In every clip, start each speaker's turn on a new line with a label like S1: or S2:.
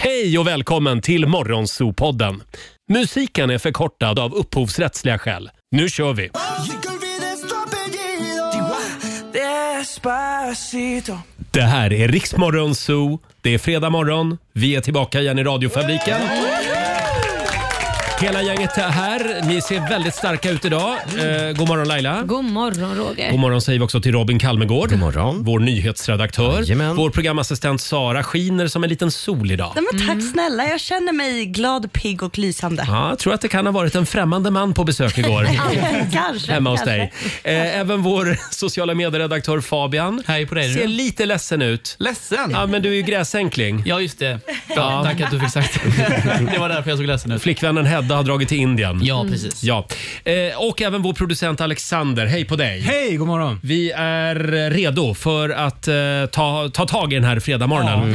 S1: Hej och välkommen till Morgonzoo-podden. Musiken är förkortad av upphovsrättsliga skäl. Nu kör vi! Det här är Riksmorgon Zoo. Det är fredag morgon. Vi är tillbaka igen i radiofabriken. Hela gänget är här. Ni ser väldigt starka ut idag. Eh, god morgon Laila.
S2: God morgon Roger.
S1: God morgon säger vi också till Robin Kalmegård,
S3: God morgon.
S1: vår nyhetsredaktör.
S3: Jajamän.
S1: Vår programassistent Sara skiner som en liten sol idag.
S4: Ja, men tack snälla, jag känner mig glad, pigg och lysande.
S1: Ja, jag tror att det kan ha varit en främmande man på besök igår.
S4: kanske.
S1: Hemma hos
S4: kanske.
S1: dig. Eh, även vår sociala medieredaktör Fabian
S5: Hej på dig.
S1: ser
S5: du.
S1: lite ledsen ut.
S5: Ledsen?
S1: Ja, men du är ju gräsänkling.
S5: Ja, just det. Ja, tack att du fick sagt det. Det var därför jag såg ledsen ut.
S1: Flickvännen Hedda har dragit till Indien.
S5: Ja, precis.
S1: Ja. Eh, och även vår producent Alexander. Hej på dig!
S6: Hej, god morgon.
S1: Vi är redo för att eh, ta, ta tag i den här fredagmorgonen.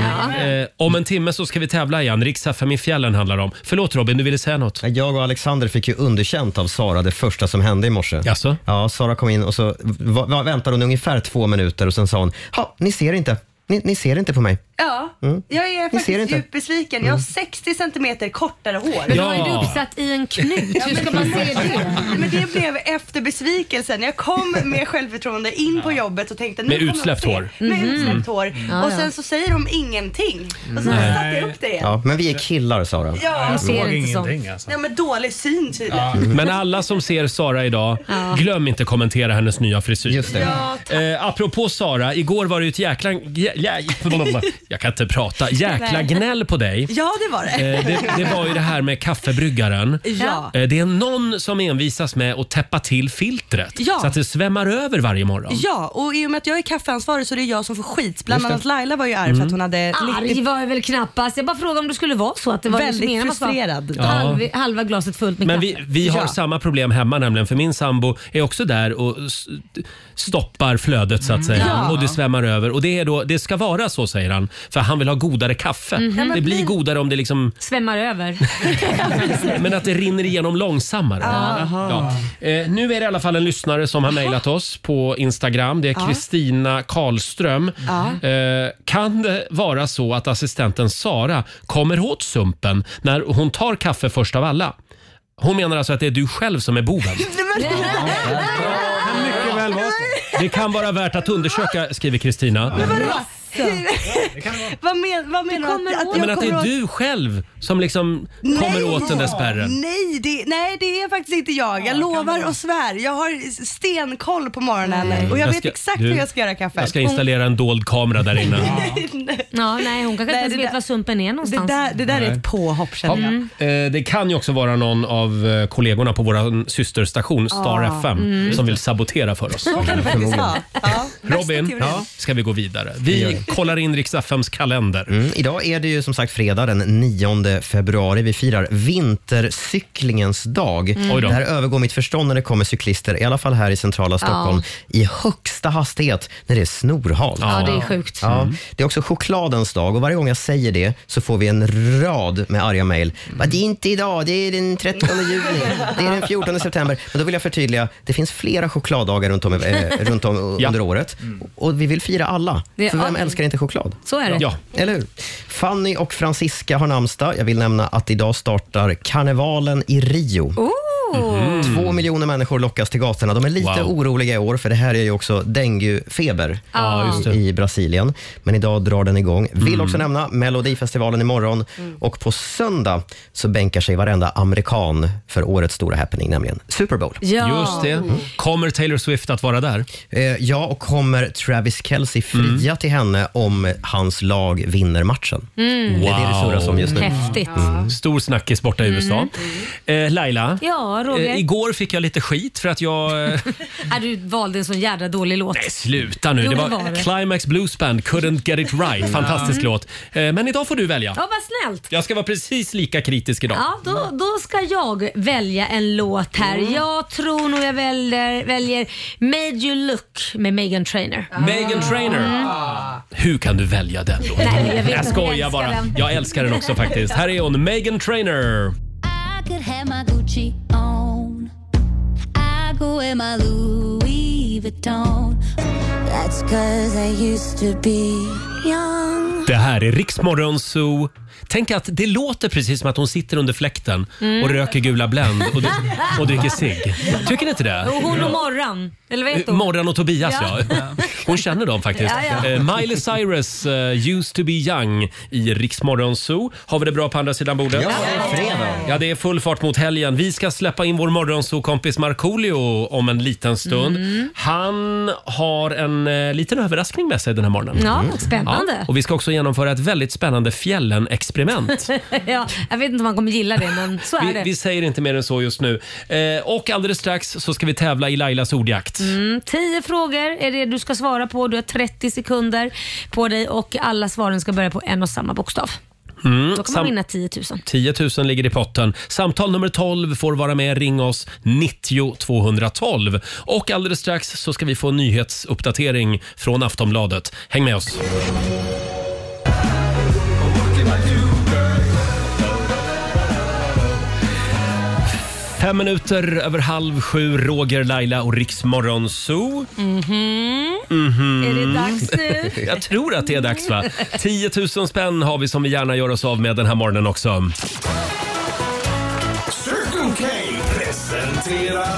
S1: Eh, om en timme så ska vi tävla igen. Riks FM i fjällen handlar det om. Förlåt Robin, du ville säga något?
S3: Jag och Alexander fick ju underkänt av Sara det första som hände i morse.
S1: Jaså?
S3: Ja, Sara kom in och så va, va, väntade hon ungefär två minuter och sen sa hon, ha, ni ser inte. Ni, ni ser inte på mig.
S4: Ja,
S1: Mm.
S4: jag är
S3: ser
S4: faktiskt
S3: inte.
S4: djupt besviken. Jag har 60 centimeter kortare hår.
S2: Men då är
S1: Ja.
S2: du uppsatt i en knut. Hur ska man se det?
S4: Men det blev efter besvikelsen. Jag kom med självförtroende in på jobbet och tänkte nu
S1: Med
S4: kommer de
S1: utsläppt
S4: se.
S1: hår.
S4: Med utsläppt hår.
S2: Mhm. Ja,
S4: Och
S2: ja.
S4: sen så säger de ingenting.
S1: Mm.
S4: Och sen satte jag upp det igen.
S3: Ja, men vi är killar, Sara.
S4: Ja,
S2: Jag ser inte sånt.
S6: ingenting alltså.
S4: ja men dålig syn tydligen.
S1: Men alla som ser Sara idag, glöm inte kommentera hennes nya frisyr.
S3: Just det.
S1: Eh, apropå Sara, igår var det ju ett jäkla... Jä, jä, jag kan inte prata. Jäkla gnäll på dig.
S4: Ja, det var det.
S1: Eh, det, det var ju det här med kaffebryggaren.
S4: Ja.
S1: Eh, Det är någon som envisas med att täppa till filtret
S4: Ja.
S1: så att det svämmar över varje morgon.
S4: Ja, och i och med att jag är kaffeansvarig så är det jag som får skit. Bland annat Laila var ju arg för att hon hade
S2: Mm. Arg
S4: riktigt
S2: var jag väl knappast. Jag bara frågade om det skulle vara så att det var liksom det som
S4: Väldigt
S2: menades. Man bara-
S4: frustrerad.
S1: Ja.
S2: Halv, halva glaset fullt med
S1: Men
S2: kaffe.
S1: vi, vi har
S4: Ja.
S1: samma problem hemma nämligen för min sambo är också där och s- stoppar flödet så att säga
S4: Ja.
S1: och det svämmar över. Och det, är då, det ska vara så säger han för han vill ha godare kaffe. Det blir godare om det liksom,
S2: Svämmar över.
S1: men att det rinner igenom långsammare. Ja. Eh, nu är det i alla fall en lyssnare som har mejlat oss på Instagram. Det är Kristina Karlström. Eh, kan det vara så att assistenten Sara kommer åt sumpen när hon tar kaffe först av alla? Hon menar alltså att det är du själv som är boven.
S6: Mycket väl vara så.
S1: Det kan vara värt att undersöka, skriver Kristina.
S4: Vad, men, vad menar du?
S2: kommer
S4: Att,
S2: åt-
S4: att jag
S1: Men att det är
S4: kommer åt-
S1: du själv som liksom kommer åt den där spärren.
S4: Nej det, nej, det är faktiskt inte jag. Jag lovar och svär. Jag har stenkoll på morgonen och jag,
S1: Mm. Jag
S4: vet
S1: ska-
S4: exakt
S1: du-
S4: hur jag ska göra kaffe.
S1: Jag ska installera en dold kamera där inne.
S2: Ja, nej, hon kanske inte
S4: Nej,
S2: ens
S4: det
S2: vet
S4: där-
S2: var sumpen är
S4: det,
S2: någonstans. Mm.
S4: där, det där är ett påhopp känner jag.
S1: Ja. Eh, Det kan ju också vara någon av eh, kollegorna på vår systerstation Star
S2: Mm.
S1: FM som vill sabotera för oss.
S4: Så kan det faktiskt vara. Ja.
S1: Robin,
S4: Värsta teorin.
S1: ska vi gå vidare? Vi kollar in Rix FMs kalender.
S3: Mm, idag är det ju som sagt fredag den 9 februari. Vi firar vintercyklingens dag.
S1: Mm. Oj då.
S3: Det här övergår mitt förstånd när det kommer cyklister, i alla fall här i centrala Stockholm, i högsta hastighet när det är snorhalt.
S2: Ja, det är sjukt. Mm.
S3: Ja, det är också chokladens dag och varje gång jag säger det så får vi en rad med arga mejl.
S2: Mm.
S3: "Va, Det är inte idag, det är den 13 juni, det är den 14 september. Men då vill jag förtydliga, det finns flera chokladdagar runt om, eh, runt om
S1: Ja. Mm.
S3: under året och vi vill fira alla.
S2: Det-
S3: För vem
S2: ja.
S3: älskar inte choklad?
S2: Så är det.
S1: Ja,
S3: Eller hur? Fanny och Francisca har namnsdag. Jag vill nämna att idag startar karnevalen i Rio.
S1: Mm.
S2: Oh.
S3: Två miljoner människor lockas till gatorna. De är lite
S1: Wow.
S3: oroliga i år, för det här är ju också denguefeber
S2: Ja,
S1: just det. Mm.
S3: i Brasilien. Men idag drar den igång. Vill också nämna Melodifestivalen imorgon.
S2: Mm.
S3: Och på söndag så bänkar sig varenda amerikan för årets stora happening, nämligen Super Bowl.
S2: Ja.
S1: just det. Kommer Taylor Swift att vara där? Mm.
S3: Eh, Ja, och kommer Travis Kelce fria till henne om hans lag vinner matchen?
S2: Mm.
S3: Det är det det surras om just nu. Mm.
S2: Häftigt.
S1: Stor snackis borta i USA. Eh, Laila,
S2: Mm. Ja, Roger.
S1: eh, igår fick jag lite skit för att jag... eh,
S2: Ja, du valde en sån jädra dålig låt.
S1: Nej, sluta nu.
S2: Jo,
S1: Det
S2: det
S1: var
S2: var det. Mm.
S1: Climax Blues Band, Couldn't Get It Right. Fantastisk låt. Eh, Men idag får du välja.
S2: Ja, vad snällt.
S1: Jag ska vara precis lika kritisk idag.
S2: Ja, då, då ska jag välja en låt här. Jag tror nog jag väljer, väljer Made You Look med Megan Trainor. Mm.
S1: Megan Trainer. Hur kan du välja den då?
S2: Ah. Nej, jag vet inte.
S1: Jag skojar
S2: älskar
S1: bara.
S2: den.
S1: Jag älskar den också faktiskt. Här är hon, Megan Trainer.
S7: I could have my Gucci on. I go in my Louis Vuitton. That's cause I used to be young.
S1: Det här är Riksmorgon Zoo. Tänk att det låter precis som att hon sitter under fläkten
S2: Mm.
S1: och röker gula Blend och, och dricker cigg. Tycker ni inte det?
S2: Och hon och Morran, eller vad heter hon?
S1: Morran och Tobias ja. Hon känner dem faktiskt.
S2: Ja, ja.
S1: Eh, Miley Cyrus, eh, used to be young i Riksmorgon Zoo. Har vi det bra på andra sidan bordet?
S3: Ja, det är fredag.
S1: Ja, det är full fart mot helgen. Vi ska släppa in vår morgonsokompis Markoolio om en liten stund.
S2: Mm.
S1: Han har en eh, liten överraskning med sig den här morgonen.
S2: Ja,
S1: Ja,
S2: spännande.
S1: och vi ska också genomföra ett väldigt spännande fjällen-experiment.
S2: Ja, jag vet inte om han kommer gilla det, men så är
S1: Vi,
S2: det.
S1: vi säger inte mer än så just nu. Eh, och alldeles strax så ska vi tävla i Lailas ordjakt.
S2: Mm, tio frågor är det du ska svara på. Du har 30 sekunder på dig och alla svaren ska börja på en och samma bokstav. Då kan man
S1: Mm. sam-
S2: vinna 10 000.
S1: 10 000 ligger i potten. Samtal nummer 12 får vara med. Ring oss 90 212. Och alldeles strax så ska vi få en nyhetsuppdatering från Aftonbladet. Häng med oss! Fem minuter över halv sju, Roger, Laila och Riksmorgon Zoo.
S6: Mm-hmm.
S1: Mhm.
S2: Är det dags nu?
S1: Jag tror att det är dags va? 10 000 spänn har vi som vi gärna gör oss av med den här morgonen också.
S6: Circle K presenterar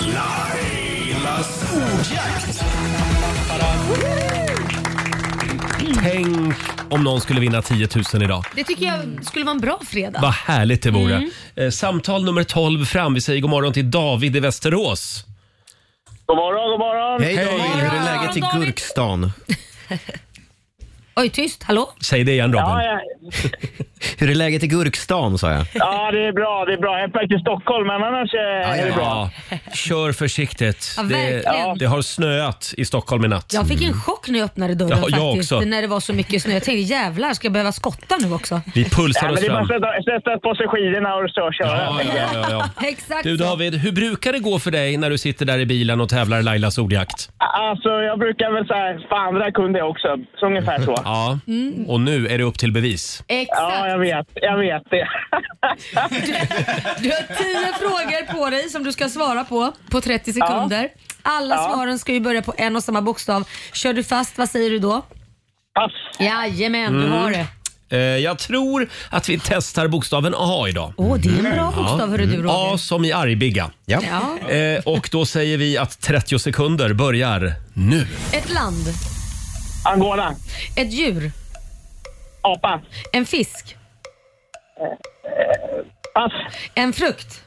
S6: Lailas ordjakt.
S1: Tänk om någon skulle vinna 10 000 idag.
S2: Det tycker jag skulle vara en bra fredag.
S1: Vad härligt det vore.
S3: Mm.
S1: Eh, Samtal nummer 12 fram. Vi säger god morgon till David i Västerås.
S8: God morgon, god morgon.
S3: Hej David, hur är läget i
S2: David.
S3: Gurkstan?
S2: Oj, tyst. Hallå?
S1: Säg det igen
S8: Ja,
S1: Robin.
S8: ja.
S3: Hur är läget i Gurkstan sa jag.
S8: ja, det är bra. Det är bra. Jag är på väg till Stockholm, men annars eh, är det bra.
S1: Ja, kör försiktigt.
S2: Ja,
S1: det,
S2: verkligen.
S1: det har snöat i Stockholm i natt. Mm.
S2: Jag fick en chock när jag öppnade dörren
S1: Ja, jag
S2: faktiskt.
S1: också.
S2: När det var så mycket snö. Jag tänkte jävlar, ska jag behöva skotta nu också?
S1: Vi pulsar
S8: Ja, men
S1: oss
S8: det är bara
S1: fram.
S8: att sätta, sätta på sig skidorna och så köra.
S1: Ja, ja, ja, ja.
S2: Exakt
S1: Du
S2: så.
S1: David, hur brukar det gå för dig när du sitter där i bilen och tävlar i Lailas ordjakt?
S8: Alltså, jag brukar väl säga, fan det där kunde jag också. Så ungefär så.
S1: Ja, och nu är det upp till bevis.
S8: Ja,
S2: Mm, Exakt.
S8: jag vet. Jag vet det.
S2: Du har 10 frågor på dig som du ska svara på på 30 sekunder. Alla
S8: Ja.
S2: svaren ska ju börja på en och samma bokstav. Kör du fast, vad säger du då?
S8: Pass. Mm.
S2: Jajamän, du har det.
S1: Eh, Jag tror att vi testar bokstaven A idag. Mm.
S2: Åh, det är en bra bokstav hörru du
S1: A
S2: Roger.
S1: som i Arvika.
S3: Ja.
S2: Ja.
S1: Eh, Och då säger vi att 30 sekunder börjar nu.
S2: Ett land,
S8: Angola.
S2: ett djur,
S8: Apa. Eh,
S2: en fisk,
S8: Pass.
S2: en frukt,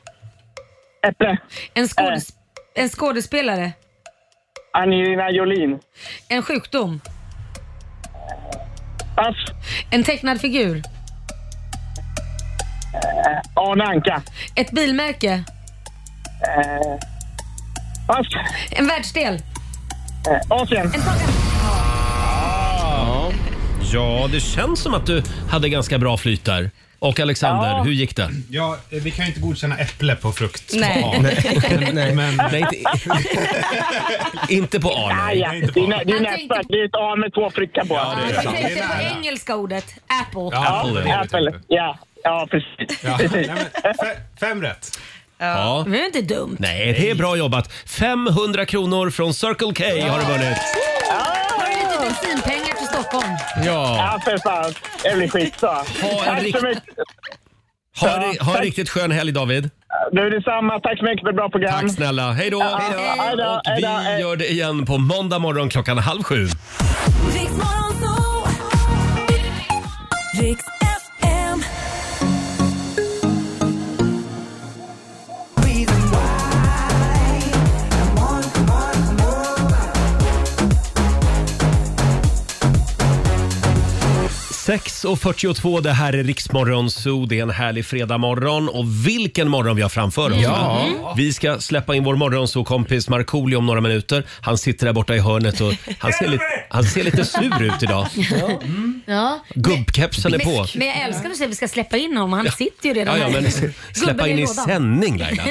S8: Äpple. Eh.
S2: en, skådes- en skådespelare,
S8: Angelina Jolin.
S2: en sjukdom,
S8: Pass.
S2: en tecknad figur,
S8: Eh, Arne Anka. Eh,
S2: ett bilmärke,
S8: Pass.
S2: en världsdel.
S8: Eh, Asien.
S1: Ja, det känns som att du hade ganska bra flyt där. Och Alexander,
S8: Ja.
S1: hur gick det?
S6: Ja, eh, vi kan ju inte godkänna äpple på frukt.
S2: Nej.
S6: Ja,
S3: Nej.
S6: Men
S1: Nej, inte, inte på A.
S8: Ah,
S1: Nej.
S8: ja.
S6: inte
S8: Det är, nä- det är
S2: Han
S8: nästa.
S2: tänkte-
S8: Det är ett A med två prickar på.
S6: Ja, det är
S2: Jag
S6: sant.
S2: tänkte på
S6: nära.
S2: engelska ordet, apple.
S6: Ja,
S1: Apple. liksom.
S6: det är det
S8: Apple.
S6: typ.
S8: Ja. Ja, precis.
S6: Ja, nej, men fe- Fem rätt.
S1: Ja.
S2: Det var ju inte dumt.
S1: Nej, det är bra jobbat. 500 kronor från Circle K har du vunnit.
S2: Har du lite bensinpengar till Stockholm?
S1: Ja.
S8: Ja, för fan. Det blir skitbra.
S1: en
S8: Tack
S1: rikt-
S8: så mycket.
S1: Ha, en- ha en
S8: tack.
S1: riktigt skön helg David.
S8: Du, detsamma. Tack så mycket för ett bra program.
S1: Tack snälla. Hej då.
S8: Hej då,
S1: Och
S8: hej
S1: vi
S8: då, hej.
S1: gör det igen på måndag morgon klockan halv sju.
S9: Riks FM.
S1: Sex och 42, det här är Riksmorgon Zoo. Det är en härlig fredagmorgon och vilken morgon vi har framför oss. va? Vi ska släppa in vår morgonzoo-kompis Markoolio om några minuter. Han sitter där borta i hörnet och han ser lite, han ser lite sur ut idag.
S2: Ja.
S1: Gubbkepsen är
S2: Men,
S1: på.
S2: men jag älskar att säga att vi ska släppa in honom. Han sitter ju redan
S1: Ja, ja,
S2: här.
S1: men släppa
S2: Gubben
S1: in i
S2: lådan.
S1: sändning Laila.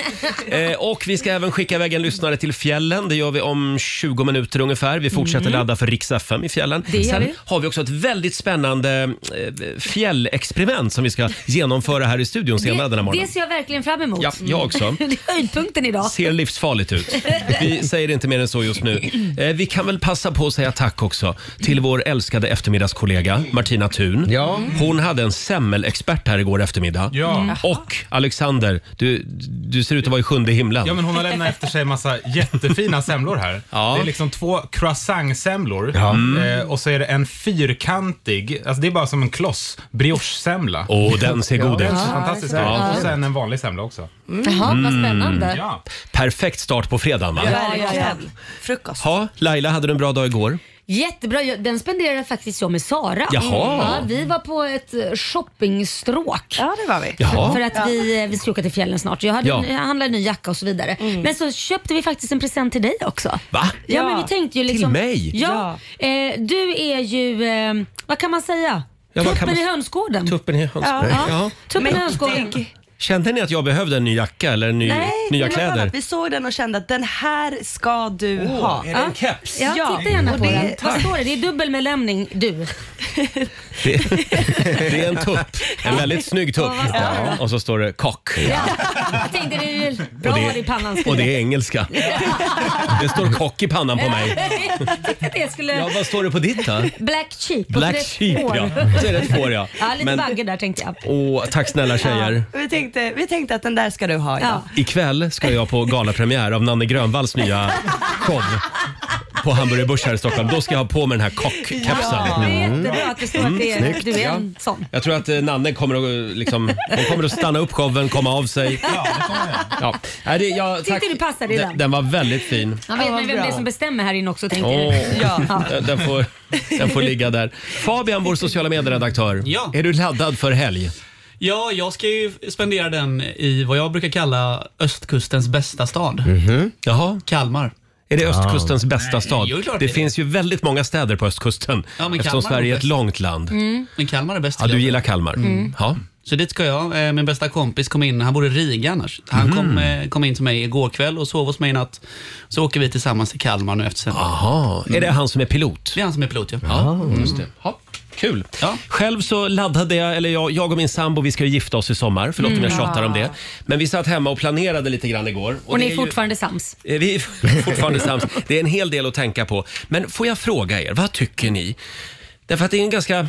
S1: Eh, och vi ska även skicka iväg en lyssnare till fjällen. Det gör vi om 20 minuter ungefär. Vi fortsätter ladda för Rix FM i fjällen.
S2: Mm. Det gör
S1: Sen
S2: vi.
S1: har vi också ett väldigt spännande eh, fjällexperiment som vi ska genomföra här i studion senare den här
S2: Det, det
S1: morgonen.
S2: ser jag verkligen fram emot.
S1: Ja, jag också.
S2: Det är höjdpunkten idag.
S1: Ser livsfarligt ut. Vi säger inte mer än så just nu. Eh, vi kan väl passa på att säga tack också till vår älskade eftermiddagskollega Martina Thun.
S3: Ja.
S1: Hon hade en semmelexpert här igår eftermiddag.
S6: Ja.
S2: Mm.
S1: Och Alexander, du, du ser ut att vara i sjunde himlen.
S6: Ja, men hon har lämnat efter sig en massa jättefina semlor här.
S1: Ja.
S6: Det är liksom två croissant-semlor
S10: Mm.
S6: eh, och så är det en fyrkantig, alltså det är bara som en kloss, brioche-semla.
S1: Åh, den ser god ut.
S6: Fantastiskt
S1: Ja.
S6: Och sen en vanlig semla också.
S2: Jaha, vad
S11: Mm.
S2: spännande.
S6: Ja.
S1: Mm. Perfekt start på fredagen va?
S4: Verkligen. Frukost.
S1: Ja, Laila hade du en bra dag igår?
S2: Jättebra. Jag- Den spenderade faktiskt jag med Sara. Mm.
S1: Jaha.
S2: Ja, vi var på ett eh, shoppingstråk.
S4: Ja, det var vi.
S1: Jaha.
S2: För att vi, eh, vi ska åka till fjällen snart. Jag, hade
S1: Ja.
S2: en, jag handlade en ny jacka och så vidare. Men så köpte vi faktiskt en present till dig också.
S1: Va?
S2: Ja,
S4: Mm. Ja.
S2: men vi tänkte ju liksom,
S1: Till mig?
S2: Ja, Eh, du är ju, eh, vad kan man säga?
S1: Ja, vad
S2: Tuppen
S1: kan man-
S2: i hönsgården.
S1: Tuppen i
S4: Ja.
S1: hönsgården. Ja.
S2: Tuppen i hönsgården.
S1: Kände ni att jag behövde en ny jacka eller en ny,
S2: Nej,
S1: nya
S4: det var bara
S1: kläder?
S4: att Vi såg den och kände att den här ska du ha.
S1: Är det en keps?
S2: Ja,
S4: Ja,
S2: titta gärna
S4: och
S2: på
S4: det-
S2: den. Vad står det? Det är dubbelmedlämning, du.
S1: Det, det är en tupp. En väldigt snygg tupp.
S2: Ja, vad bra.
S1: Och så står det kock.
S2: Jag tänkte det är ju bra
S1: Och
S2: att ha det i pannan.
S1: och det är engelska. Det står kock i pannan på mig.
S2: Jag tänkte att det skulle...
S1: Ja, vad står det på ditt då?
S2: Black sheep. och
S1: Black
S2: så är det ett
S1: sheep
S2: får.
S1: ja. Så är det ett får ja.
S2: Ja, lite
S1: Men-
S2: bagge där tänkte jag.
S1: Åh, tack snälla tjejer.
S4: Vi tänkte, vi tänkte att den där ska du ha idag.
S2: Ja.
S1: Ikväll ska jag på galapremiär av Nanne Grönvalls nya show på Hamburger Börs här i Stockholm. Då ska jag ha på mig den här kockkepsen.
S2: Det är
S1: Mm.
S2: jättebra att det står att det är, du är en sån.
S1: Jag tror att eh, Nanne kommer att, eh, liksom, hon kommer att stanna upp showen, komma av sig. Ja, ja. Nej, det, jag,
S2: Tyckte du passade i
S1: den.
S2: den?
S1: Den var väldigt fin.
S2: Man vet ju vem det är som bestämmer här inne också tänker
S1: Åh,
S2: jag. Ja.
S1: den, den, får, den får ligga där. Fabian, vår sociala medieredaktör.
S5: Ja.
S1: Är du laddad för helg?
S5: Ja, jag ska ju spendera den i vad jag brukar kalla östkustens bästa stad.
S1: Jaha.
S5: Kalmar.
S1: Är det östkustens bästa stad?
S5: jo, klart
S1: det
S5: det är
S1: finns ju väldigt många städer på östkusten
S5: Ja, men
S1: eftersom
S5: Kalmar är
S1: Sverige är ett
S5: bäst. Mm.
S1: långt land.
S5: Men Kalmar är bäst.
S1: Ja, du
S5: gillar.
S1: gillar Kalmar? Mm. Ja.
S5: Så dit ska jag. Eh, Min bästa kompis kom in, han bor i Riga annars. Han
S1: Mm.
S5: kom, eh, kom in till mig igår kväll och sov hos mig i natt. Så åker vi tillsammans till Kalmar nu efter sändning.
S1: Aha. Är det
S5: Mm.
S1: han som är pilot?
S5: Det är han som är pilot ja. Mm.
S1: Just det. Ja, kul.
S5: Ja.
S1: Själv så laddade jag, eller jag, jag och min sambo, vi ska ju gifta oss i sommar. Förlåt om jag tjatar om det. Men vi satt hemma och planerade lite grann igår. det
S2: Och ni
S1: är
S2: är
S1: ju-
S2: fortfarande sams.
S1: Eh, Vi är fortfarande sams. Det är en hel del att tänka på. Men får jag fråga er, vad tycker ni? Därför att det är en ganska eh,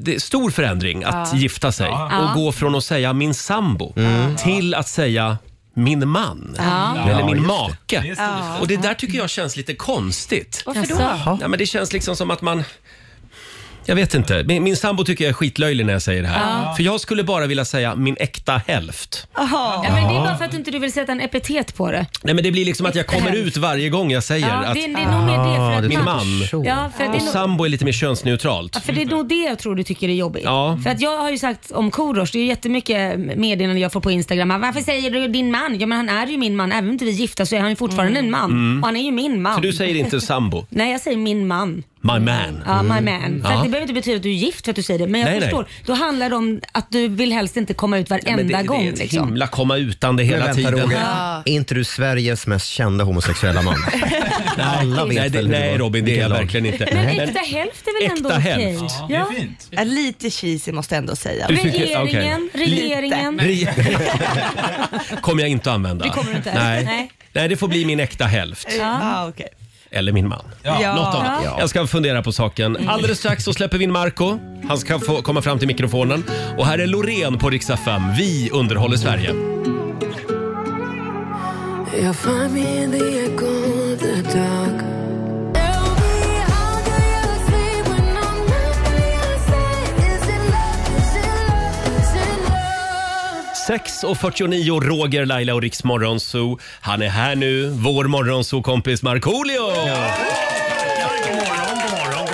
S1: det är stor förändring att gifta sig och gå från att säga min sambo
S2: Mm.
S1: till att säga min man eller
S3: Ja,
S1: min
S3: just det.
S1: make. Och det där tycker jag känns lite konstigt.
S2: Varför då?
S1: Ja, men det känns liksom som att man... Jag vet inte. Min, min sambo tycker jag är skitlöjlig när jag säger det här. För jag skulle bara vilja säga min äkta hälft.
S2: Ja, men det är bara för att inte du vill sätta en epitet på det.
S1: Nej, men det blir liksom att jag kommer ut varje gång jag säger
S2: Ja,
S1: att
S2: det, är- det är nog mer det för att
S1: min man.
S2: Ja, för, att det
S1: Och
S2: är nog,
S1: sambo är lite mer könsneutralt.
S2: ja, för det är nog det jag tror du tycker är jobbigt.
S1: Ja.
S2: För att jag har ju sagt om Korosh, det är ju jättemycket meddelanden jag får på Instagram. Varför säger du din man? Ja men han är ju min man. Även om inte vi är gifta så är han ju fortfarande en man. Och han är ju min man.
S1: Så Mm. du säger inte sambo,
S2: Nej jag säger min man.
S1: my man.
S2: Ja, my man. För
S1: Mm. Ja.
S2: att det behöver inte betyda att du är gift för att du säger det. Men jag
S1: Nej, nej.
S2: förstår. Då handlar det om att du vill helst inte komma ut varenda
S1: Men det,
S2: gång.
S1: det är ett
S2: liksom.
S1: himla komma utan det hela
S3: Men vänta,
S1: tiden.
S3: Roger. Är inte du Sveriges mest kända homosexuella man? Alla vet
S1: Nej, det,
S3: väl hur
S1: nej
S3: var.
S1: Robin, det är jag
S3: Vilken lag.
S1: verkligen inte.
S2: Men
S1: Men-
S2: äkta hälft är väl ändå
S1: Äkta
S2: okej?
S1: hälft.
S2: Ja. Ja.
S6: fint.
S4: Ja, Lite cheesy måste jag ändå säga.
S1: Du tycker-
S2: Regeringen, regeringen.
S1: Re- kommer jag inte att använda.
S2: Det kommer du inte.
S1: Nej.
S2: Nej.
S1: Nej, det får bli min äkta hälft.
S4: Ja, Ah, okej.
S1: Eller min man.
S4: Ja.
S1: Något av det. Jag ska fundera på
S2: Mm.
S1: saken. Alldeles strax så släpper vi in Marco Han ska få komma fram till mikrofonen. Och här är Loreen på riksdag 5. Vi underhåller Sverige.
S9: Love.
S1: 6.49, Roger, Laila och Riks Morgonzoo. Han är här nu, vår Morgonzoo-kompis Markoolio!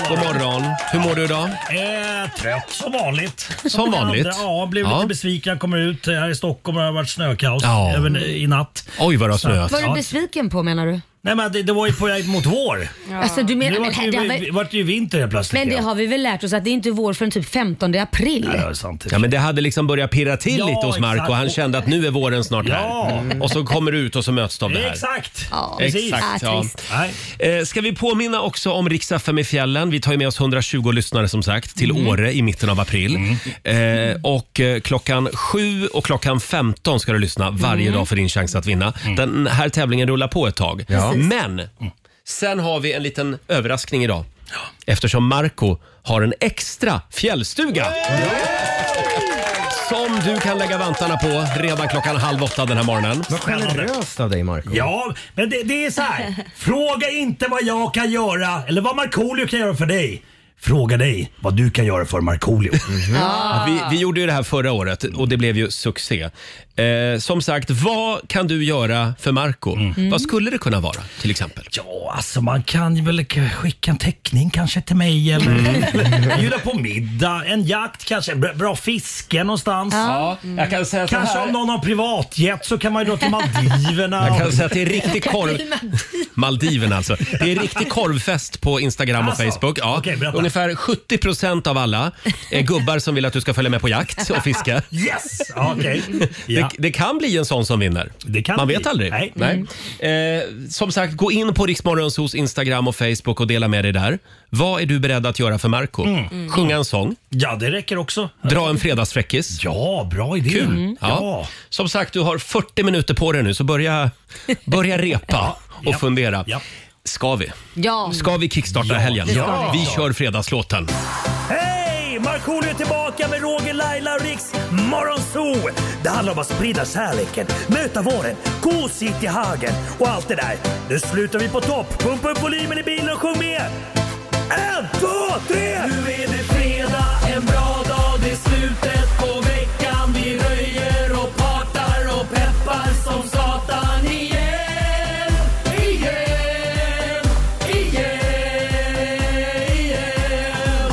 S1: God morgon! Hur mår du idag?
S12: Eh, trött som vanligt.
S1: Som vanligt?
S12: Ja, blev
S1: Ja.
S12: lite besviken. Kommer ut här i Stockholm och det har varit snökaos
S1: Ja.
S12: även i natt.
S1: Oj, vad det har snöat.
S2: Vad är du
S12: Ja.
S2: besviken på menar du?
S10: Nej men det, det var ju på väg mot vår.
S2: Alltså, du
S10: Nu
S2: menar,
S10: vart det,
S2: men,
S10: ju-
S2: det, har
S10: vi-
S2: väl-
S10: vart det ju vinter helt plötsligt.
S2: men det
S10: igen.
S2: har vi väl lärt oss att det är inte vår förrän typ 15 april.
S10: Ja, det är sant.
S1: Ja, men det hade liksom börjat pirra till
S10: Ja,
S1: lite hos Marco.
S10: exakt.
S1: Han kände att nu är våren snart
S10: Ja.
S1: här. Och så kommer du ut och så möts du av det här.
S10: Exakt!
S2: Ja,
S10: Precis.
S2: Ah,
S1: Exakt, ja.
S2: trist.
S10: Nej.
S1: Äh, Eh, Ska vi påminna också om Rix FM i fjällen? Vi tar ju med oss 120 lyssnare som sagt till
S13: Mm.
S1: Åre i mitten av april. Eh, och eh, klockan 7 och klockan 15 ska du lyssna varje
S13: Mm.
S1: dag för din chans att vinna. Den här tävlingen rullar på ett tag. Men
S13: Mm.
S1: sen har vi en liten överraskning idag. Eftersom Marco har en extra fjällstuga. Som du kan lägga vantarna på redan klockan halv åtta den här morgonen.
S13: Vad generöst av dig Marco.
S10: Ja, men det, det är så här. Fråga inte vad jag kan göra eller vad Markoolio kan göra för dig. Fråga dig vad du kan göra för Markoolio.
S1: Vi, vi gjorde ju det här förra året och det blev ju succé. Eh, som sagt, vad kan du göra för Marco? Vad skulle det kunna vara till exempel?
S10: Mm. Ja, alltså man kan ju väl k- skicka en teckning kanske till mig eller bjuda på middag, en jakt kanske, bra, bra fiske någonstans.
S1: Ja, jag kan säga
S10: Kanske om någon har privatjet så kan man ju dra till Maldiverna.
S1: Jag kan säga att det är riktig korv... Maldiven alltså. Det är riktig korvfest på Instagram och
S10: Alltså?
S1: Facebook. Ja.
S10: Okej, berätta.
S1: Ungefär 70 av alla är gubbar som vill att du ska följa med på jakt och fiska.
S10: Yes! Ja, Okej. Ja.
S1: Det, det kan bli en sån som vinner.
S10: Det kan
S1: Man
S10: bli.
S1: vet aldrig.
S10: Nej. Mm.
S1: Eh, som sagt, gå in på Riksmorgonsos Instagram och Facebook och dela med dig där. Vad är du beredd att göra för Marco? Mm. Sjunga en sång,
S10: Mm. ja, det räcker också.
S1: dra en fredagsfräckis.
S10: Ja, bra idé. Mm.
S1: Kul.
S10: Ja.
S1: Som sagt, du har 40 minuter på dig nu, så börja, börja repa och
S10: ja,
S1: fundera.
S10: ja.
S1: Ska vi?
S2: Ja.
S1: Ska vi kickstarta helgen?
S2: det ska
S1: Vi kör fredagslåten.
S10: Hej! Markoolio är tillbaka med Roger, Laila och Riks Morgonzoo! Det handlar om att sprida kärleken, möta våren, gosigt i hagen och allt det där. Nu slutar vi på topp! Pumpa upp volymen i bilen och sjung med! En, två, tre! Nu är det fredag, en bra dag, det är slutet på veckan. Vi röjer och partar och peppar som satan igen, igen, igen, igen.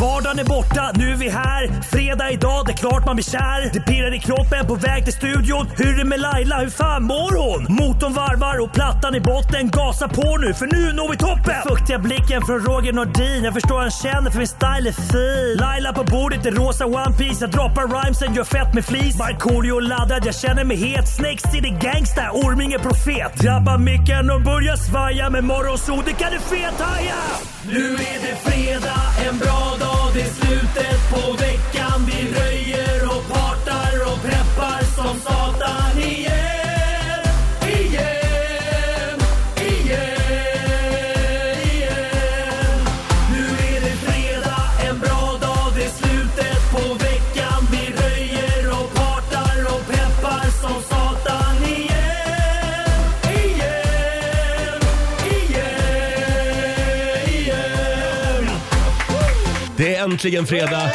S10: Vardagen är borta, nu är vi här. Fredag idag, det är klart man blir kär. Det pirrar i kroppen på väg till studion. Hur är det med Laila, hur fan mår hon? Motorn varvar och plattan i botten. Gasa på nu, för nu når vi toppen! Den fuktiga blicken från Roger Nordin. Jag förstår han känner, för min style är fin. Laila på bordet i rosa One Piece Jag droppar rhymesen, gör fett med flis. Markoolio laddad, jag känner mig het. Snakes city gangsta, Orming är profet. Drabbar micken och börjar svaja. Med morgonsol, det kan du fethaja! Nu är det fredag, en bra dag, det är slutet på veckan. Vi röjer och partar och preppar som satan igen. Igen, igen, igen. Nu är det fredag, en bra dag, det är slutet på veckan. Vi röjer och partar och peppar som satan igen. Igen, igen, igen.
S1: Det är äntligen fredag.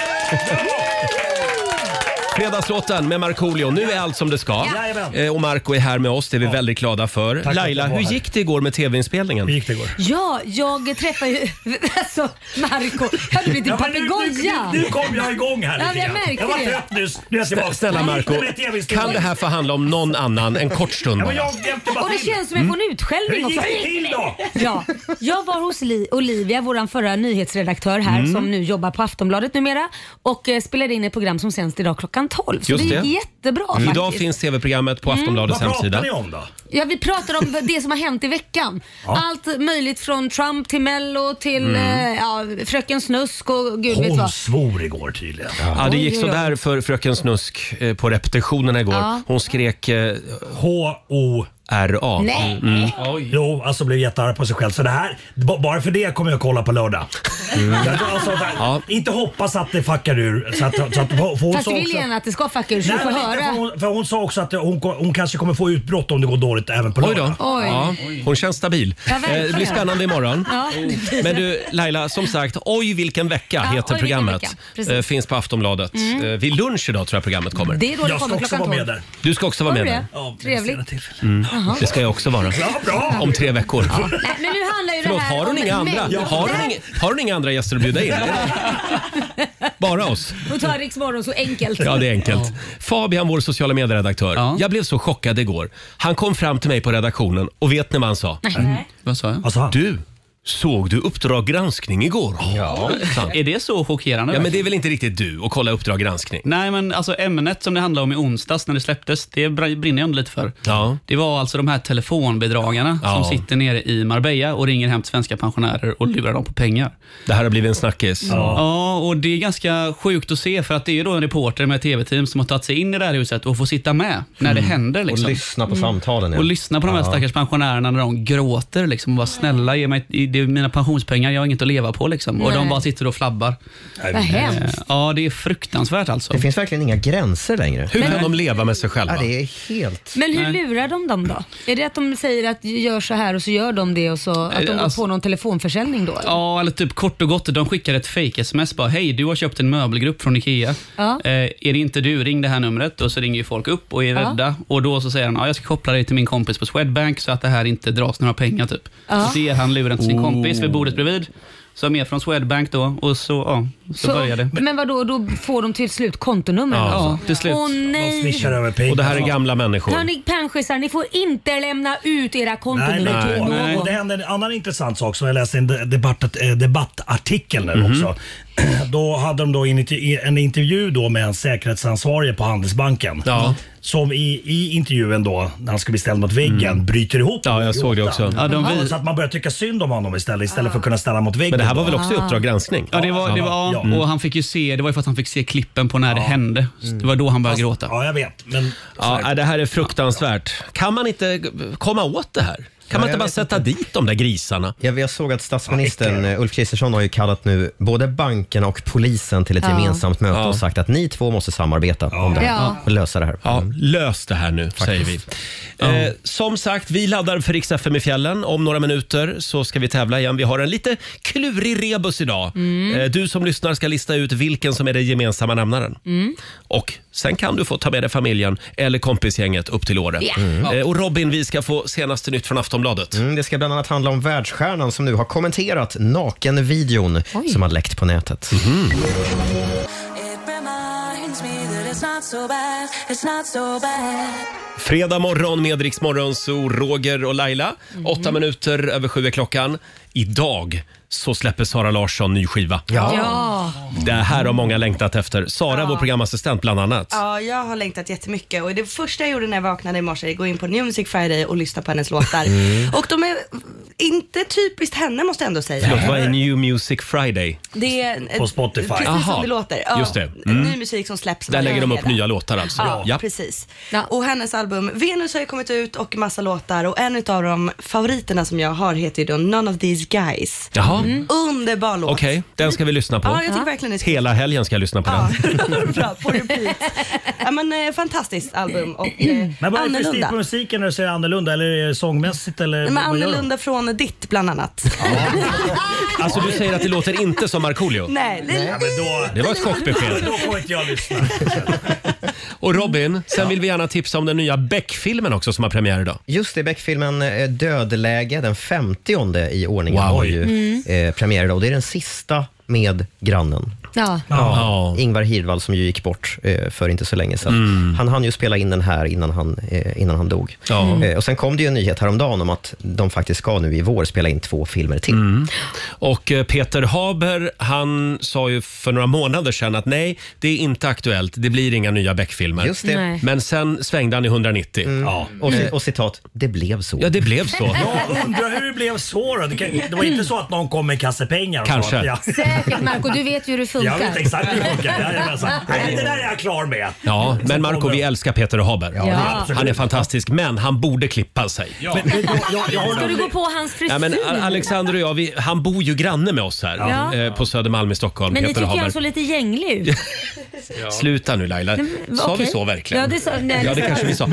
S1: Fredagslåten med Markoolio. Nu är allt som det ska.
S10: Jajamän.
S1: Eh, Och Marco är här med oss. Det är vi väldigt glada för.
S10: att
S1: Laila,
S10: jag var
S1: hur
S10: här.
S1: gick det igår med tv-inspelningen?
S10: Hur gick det igår?
S2: Ja, jag träffar ju... Alltså, Marco, jag hade blivit en
S10: men nu,
S2: papegoja.
S10: nu, nu kom jag igång här
S2: Ja,
S10: lite
S2: jag
S10: grann.
S2: märker
S10: jag var
S2: det.
S10: trött nyss. Nu är jag tillbaka.
S1: Snälla Marco,
S10: Nu blir det TV-studion.
S1: kan det här få handla om någon annan en kort stund
S10: Ja,
S1: bara?
S10: men jag hjälpte bara
S2: Och det
S10: till.
S2: känns som jag
S1: Mm.
S2: får en utskällning
S10: Hur gick
S2: också.
S10: det till då?
S2: Ja, jag var hos Li- Olivia, vår förra nyhetsredaktör här
S1: Mm.
S2: som nu jobbar på Aftonbladet numera och eh, spelade in ett program som sänds idag klockan 12. Så
S1: Just
S2: det
S1: det. Mm.
S2: gick jättebra
S1: Idag
S2: faktiskt. Mm.
S1: finns tv-programmet på Aftonbladets
S10: Vad pratar
S1: hemsida.
S10: ni om då?
S2: Ja, vi pratar om det som har hänt i veckan. Allt möjligt från Trump till Mello till
S1: Mm.
S2: eh, ja, Fröken Snusk och gud vet
S10: Hon
S2: vad.
S10: svor igår tydligen.
S1: Ja, det
S2: Oj,
S1: gick
S2: oj, oj.
S1: sådär för fröken Snusk eh, på repetitionerna igår.
S2: Ja.
S1: Hon skrek eh, Mm.
S10: H-O...
S1: RA.
S2: Nej!
S10: Mm.
S2: Mm.
S10: Jo, alltså blev jättearg på sig själv. Så det här, b- bara för det kommer jag kolla på lördag.
S2: Mm.
S10: Jag tror Alltså, där,
S1: Ja.
S10: Inte hoppas att det fuckar ur. Så att, så att, för hon
S2: Fast
S10: sa
S2: du vill
S10: också-
S2: gärna att det ska fucka ur så du får
S10: men inte, för,
S2: höra.
S10: hon, för hon sa också att hon, ko- hon kanske kommer få utbrott om det går dåligt även på
S1: Oj då.
S10: lördag.
S2: Oj.
S1: Ja, hon känns stabil.
S2: Ja,
S1: Eh, Det blir
S2: verkligen.
S1: spännande imorgon.
S2: Ja.
S1: Men du Laila, som sagt, Oj vilken vecka
S2: Ja,
S1: heter
S2: Oj, vilken
S1: programmet.
S2: vecka. Precis. Mm.
S1: Eh, Finns på Aftonbladet. Eh, Vid lunch idag tror jag programmet kommer.
S2: Det är då det
S10: Jag ska
S2: kommer
S10: också
S2: klockan
S10: vara
S2: 12.
S10: med där.
S1: Du ska också vara
S2: Har du
S1: med
S2: det?
S1: där. Mm.
S10: Ja, vid
S2: Trevligt.
S10: senare tillfälle.
S1: Det ska jag också vara.
S12: bra.
S1: Om tre veckor.
S2: Nej, men nu handlar ju
S1: Förlåt,
S2: det här
S1: har hon,
S2: om
S1: inga andra,
S2: mig.
S1: har, hon inga, har hon inga andra gäster att bjuda in? Bara oss?
S2: Och ta Rix Morgon så enkelt.
S1: Ja, det är enkelt. Fabian, vår sociala medieredaktör.
S5: Ja.
S1: Jag blev så chockad igår. Han kom fram till mig på redaktionen och vet ni vad han sa?
S2: Nej.
S5: Mm. Vad sa jag?
S12: Alltså, han,
S1: Du, såg du Uppdrag granskning igår? Ja.
S5: Är det så chockerande?
S1: ja men det är väl inte riktigt du att kolla Uppdrag granskning?
S5: Nej, men alltså ämnet som det handlade om i onsdags när det släpptes, det br- brinner jag ändå lite för.
S1: Ja.
S5: Det var alltså de här telefonbedragarna
S1: Ja.
S5: som sitter nere i Marbella och ringer hem till svenska pensionärer och lurar dem på pengar.
S1: Det här har blivit en snackis.
S5: Ja. och det är ganska sjukt att se för att det är ju då en reporter med tv-team som har tagit sig in i det här huset och får sitta med när det händer.
S3: Och
S5: Liksom.
S3: lyssna på samtalen. ja.
S5: Och lyssna på de här stackars pensionärerna när de gråter. Liksom, och bara, snälla, ge mig det är mina pensionspengar, jag har inget att leva på. Liksom. Och
S2: Nej.
S5: de bara sitter och flabbar. Eh,
S2: Vad hemskt.
S5: Ja, det är fruktansvärt alltså.
S3: Det finns verkligen inga gränser längre.
S1: Hur kan de leva med sig själva?
S3: Ja, det är helt...
S2: Men hur lurar de dem då? Är det att de säger att gör så här och så gör de det och så att de går
S5: alltså-
S2: på någon telefonförsäljning då? eller?
S5: Ja, eller typ kort och gott, de skickar ett fake sms bara “Hej, du har köpt en möbelgrupp från IKEA.
S2: Ja.
S5: Eh, är det inte du, ring det här numret.” och så ringer ju folk upp och är rädda. Och då så säger han “Ja, jag ska koppla dig till min kompis på Swedbank så att det här inte dras några pengar”. Typ. Så ger han luren till sin
S1: Oh.
S5: kompis vid bordet bredvid, som är från Swedbank då, och så, ja, så,
S2: Så,
S5: börjar det.
S2: men vadå, då får de till slut kontonumren
S1: Ja,
S5: Ja,
S2: alltså?
S5: till slut.
S2: Åh nej!
S12: swishar över pengar.
S1: Och det här är gamla människor.
S2: Hörni pensionärer, ni får inte lämna ut era
S12: Nej,
S2: kontonummer
S12: nej,
S2: till någon.
S12: nej. Och det hände en annan intressant sak som jag läste i en de- debatt, eh, debattartikel nu
S1: Mhm.
S12: också. Då hade de då initi- en intervju då med en säkerhetsansvarig på Handelsbanken.
S1: Ja.
S12: Som i, i intervjun då, när han ska bli ställd mot väggen, bryter ihop.
S1: Mm. Ja, jag såg det också.
S5: Ja, de vi-
S12: Så att man börjar tycka synd om honom istället, istället för att kunna ställa mot väggen.
S1: Men det här var
S12: då.
S1: väl
S2: Ah.
S1: också i Uppdrag granskning? Mm.
S5: Ja, det var, det
S12: Ja.
S5: var,
S12: Ja.
S5: och han fick ju se, det var ju för att han fick se klippen på när det hände. Det var då han började gråta.
S12: Ja, jag vet. Men
S1: Ja, nej, det här är fruktansvärt. Kan man inte g- komma åt det här? Kan man inte
S3: jag
S1: bara
S3: vet
S1: sätta dit de där grisarna?
S3: Jag, jag såg att statsministern eh, Ulf Kristersson har ju kallat nu både bankerna och polisen till ett
S2: Ja.
S3: gemensamt möte
S1: Ja.
S3: och sagt att ni två måste samarbeta om det här
S2: Ja.
S3: och lösa det här. Mm.
S1: Ja, lös det här nu, säger vi. Eh, som sagt, vi laddar för Rix FM i fjällen. Om några minuter så ska vi tävla igen. Vi har en lite klurig rebus idag.
S2: Mm.
S1: Eh, du som lyssnar ska lista ut vilken som är den gemensamma nämnaren.
S2: Mm.
S1: Och sen kan du få ta med dig familjen eller kompisgänget upp till Åre.
S2: Ja.
S1: Eh, och Robin, vi ska få senaste nytt från Aftonbladet.
S3: Mm, det ska bland annat handla om världsstjärnan som nu har kommenterat nakenvideon som har läckt på nätet.
S1: Mhm. Fredag morgon med Rix Morgon, så Roger och Laila. Åtta minuter över sju är klockan. Idag så släpper Sara Larsson ny skiva.
S2: Ja,
S1: Det här har många längtat efter. Sara, vår programassistent bland annat.
S4: Ja, jag har längtat jättemycket och det första jag gjorde när jag vaknade i morse, gå in på New Music Friday och lyssna på hennes låtar.
S1: Mm.
S4: Och de är inte typiskt henne måste jag ändå säga.
S1: Förlåt, vad är New Music Friday?
S4: Det är en-
S12: På Spotify.
S4: Precis
S1: Aha,
S4: som det låter. Ja,
S1: just det.
S4: Ny musik som släpps.
S1: Där
S4: varje
S1: lägger de upp
S4: fredag.
S1: nya låtar alltså.
S4: Ja, precis.
S2: Ja.
S4: Och hennes album Venus har ju kommit ut och massa låtar och en av de favoriterna som jag har heter ju då None of these guys. Mm.
S1: Jaha,
S4: Underbar låt.
S1: okej. Den ska vi lyssna på.
S4: Ja, jag tycker verkligen det ska
S1: Hela helgen ska jag lyssna på
S4: Ja,
S1: den.
S4: bra, på repeat. Ja, men, eh, fantastiskt album och eh,
S12: Men vad är det för stil
S4: annorlunda.
S12: på musiken när du säger annorlunda? Eller är det sångmässigt? Eller
S4: Men
S12: vad gör de?
S4: annorlunda från ditt bland annat.
S1: Alltså du säger att det låter inte som Markoolio.
S4: Nej, det är
S12: Ja, men då,
S1: Det var ett chockbesked.
S12: då får inte jag lyssna.
S1: Och Robin, sen vill vi gärna tipsa om den nya Beck-filmen också som har premiär idag.
S3: Just det, Beck-filmen eh, Dödläge, den 50 i ordningen,
S1: Wow.
S3: har ju
S2: Mm.
S3: eh, premiär idag. Och Det är den sista med grannen.
S2: ja.
S1: Ja. Mm.
S3: Ingvar Hirdwall som ju gick bort eh, för inte så länge sedan. Han hann ju spela in den här innan han, eh, innan han dog.
S1: Ja. Mm.
S3: Eh, och Sen kom det ju en nyhet häromdagen om att de faktiskt ska nu i vår spela in två filmer till.
S1: Mm. Och eh, Peter Haber, han sa ju för några månader sedan att nej, det är inte aktuellt. Det blir inga nya Beck-filmer.
S3: Just det. Mm.
S2: Nej.
S1: Men sen svängde han i 190.
S12: Ja.
S3: Och, ci- och citat, det blev så.
S1: Ja, det blev så.
S12: Jag undrar hur det blev så då. Det, kan, det var inte så att någon kom med en kasse pengar och
S1: Kanske.
S12: sa att jag,
S2: Säkert Marco, du vet ju hur det
S12: jag vet
S2: funkar.
S12: exakt hur det funkar. Jajamensan. Nej, det där är jag klar med.
S1: Ja,
S12: Så
S1: men Marco,
S12: kommer-
S1: vi älskar Peter Haber.
S2: Ja.
S1: Han är fantastisk, men han borde klippa sig.
S12: Men- men jag- jag- jag har
S2: Ska du gå på hans frisyr?
S1: Ja, men A- Alexander och jag, vi, han bor ju granne med oss här
S2: Ja.
S1: eh, på Södermalm i Stockholm.
S2: Men ni
S1: Peter
S2: tycker alltså
S1: Haber.
S2: han såg lite gänglig ut.
S1: Sluta nu Laila. Sa
S2: okej.
S1: vi så verkligen?
S2: Ja, det sa- nej,
S1: ja,
S2: det
S1: det
S2: sa
S1: kanske
S2: vi.
S1: vi sa.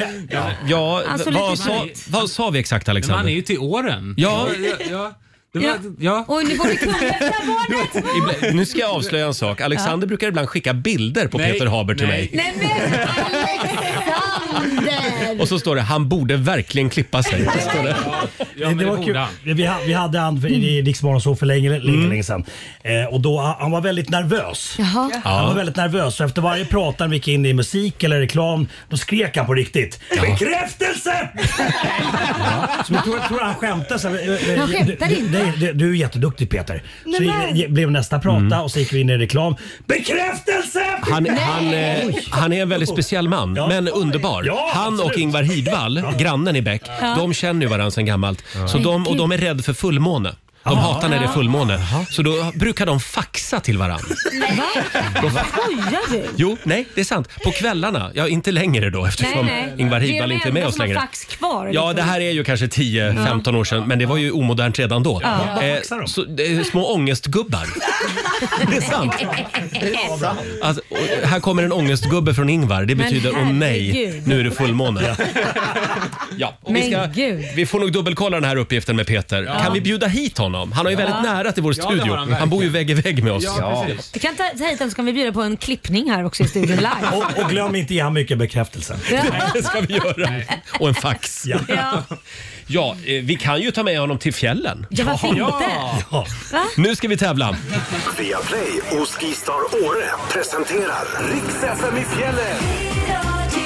S1: Ja,
S2: Han såg
S1: vad,
S2: lite
S1: sa
S2: ut.
S1: vad sa vi exakt
S9: Men
S1: Alexander?
S9: han är ju till åren.
S1: Ja.
S9: ja, ja.
S6: Det var,
S2: Ja.
S6: ja.
S2: Oj, nu borde kunna öppna barnet!
S1: Ibla- Nu ska jag avslöja en sak. Alexander brukar ibland skicka bilder på
S6: Nej,
S1: Peter Haber till
S6: nej.
S1: mig.
S2: Nej men Alexander!
S1: Och så står det “Han borde verkligen klippa sig”. Står det.
S6: Ja, men det var kul.
S12: Vi, ha- vi hade han för-
S2: Mm.
S12: i Riksmorgon så för länge, länge,
S1: Mm.
S12: länge sedan. Eh, och då, han var väldigt nervös.
S2: Jaha.
S12: Han var väldigt nervös och efter varje prat när vi gick in i musik eller reklam då skrek han på riktigt. Bekräftelse! Så jag tror, jag tror han skämtade. Så, här, eh, eh,
S2: Han skämtade
S12: du,
S2: inte.
S12: Nej, du, du är jätteduktig Peter. Så
S4: men.
S12: i- i- blev nästa prata och så gick vi in i reklam. Bekräftelse!
S1: Mm. Han, han, eh, han är en väldigt speciell man,
S12: Ja.
S1: men
S12: Oj.
S1: underbar.
S12: Ja,
S1: han och
S12: absolut.
S1: Ingvar Hidvall, grannen i Bäck, de känner ju varandra sedan gammalt. Så de, och de är rädda för fullmåne. De hatar när det är fullmåne. Så då brukar de faxa till varandra.
S2: Va? Skojar du?
S1: Jo, nej, det är sant. På kvällarna, ja inte längre då eftersom Ingvar Hidvall inte är med oss
S2: Det är de enda som har
S1: längre.
S2: fax kvar.
S1: Ja, det här är ju kanske 10-15 år sedan, men det var ju omodernt redan då. Eh,
S12: faxar de?
S1: så, det är små ångestgubbar. Det är sant. Alltså, och här kommer en ångestgubbe från Ingvar. Det betyder åh nej,
S2: herregud."
S1: nu är det fullmåne. Ja, och vi, ska,
S2: Men gud.
S1: vi får nog dubbelkolla den här uppgiften med Peter. Kan vi bjuda hit honom? Han har ju väldigt nära till vår
S6: det har
S1: studio.
S6: han
S1: Han,
S6: verkligen.
S1: bor ju vägg i vägg med oss.
S6: Ja, precis.
S2: Vi kan ta ta hit den så kan vi bjuda på en klippning här också i studion live.
S12: Och, och glöm inte ge han mycket bekräftelse.
S1: Det ska vi göra. Och en fax. Ja.
S2: Ja,
S1: eh, vi kan ju ta med honom till fjällen.
S2: ja varför inte?
S12: Ja.
S1: Nu ska vi tävla.
S9: Via Play och Skistar Åre presenterar Riks FM i fjällen.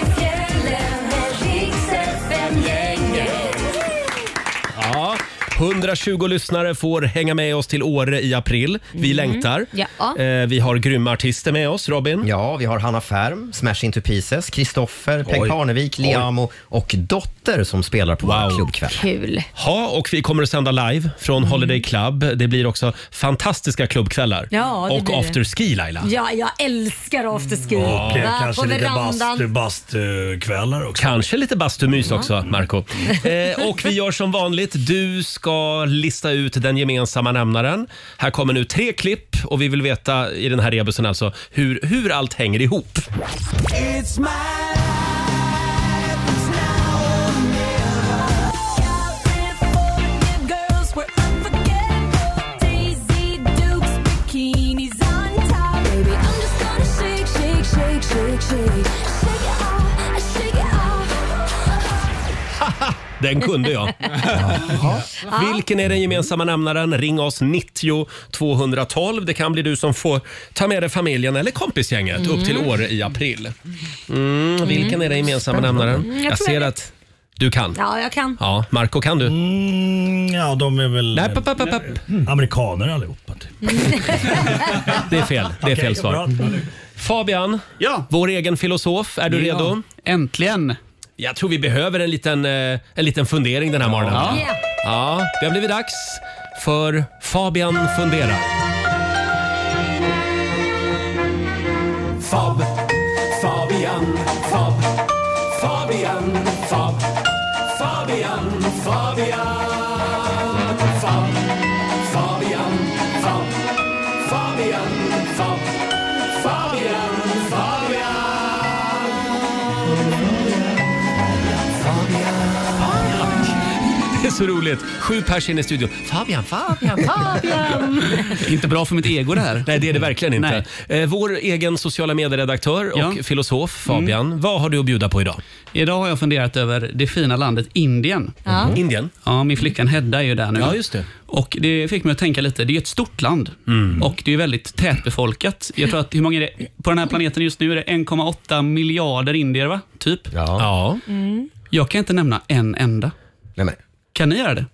S1: Ja. 120 lyssnare får hänga med oss till Åre i april. Vi längtar.
S2: Mm. Ja.
S1: Eh, vi har grymma artister med oss, Robin.
S3: Ja, vi har Hanna Färm, Smash Into Pieces, Kristoffer, Peg
S1: Oj.
S3: Parnevik, Liamo och Dotter som spelar på vår
S1: Wow.
S3: klubbkväll.
S2: Kul.
S1: Ja, och vi kommer att sända live från
S2: Mm.
S1: Holiday Club. Det blir också fantastiska klubbkvällar.
S2: Ja, det
S1: och
S2: blir det.
S1: afterski, Laila.
S2: Ja, jag älskar afterski.
S1: Mm.
S12: Och eh,
S2: Va?
S12: kanske
S2: på
S12: lite
S2: verandan.
S12: bastukvällar bast, eh, kvällar också.
S1: Kanske lite bastumys också, Marco. Eh, och vi gör som vanligt. Du ska lista ut den gemensamma nämnaren. Här kommer nu tre klipp och vi vill veta i den här rebusen alltså hur, hur allt hänger ihop. Den kunde jag. Vilken är den gemensamma nämnaren? Ring oss 90 212. Det kan bli du som får ta med dig familjen eller kompisgänget upp till Åre i april. Mm, vilken är den gemensamma nämnaren? Jag,
S2: tror
S1: ser
S2: jag
S1: att du kan. Ja,
S2: Ja, jag kan.
S1: Marco kan du?
S12: Mm, ja, de är väl
S1: Nej,
S12: eh,
S1: papp, papp, papp.
S12: amerikaner allihopa. Typ.
S1: Det är fel. Det är fel
S12: Okej,
S1: svar.
S12: bra.
S1: Fabian,
S5: Ja.
S1: vår egen filosof. Är du redo?
S5: Äntligen!
S1: Jag tror vi behöver en liten, eh, en liten fundering den här morgonen.
S5: Ja.
S2: Yeah.
S1: Ja, det har blivit dags för Fabian funderar. Fab, Fabian, Fab, Fabian, Fab, Fabian, Fabian, Fab, Fabian, Fab, Fabian, Fab, Fabian, Fabian. Det är så roligt. Sju pers inne i studion. Fabian, Fabian, Fabian.
S5: Inte bra för mitt ego det här.
S1: Nej, det är det verkligen inte. Eh, vår egen sociala medieredaktör och
S5: Ja. Mm.
S1: filosof Fabian, vad har du att bjuda på idag?
S5: Idag har jag funderat över det fina landet Indien.
S2: Ja.
S1: Indien?
S5: Ja, min flickvän Hedda är ju där nu.
S1: Ja, just det. Mm.
S5: Och det fick mig att tänka lite. Det är ju ett stort land och det är väldigt tätbefolkat. Jag tror att, hur många är det? På den här planeten just nu är det 1,8 miljarder indier, va? Typ.
S1: Ja.
S2: Mm.
S5: Jag kan inte nämna en enda.
S3: Nej, men.
S5: Kan ni göra det?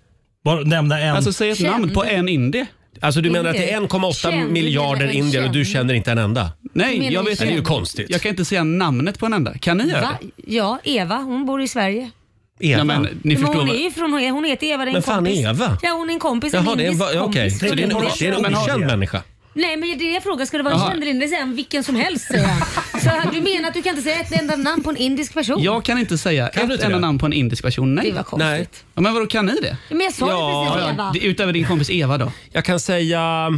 S12: Bara nämna en.
S5: Alltså säg ett
S2: Känd.
S5: namn på en indie.
S1: Alltså du menar att det är
S2: Indier.
S1: 1,8
S2: Känd,
S1: miljarder
S2: eller en
S1: indier och du
S2: känd.
S1: känner inte en enda?
S5: Nej,
S2: menar
S5: jag
S2: du
S5: vet
S1: Det är ju
S2: känd?
S1: konstigt.
S5: Jag kan inte säga namnet på en enda. Kan ni göra
S2: Va?
S5: det?
S2: Ja, Eva, hon bor i Sverige.
S1: Eva?
S5: Nej, men, ni
S2: men
S5: förstår
S2: hon
S5: väl-
S2: är ju från, hon heter Eva, det är en
S1: Men fan,
S2: kompis.
S1: Eva?
S2: Ja, hon är en kompis.
S1: Jaha,
S2: en
S1: det är, en
S2: indisk
S1: va- ja, okej.
S2: kompis.
S1: Så det är en, o- det är en
S12: Men har-
S1: okänd människa?
S2: Nej, men det är det jag frågar. Ska det vara
S5: Jaha.
S2: en känd indier? Säger han vilken som helst, säger han. Så han- du menar att du kan inte säga ett enda namn på en indisk person?
S5: Jag kan inte säga
S1: Kan du
S5: ett
S1: inte
S5: enda
S1: det?
S5: namn på en indisk person.
S2: Det
S5: Nej.
S2: var
S1: Nej.
S2: konstigt.
S5: Ja, men vadå, kan ni det?
S2: Men jag sa
S1: Ja,
S2: ju precis
S5: Ja,
S2: Eva.
S5: det- Utöver din kompis Eva då?
S1: Jag kan säga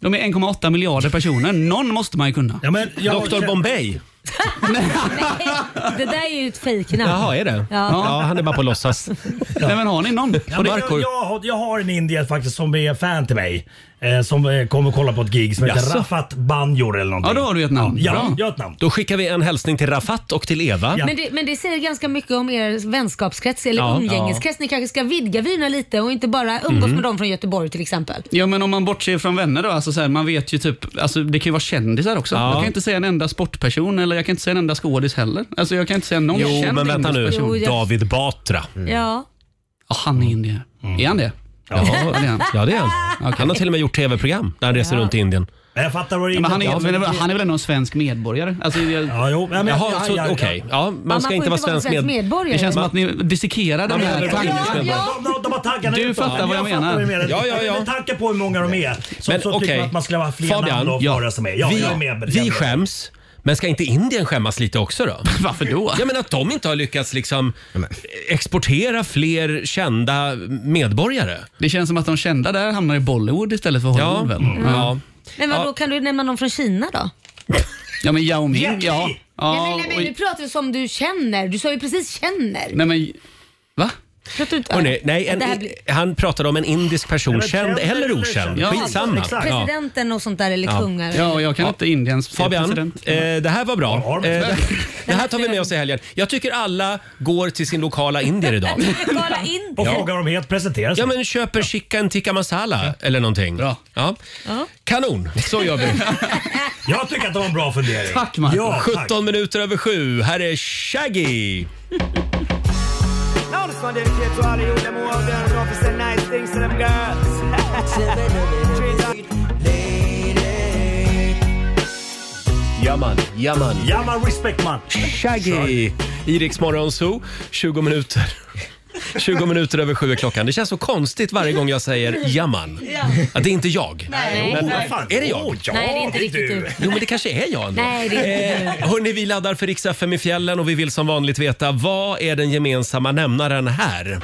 S5: De är 1,8 miljarder personer. Någon måste man ju kunna.
S12: Ja, men jag,
S1: Dr Bombay.
S2: Det där är ju ett fejknamn.
S1: Jaha, är det?
S2: Ja.
S1: Ja, han är bara på låtsas. Nej, men har ni någon?
S10: Ja, men jag, jag, har- jag har en indier faktiskt som är fan till mig. Eh, som eh, kommer kolla på ett gig som heter
S1: Jaså?
S10: Rafat Banjor eller någonting.
S1: Ja, då har du ett namn.
S10: Ja,
S1: Bra.
S10: jag har ett namn.
S1: Då skickar vi en hälsning till Rafat och till Eva.
S2: Men, det, men det säger ganska mycket om er vänskapskrets eller
S1: Ja. Mhm.
S2: umgängeskrets. Ni kanske ska vidga vyerna lite och inte bara umgås
S5: Mm.
S2: med dem från Göteborg till exempel.
S5: Ja men om man bortser från vänner då, alltså så här, man vet ju typ, alltså det kan ju vara kändisar också.
S1: Ja.
S5: Jag kan inte säga en enda sportperson eller jag kan inte säga en enda skådis heller. Alltså jag kan inte säga någon
S1: Jo,
S5: känd
S1: men vänta nu.
S5: person.
S2: Jo, jag-
S1: David Batra.
S2: Ja.
S5: Ja, han är indier. Är han det?
S1: Mm. Ja, ja det är han. Han har till och med gjort tv-program där han reser
S5: Ja.
S1: runt i Indien.
S10: Jag fattar vad du
S5: Ja, men han, är, men han är väl ändå en svensk medborgare? Alltså, jag...
S10: ja, jo, men-
S1: Jaha,
S5: ja,
S1: så-
S5: ja, ja.
S1: okej. Ja, man
S2: man
S1: ska
S2: får
S1: inte
S2: inte
S1: vara
S2: vara
S1: svensk,
S2: svensk
S1: med...
S2: medborgare.
S5: Det känns som att ni dissekerar de här tankarna.
S10: De, de, de har taggarna
S5: Du
S10: utåt.
S5: fattar vad jag
S10: Jag fattar
S5: menar.
S10: vad du menar.
S5: Ja, ja, ja.
S10: Med tanke på hur många de är så,
S1: Men
S10: så tycker
S1: okej.
S10: man att man skulle ha fler namn
S1: Fabian,
S10: att
S1: ja.
S10: röra sig med. Ja,
S1: vi,
S10: jag är med.
S1: vi skäms. Men ska inte Indien skämmas lite också då?
S5: Varför då?
S1: Ja, men att de inte har lyckats liksom exportera fler kända medborgare.
S5: Det känns som att de kända där hamnar i Bollywood istället för Hollywood
S1: Ja. Mm.
S5: väl? Ja.
S2: Men vadå, kan du nämna någon från Kina då?
S5: ja, men Yao Ming, ja.
S2: nej,
S5: ja
S2: men, nej,
S5: och-
S2: men nu pratar vi som du känner. Du sa ju precis känner.
S5: Nej men, va?
S2: Pratar du inte-
S1: Hörrni, nej,
S2: Det här
S1: en,
S2: blir-
S1: han pratade om en indisk person, känd eller okänd.
S5: Ja,
S1: Skitsamma.
S5: exakt.
S1: Ja.
S2: Presidenten och sånt där eller
S1: Ja.
S2: kungar.
S5: Ja, och jag kan inte Indiens
S1: Fabian,
S5: president.
S1: eh, det här var bra. Eh, det- det här tar vi med oss i helgen. Jag tycker alla går till sin lokala indier idag.
S2: Kolla in
S10: Och
S1: Ja.
S10: frågar om helt presenterar sig.
S1: Ja, men köper chicken tikka masala eller någonting. Bra. Ja. Kanon, så gör vi.
S10: Jag tycker att det var en bra fundering.
S5: Tack, Marco.
S10: Ja, tack.
S1: 17 minuter över sju. Här är Shaggy! Jaman, jaman.
S10: Ja, man respect man.
S1: Shaggy i Rix Morgon Zoo. 20 minuter. 20 minuter över sju är klockan. Det känns så konstigt varje gång jag säger jaman. Att det är inte jag.
S2: Nej.
S1: Men,
S10: Vad fan?
S1: är det jag?
S10: Åh, ja,
S2: Nej, det är inte
S10: är
S2: riktigt du.
S1: Jo, men det kanske är jag ändå.
S2: Nej, det är inte
S1: Eh, hörni, vi laddar för Rix FM i fjällen och vi vill som vanligt veta vad är den gemensamma nämnaren här?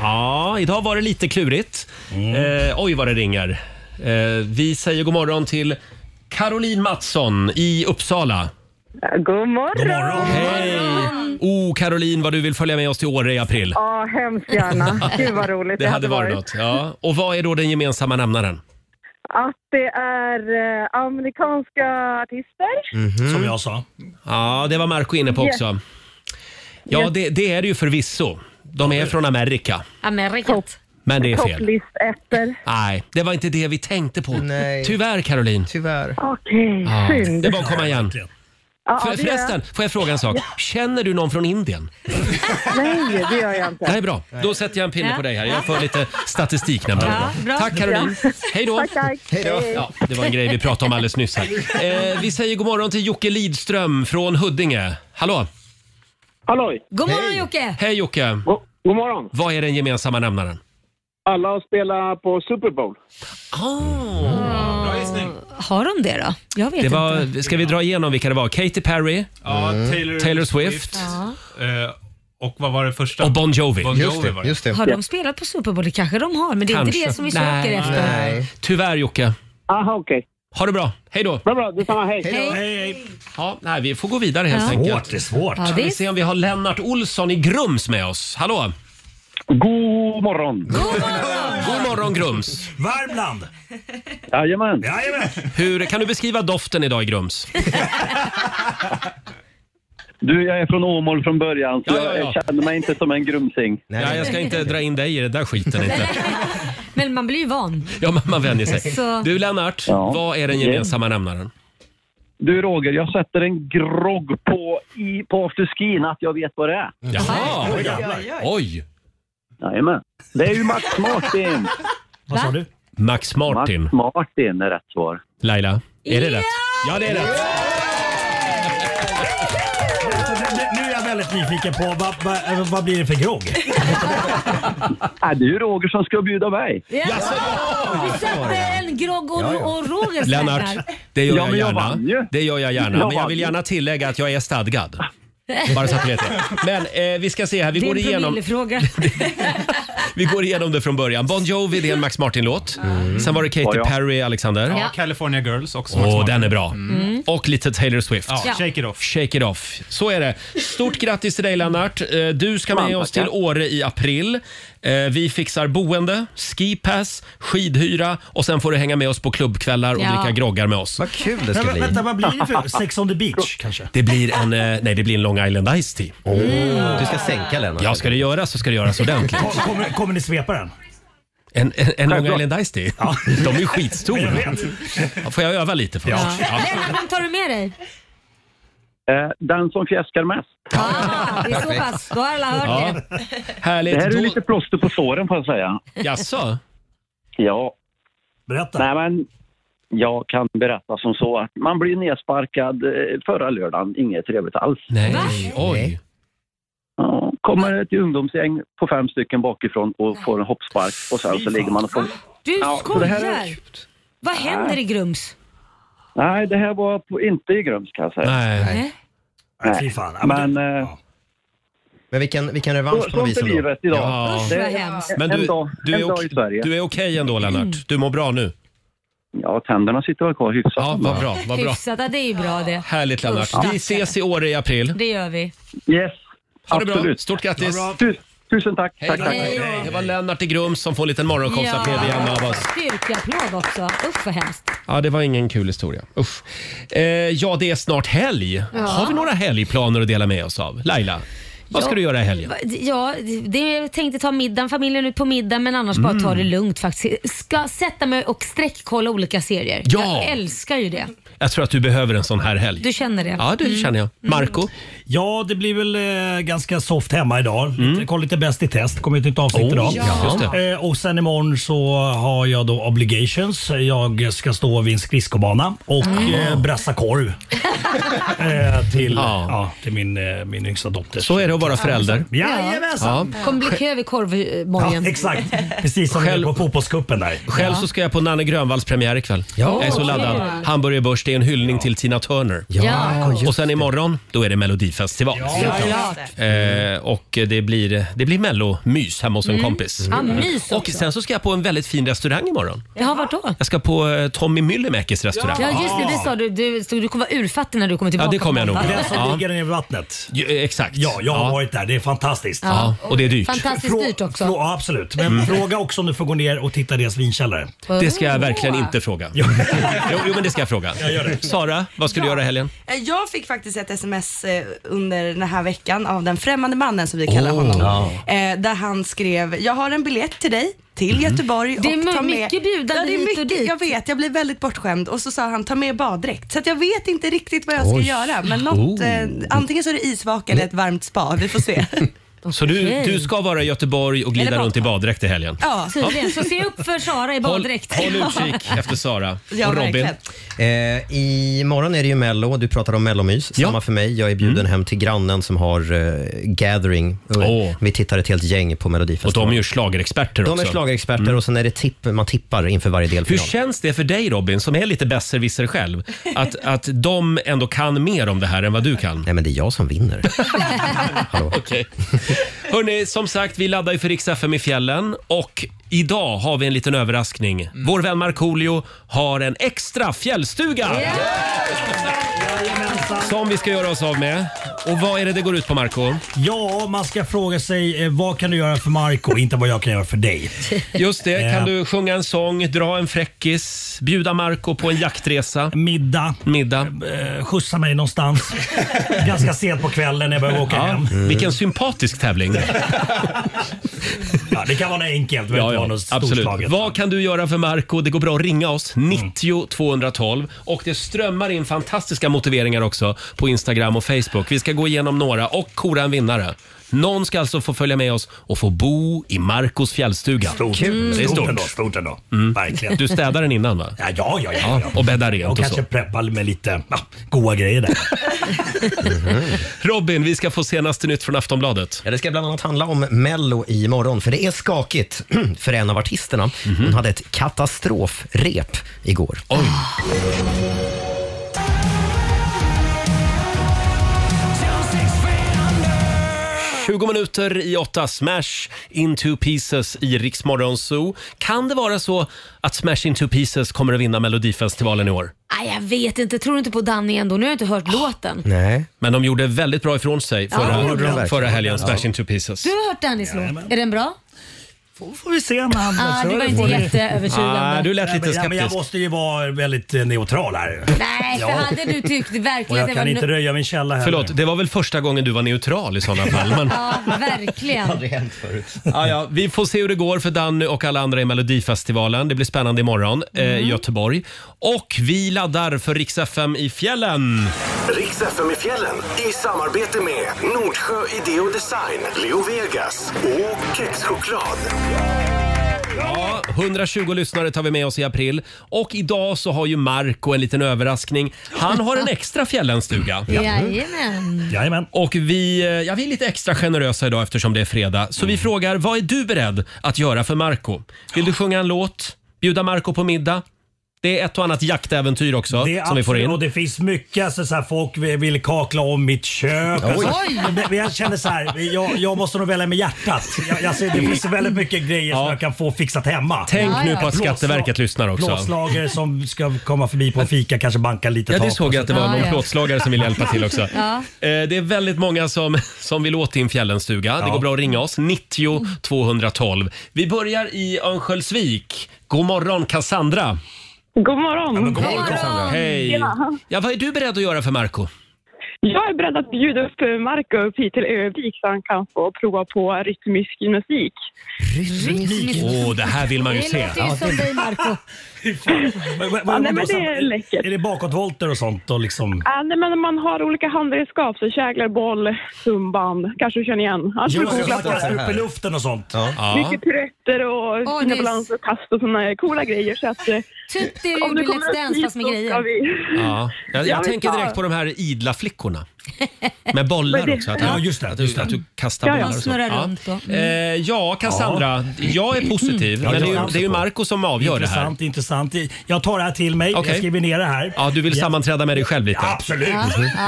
S1: Ja, idag var det lite klurigt.
S10: Mm.
S1: Eh, oj, vad det ringer. Eh, vi säger god morgon till Caroline Mattsson i Uppsala.
S14: God morgon!
S1: Hej! Oh, Caroline, vad du vill följa med oss till Åre i april.
S14: Ja, hemskt gärna. Gud vad roligt
S1: Det hade varit något. Ja. Och vad är då den gemensamma nämnaren?
S14: Att det är eh, amerikanska artister.
S10: Mhm. Som jag sa.
S1: Ja, det var Marco inne på
S14: Yes.
S1: också. Ja, det, det är det ju förvisso. De är från Amerika,
S2: Amerikat.
S1: men det är fel.
S14: Topplistetter.
S1: Nej, det var inte det vi tänkte på.
S15: Nej.
S1: Tyvärr, Caroline.
S15: Tyvärr.
S14: Okej,
S1: Ja,
S2: Mm.
S14: synd.
S1: det är bara att komma igen.
S14: Ja,
S1: För,
S14: det gör jag.
S1: förresten, får jag fråga en sak? Känner du någon från Indien?
S14: Nej, det gör jag inte.
S1: Nej, bra. Då sätter jag en pinne
S2: Ja.
S1: på dig här. Jag får lite statistik nämligen.
S2: Ja, bra.
S1: Tack Caroline. Hej då.
S14: Tack, tack.
S15: Hej då.
S1: Ja, det var en grej vi pratade om alldeles nyss här. Eh, vi säger god morgon till Jocke Lidström från Huddinge. Hallå!
S16: Halloj!
S2: God morgon Jocke!
S1: Hej Jocke!
S16: Go- God morgon!
S1: Vad är den gemensamma nämnaren?
S16: Alla har spelat på Super Bowl.
S11: Ah.
S12: Bra gissning.
S2: Har de det då? Jag vet
S1: Det
S2: inte.
S1: var, ska vi dra igenom vilka det var? Katy Perry Mm.
S12: Ja, Taylor,
S1: Taylor Swift.
S12: Swift. Eh, och vad var det första?
S1: och Bon Jovi.
S12: Bon
S15: Just
S12: Jovi
S15: det,
S12: var det.
S15: just det.
S2: Har de spelat på Super Bowl? Det kanske de har, men det är inte
S1: Kanske.
S2: det som vi
S1: Nej.
S2: söker efter.
S15: Nej.
S1: Tyvärr Jocke.
S16: Aha, okej.
S1: Ha det bra. Hej då!
S16: Bra, bra. Detsamma. Hej.
S10: Hej, hej.
S1: Ja, nej, vi får gå vidare helt
S2: Ja.
S1: enkelt.
S10: Svårt, det är svårt.
S2: Ja,
S1: Vi
S2: det
S1: ser om vi har Lennart Olsson i Grums med oss. Hallå!
S16: God morgon.
S1: God morgon Grums!
S10: Värmland.
S16: Jajamän.
S10: Jajamän.
S1: Hur, kan du beskriva doften idag i Grums?
S16: Du, jag är från Åmål från början, så
S1: Ja, ja, ja.
S16: jag känner mig inte som en grumsing.
S1: Ja, jag ska inte dra in dig i den där skiten inte.
S2: Men man blir ju van.
S1: Ja, man, man vänjer sig.
S2: Så-
S1: Du Lennart,
S16: Ja.
S1: vad är den gemensamma nämnaren?
S16: Du Roger, jag sätter en grogg på, i, på afterskin att jag vet vad det är.
S1: Jaha!
S10: Oj, jävlar.
S1: Oj!
S16: Jajamän. Det är ju Max Martin.
S10: Vad sa du?
S1: Max Martin.
S16: Max Martin är rätt svar.
S1: Laila, är det
S2: Ja!
S1: rätt? Ja, det är rätt.
S10: Nu- Nu är jag väldigt rätt nyfiken på. Vad, vad, vad blir det för grogg?
S16: Äh, det är ju Roger som ska bjuda mig.
S2: Ja. Vi satte en grogg och,
S1: Ja, ja.
S2: och Rogers
S1: Lennart,
S2: vägnar.
S1: det gör
S16: Ja,
S1: jag
S16: men jag
S1: gärna.
S16: vann ju.
S1: Det gör jag gärna.
S16: Jag
S1: Men jag
S16: vann
S1: vill
S16: ju.
S1: gärna tillägga att jag är stadgad. Bara så att ni vet det. Men eh, vi ska se här. Vi
S2: det är
S1: går,
S2: en
S1: igenom,
S2: promillefråga.
S1: vi går igenom det från början. Bon Jovi, det är en Max Martin-låt. Sen var det Katy
S12: Ja, ja.
S1: Perry, Alexander.
S12: Ja, California Girls också.
S1: Åh,
S12: Max Martin.
S1: den är bra.
S12: Mm.
S1: Och lite Taylor Swift.
S12: Ja, Ja. Shake It Off.
S1: Shake It Off. Så är det. Stort grattis till dig Lennart. Eh, Du ska med
S12: Fan,
S1: oss till
S12: tackar.
S1: Åre i april. Eh, Vi fixar boende, skipass, skidhyra och sen får du hänga med oss på klubbkvällar och
S10: Ja.
S1: dricka groggar med oss. Vad kul
S10: Men, vä- vänta, vad blir det för Sex on the beach kanske?
S1: Det blir en, eh, nej, det blir en Long Island Iced Tea.
S10: Mm.
S1: Du ska sänka Lennart. Ja, ska det göras så ska det göras ordentligt.
S10: Kom- Kommer, kommer ni svepa den?
S1: En, en, en Long
S10: Självklart.
S1: Island Iced Tea? De är ju skitstora. Ja, Får jag öva lite först?
S2: Ja. Lennart, vem tar du med dig?
S16: Eh, den som fjäskar mest.
S2: Ah, det är så pass. Då har alla hört
S16: Ja.
S2: det.
S1: Härligt.
S16: Det här är
S1: Då-
S16: lite plåster på såren får jag säga.
S1: Jaså?
S16: Ja.
S10: Berätta.
S16: Nej, men jag kan berätta som så att man blir nedsparkad eh, förra lördagen. Inget trevligt alls.
S1: Nej, oj.
S16: Ja, kommer ett ungdomsgäng på fem stycken bakifrån och får en hoppspark och sen så ligger man och får...
S2: Du
S16: så det här är-
S2: skojar! Vad händer i Grums?
S16: Nej, det här var på, inte i Grums kan jag säga.
S1: Nej.
S16: Nej. Men... eh,
S3: Men vilken, vilken revansch på
S16: Sånt
S3: något
S16: är
S3: vis ändå.
S16: livet idag. Usch, vad
S3: en-
S16: hemskt. Mm.
S1: Men
S16: En
S1: du,
S16: dag-
S1: du,
S16: en
S1: är
S16: dag
S1: okej,
S16: i Sverige.
S1: du är okej ändå Lennart? Du mår bra nu?
S16: Ja, tänderna sitter väl kvar hyfsat.
S1: Ja, vad bra. Vad bra.
S2: Hyfsat, ja, det är ju bra det.
S1: Härligt Lennart.
S2: Usch,
S1: Vi
S2: stackare.
S1: ses i år i april.
S2: Det gör vi.
S16: Yes.
S1: Ha det bra.
S16: Absolut.
S1: Stort grattis.
S16: Ha det bra. Tusen tack.
S1: Hej,
S16: Tack,
S1: då.
S16: tack.
S1: Det var Lennart i Grums som får en liten morgonshowsapplåd igen av oss.
S2: Styrkeapplåd också. Usch vad hemskt.
S1: Ja, det var ingen kul historia. Usch. Eh, ja, det är snart helg.
S2: Ja.
S1: Har vi några helgplaner att dela med oss av? Laila, vad
S2: Ja.
S1: ska du göra i helgen?
S2: Va- Ja, det, jag tänkte ta middagen, familjen ut på middag men annars bara
S1: Mm.
S2: ta det lugnt faktiskt. Ska sätta mig och sträckkolla olika serier.
S1: Ja.
S2: Jag älskar ju det.
S1: Jag tror att du behöver en sån här helg.
S2: Du känner det? Mm.
S1: Ja, det känner jag. Marco?
S10: Ja, det blir väl eh, ganska soft hemma idag. Lite, kolla lite Bäst i test, kommer ett nytt avsnitt
S1: Oh,
S10: idag.
S1: Mm. ja. Just
S10: Eh, och sen imorgon så har jag då obligations. Jag ska stå vid en skridskobana och
S1: Mm.
S10: eh, brassa korv. eh, till, ja. till min, eh, min yngsta dotter. Så
S1: är det att vara förälder.
S10: Jajamensan!
S2: Kommer bli kö vid korvmorgon.
S10: Ja, exakt. Precis som Själv... på fotbollscupen där.
S1: Själv
S2: Ja.
S1: så ska jag på Nanne Grönvalls premiär ikväll.
S10: Ja.
S1: Jag är så
S10: Åh,
S1: laddad.
S10: kul.
S1: Hamburger Börs, det är en hyllning till Tina Turner.
S10: Ja, just
S1: Och sen imorgon, då är det Melodifestival.
S10: Ja,
S1: Eh, och det blir, det blir mellomys hemma hos en
S2: Mm.
S1: kompis.
S2: Ja, mys
S1: och sen så ska jag på en väldigt fin restaurang imorgon.
S2: Jaha, vart då?
S1: Jag ska på eh, Tommy Myllymäkis restaurang.
S2: Ja, just det. Det sa du. Du, du kommer vara urfattig när du kommer tillbaka.
S1: Ja, det kommer jag nog.
S10: Den som
S1: Ja.
S10: ligger ner vid vattnet.
S1: Ja, exakt.
S10: Ja, jag har varit där. Det är fantastiskt.
S1: Ja, och det är dyrt.
S2: Fantastiskt dyrt också.
S10: Ja, absolut. Men
S1: Mm.
S10: fråga också om du får gå ner och titta i deras vinkällare.
S1: Det ska jag verkligen inte fråga. Jo, jo men det ska jag fråga. Sara, vad ska du göra i helgen?
S4: Eh, Jag fick faktiskt ett sms eh, under den här veckan av den främmande mannen som vi kallar
S1: Oh.
S4: honom.
S1: Ja. Mm.
S4: Eh, Där han skrev, jag har en biljett till dig till Göteborg.
S2: Det är
S4: och ta
S2: my-
S4: med...
S2: mycket bjudande
S4: ja, det är
S2: hit och
S4: mycket,
S2: dit.
S4: Jag vet, jag blir väldigt bortskämd. Och så sa han, ta med baddräkt. Så att jag vet inte riktigt vad jag ska
S1: Oj.
S4: göra. Men något,
S1: Oh.
S4: eh, antingen så är det isvaka eller ett varmt spa. Vi får se.
S1: Så du, du ska vara i Göteborg och glida
S4: Eller
S1: runt i baddräkt i helgen?
S4: Ja.
S2: Tydligen. Så se upp för Sara i baddräkt.
S1: Håll utkik efter Sara.
S2: Ja,
S1: och Robin.
S2: verkligen.
S3: Eh, imorgon är det ju Mello. Du pratar om Mellomys. Samma för mig. Jag är bjuden
S1: Mm.
S3: hem till grannen som har eh, gathering. Och,
S1: Åh.
S3: Vi tittar ett helt gäng på Melodifestivalen.
S1: Och de är ju schlagerexperter
S3: De
S1: också. Mm.
S3: är schlagerexperter och sen är det tipp, man tippar inför varje
S1: Hur
S3: delfinal.
S1: känns det för dig Robin, som är lite besserwisser själv, att, att de ändå kan mer om det här än vad du kan?
S3: Nej, men det är jag som vinner.
S1: Okej. Hörni, som sagt, vi laddar ju för Rix FM i fjällen och idag har vi en liten överraskning. Vår vän Markoolio har en extra fjällstuga! Som vi ska göra oss av med. Och vad är det det går ut på Marco?
S10: Ja, man ska fråga sig eh, vad kan du göra för Marco, inte vad jag kan göra för dig.
S1: Just det,
S10: Eh,
S1: kan du sjunga en sång, dra en fräckis, bjuda Marco på en jaktresa?
S10: Middag.
S1: Middag.
S10: Eh, skjutsa mig någonstans. Ganska sent på kvällen när jag behöver åka
S1: Ja, Mm.
S10: hem.
S1: Vilken sympatisk tävling.
S10: Ja, det kan vara något enkelt, men
S1: Ja,
S10: inte
S1: ja,
S10: vara något
S1: absolut.
S10: storslaget. Mm.
S1: Vad kan du göra för Marco? Det går bra att ringa oss, 90 212. Och det strömmar in fantastiska motiveringar också på Instagram och Facebook. Vi ska gå igenom några och kora en vinnare. Någon ska alltså få följa med oss och få bo i Marcos fjällstuga. Stort.
S10: Kul.
S1: Det är
S10: Stort
S1: stort. Mm.
S10: ändå, stort ändå. Verkligen.
S1: Du städar den innan va?
S10: Ja, ja, ja. ja, ja.
S1: Och bäddar rent
S10: och
S1: och,
S10: kanske
S1: så.
S10: preppar med lite ah, goa grejer där.
S1: Robin, vi ska få senaste nytt från Aftonbladet.
S3: Mm-hmm. Ja, det ska bland annat handla om Mello imorgon, för det är skakigt för en av artisterna.
S1: Mm-hmm.
S3: Hon hade ett katastrofrep igår.
S1: Mm. 20 minuter i åtta, Smash into pieces i Rix Morgon Zoo. Kan det vara så att Smash into pieces kommer att vinna Melodifestivalen i år?
S2: Nej, jag vet inte. Tror du inte på Danny ändå? Nu har jag inte
S1: Ah.
S2: hört låten.
S3: Nej.
S1: Men de gjorde väldigt bra ifrån sig
S2: Ja, det gjorde de
S1: förra,
S2: verkligen.
S1: förra helgen, Smash into pieces.
S2: Du har hört Dannys låt. Är den bra?
S10: Får, får vi se när han
S2: ah, Du var inte jätteövertygande.
S1: Ah,
S10: Ja, men- Ja, men jag måste ju vara väldigt eh, neutral här.
S2: Nej, för
S10: Ja.
S2: hade du tyckt
S10: Och
S2: verkligen
S10: jag kan
S2: nu-
S10: inte röja min källa heller.
S1: Förlåt, det var väl första gången du var neutral i sådana fall. Men...
S2: Ja, Ah, verkligen.
S3: hänt förut.
S1: Ja, ja, vi får se hur det går för Danny och alla andra i Melodifestivalen. Det blir spännande imorgon eh,
S10: Mm.
S1: i Göteborg. Och vi laddar för Rix FM i fjällen.
S9: Riks FM i fjällen i samarbete med Nordsjö Idé och Design, Leo Vegas och Kexchoklad.
S1: Ja, 120 lyssnare tar vi med oss i april. Och idag så har ju Marco en liten överraskning. Han har en extra fjällenstuga.
S2: Jajamän.
S10: Jajamän.
S1: Och vi, eh, ja, vi är lite extra generösa idag eftersom det är fredag. Så
S10: Mm.
S1: vi frågar, vad är du beredd att göra för Marco? Vill du sjunga en låt? Bjuda Marco på middag? Det är ett och annat jaktäventyr också
S10: Det är
S1: som vi får
S10: absolut-
S1: in.
S10: Och det finns mycket alltså, så här, folk vill- vill kakla om mitt kök.
S1: Oj.
S10: Alltså,
S1: Oj.
S10: men- men jag känner så här, jag, jag måste nog välja med hjärtat. Jag, alltså, det finns väldigt mycket grejer som jag kan få fixat hemma.
S1: Tänk nu på att
S10: Blåsla-
S1: Skatteverket lyssnar också.
S10: Plåtslagare som ska komma förbi på en fika, kanske banka lite
S1: Ja,
S10: tak
S1: det
S10: och
S1: såg jag att det var
S10: sånt.
S1: någon plåtslagare som ville hjälpa till också.
S10: Ja.
S1: Eh, Det är väldigt många som, som vill åt din fjällenstuga. Det går bra att ringa oss. 90 212. Vi börjar i Örnsköldsvik. God morgon Cassandra!
S17: God morgon!
S1: god morgon, Cassandra. Hej!
S17: Tjena.
S1: Ja, vad är du beredd att göra för Marco?
S17: Jag är beredd att bjuda upp eh, Marco upp hit till Övik så han kan få prova på rytmisk gymnastik.
S1: Åh, det här vill man ju
S17: Det
S1: se.
S17: låter ju som dig, Marco.
S10: Men- men-
S17: Ja, nej,
S10: men
S17: men
S10: då
S17: det
S10: så-
S17: är läckert.
S10: Är det bakåtvolter och sånt? Och liksom...
S17: Ja, nej, men man har olika handredskap, så käglor, boll, tumband, kanske du känner igen. Annars får du googla på det.
S10: alltså, upp i luften och sånt.
S17: Mycket piruetter och fina balanser och kast och sådana coola grejer. Så
S14: eh,
S17: att,
S2: typ det är
S17: om
S2: ju
S17: du
S2: Let's
S17: kommer upp
S2: Dance,
S17: hit
S2: fast med
S17: så ska
S2: grejer.
S17: vi-
S1: Ja, jag,
S17: Ja,
S1: jag
S17: men
S1: tänker
S17: fan.
S1: direkt på de här idla flickorna. Med bollar
S17: Men det-
S1: också. Att,
S17: Ja, just det.
S1: Att, du- att du kastar
S17: Ja, ja.
S1: bollar och
S17: Man
S1: så.
S17: snurrar runt och-
S1: Eh, ja, Cassandra. Jag är positiv.
S10: Ja,
S1: men det
S10: jag
S1: är ju,
S10: är också
S1: det är ju
S10: på.
S1: Marco som avgör det här.
S10: Intressant, intressant. Jag tar det här till mig.
S1: Okej.
S10: Jag skriver ner det här.
S1: Ja, du vill sammanträda med dig själv lite?
S10: Absolut!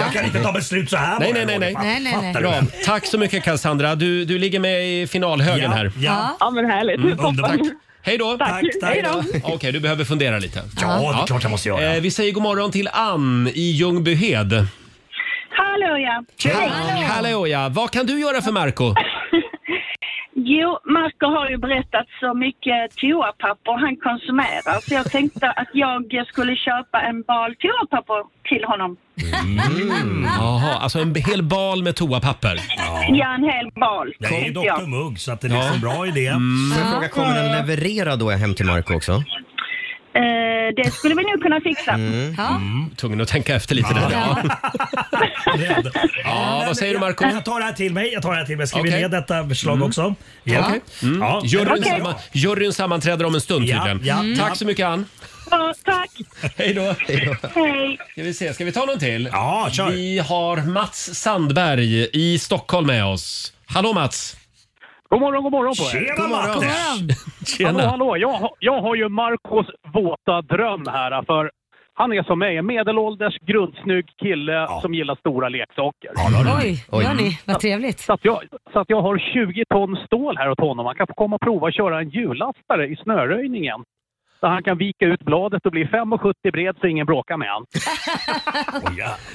S10: Jag kan inte ta beslut så här
S1: Nej,
S10: bara,
S1: nej, nej. nej.
S10: Roger.
S17: Nej, nej, nej.
S10: Fattar du?
S1: Bra. Tack så mycket Cassandra. Du, du ligger med i finalhögen här.
S17: Ja. ja, men härligt.
S11: Mm,
S17: Toppen.
S1: Tack. Mm, Hej då!
S17: Tack, Tack, tack. hej då.
S1: Okej, du behöver fundera lite.
S17: Ja, det är
S10: klart jag måste göra.
S1: Eh, vi säger god morgon till Ann i Ljungbyhed.
S18: Hallå ja.
S1: Hallå ja! Vad kan du göra för Marco?
S18: Jo, Marco har ju berättat så mycket toapapper han konsumerar så jag tänkte att jag skulle köpa en bal toapapper till honom.
S1: Mm.
S17: Mm.
S1: Jaha, alltså en hel bal med toapapper.
S18: Ja, en hel bal.
S10: Jag är
S18: tänkte
S10: doktor
S18: jag.
S10: Mugg så att det är liksom en bra idé.
S1: Mm.
S3: Får jag fråga, kommer den leverera då hem till Marco också? Mm.
S18: Eh, det skulle vi nog kunna fixa.
S2: Mm. Ja.
S1: Mm. Tvungen att tänka efter lite där. Ja. Ja, vad säger du Marco?
S10: Jag tar det här till mig. Jag tar det här till mig. Jag skriver
S1: Okej.
S10: ner detta förslag också.
S1: Okej. Mm.
S10: Ja.
S1: Juryn,
S10: Okej.
S1: samma, juryn sammanträder om en stund
S10: Ja,
S1: tydligen.
S10: ja, Mm. ja.
S1: Tack så mycket Ann.
S18: Ja, tack.
S1: Hej då.
S18: Hej.
S1: Ska vi, se. Ska vi ta någon till?
S10: Ja, kör.
S1: Vi har Mats Sandberg i Stockholm med oss. Hallå Mats!
S16: God morgon, god morgon på er.
S10: Tjena Matte!
S1: Tjena!
S16: Hallå, hallå. Jag, har- jag har ju Marcos våta dröm här. för Han är som mig, en medelålders grundsnygg kille som gillar stora leksaker.
S2: Oj, hör ni? Vad trevligt.
S16: Så, att jag, så att jag har 20 ton stål här åt honom. Han kan få komma och prova att köra en hjullastare i snöröjningen. Där han kan vika ut bladet och bli 5,70 bred så ingen bråkar med honom.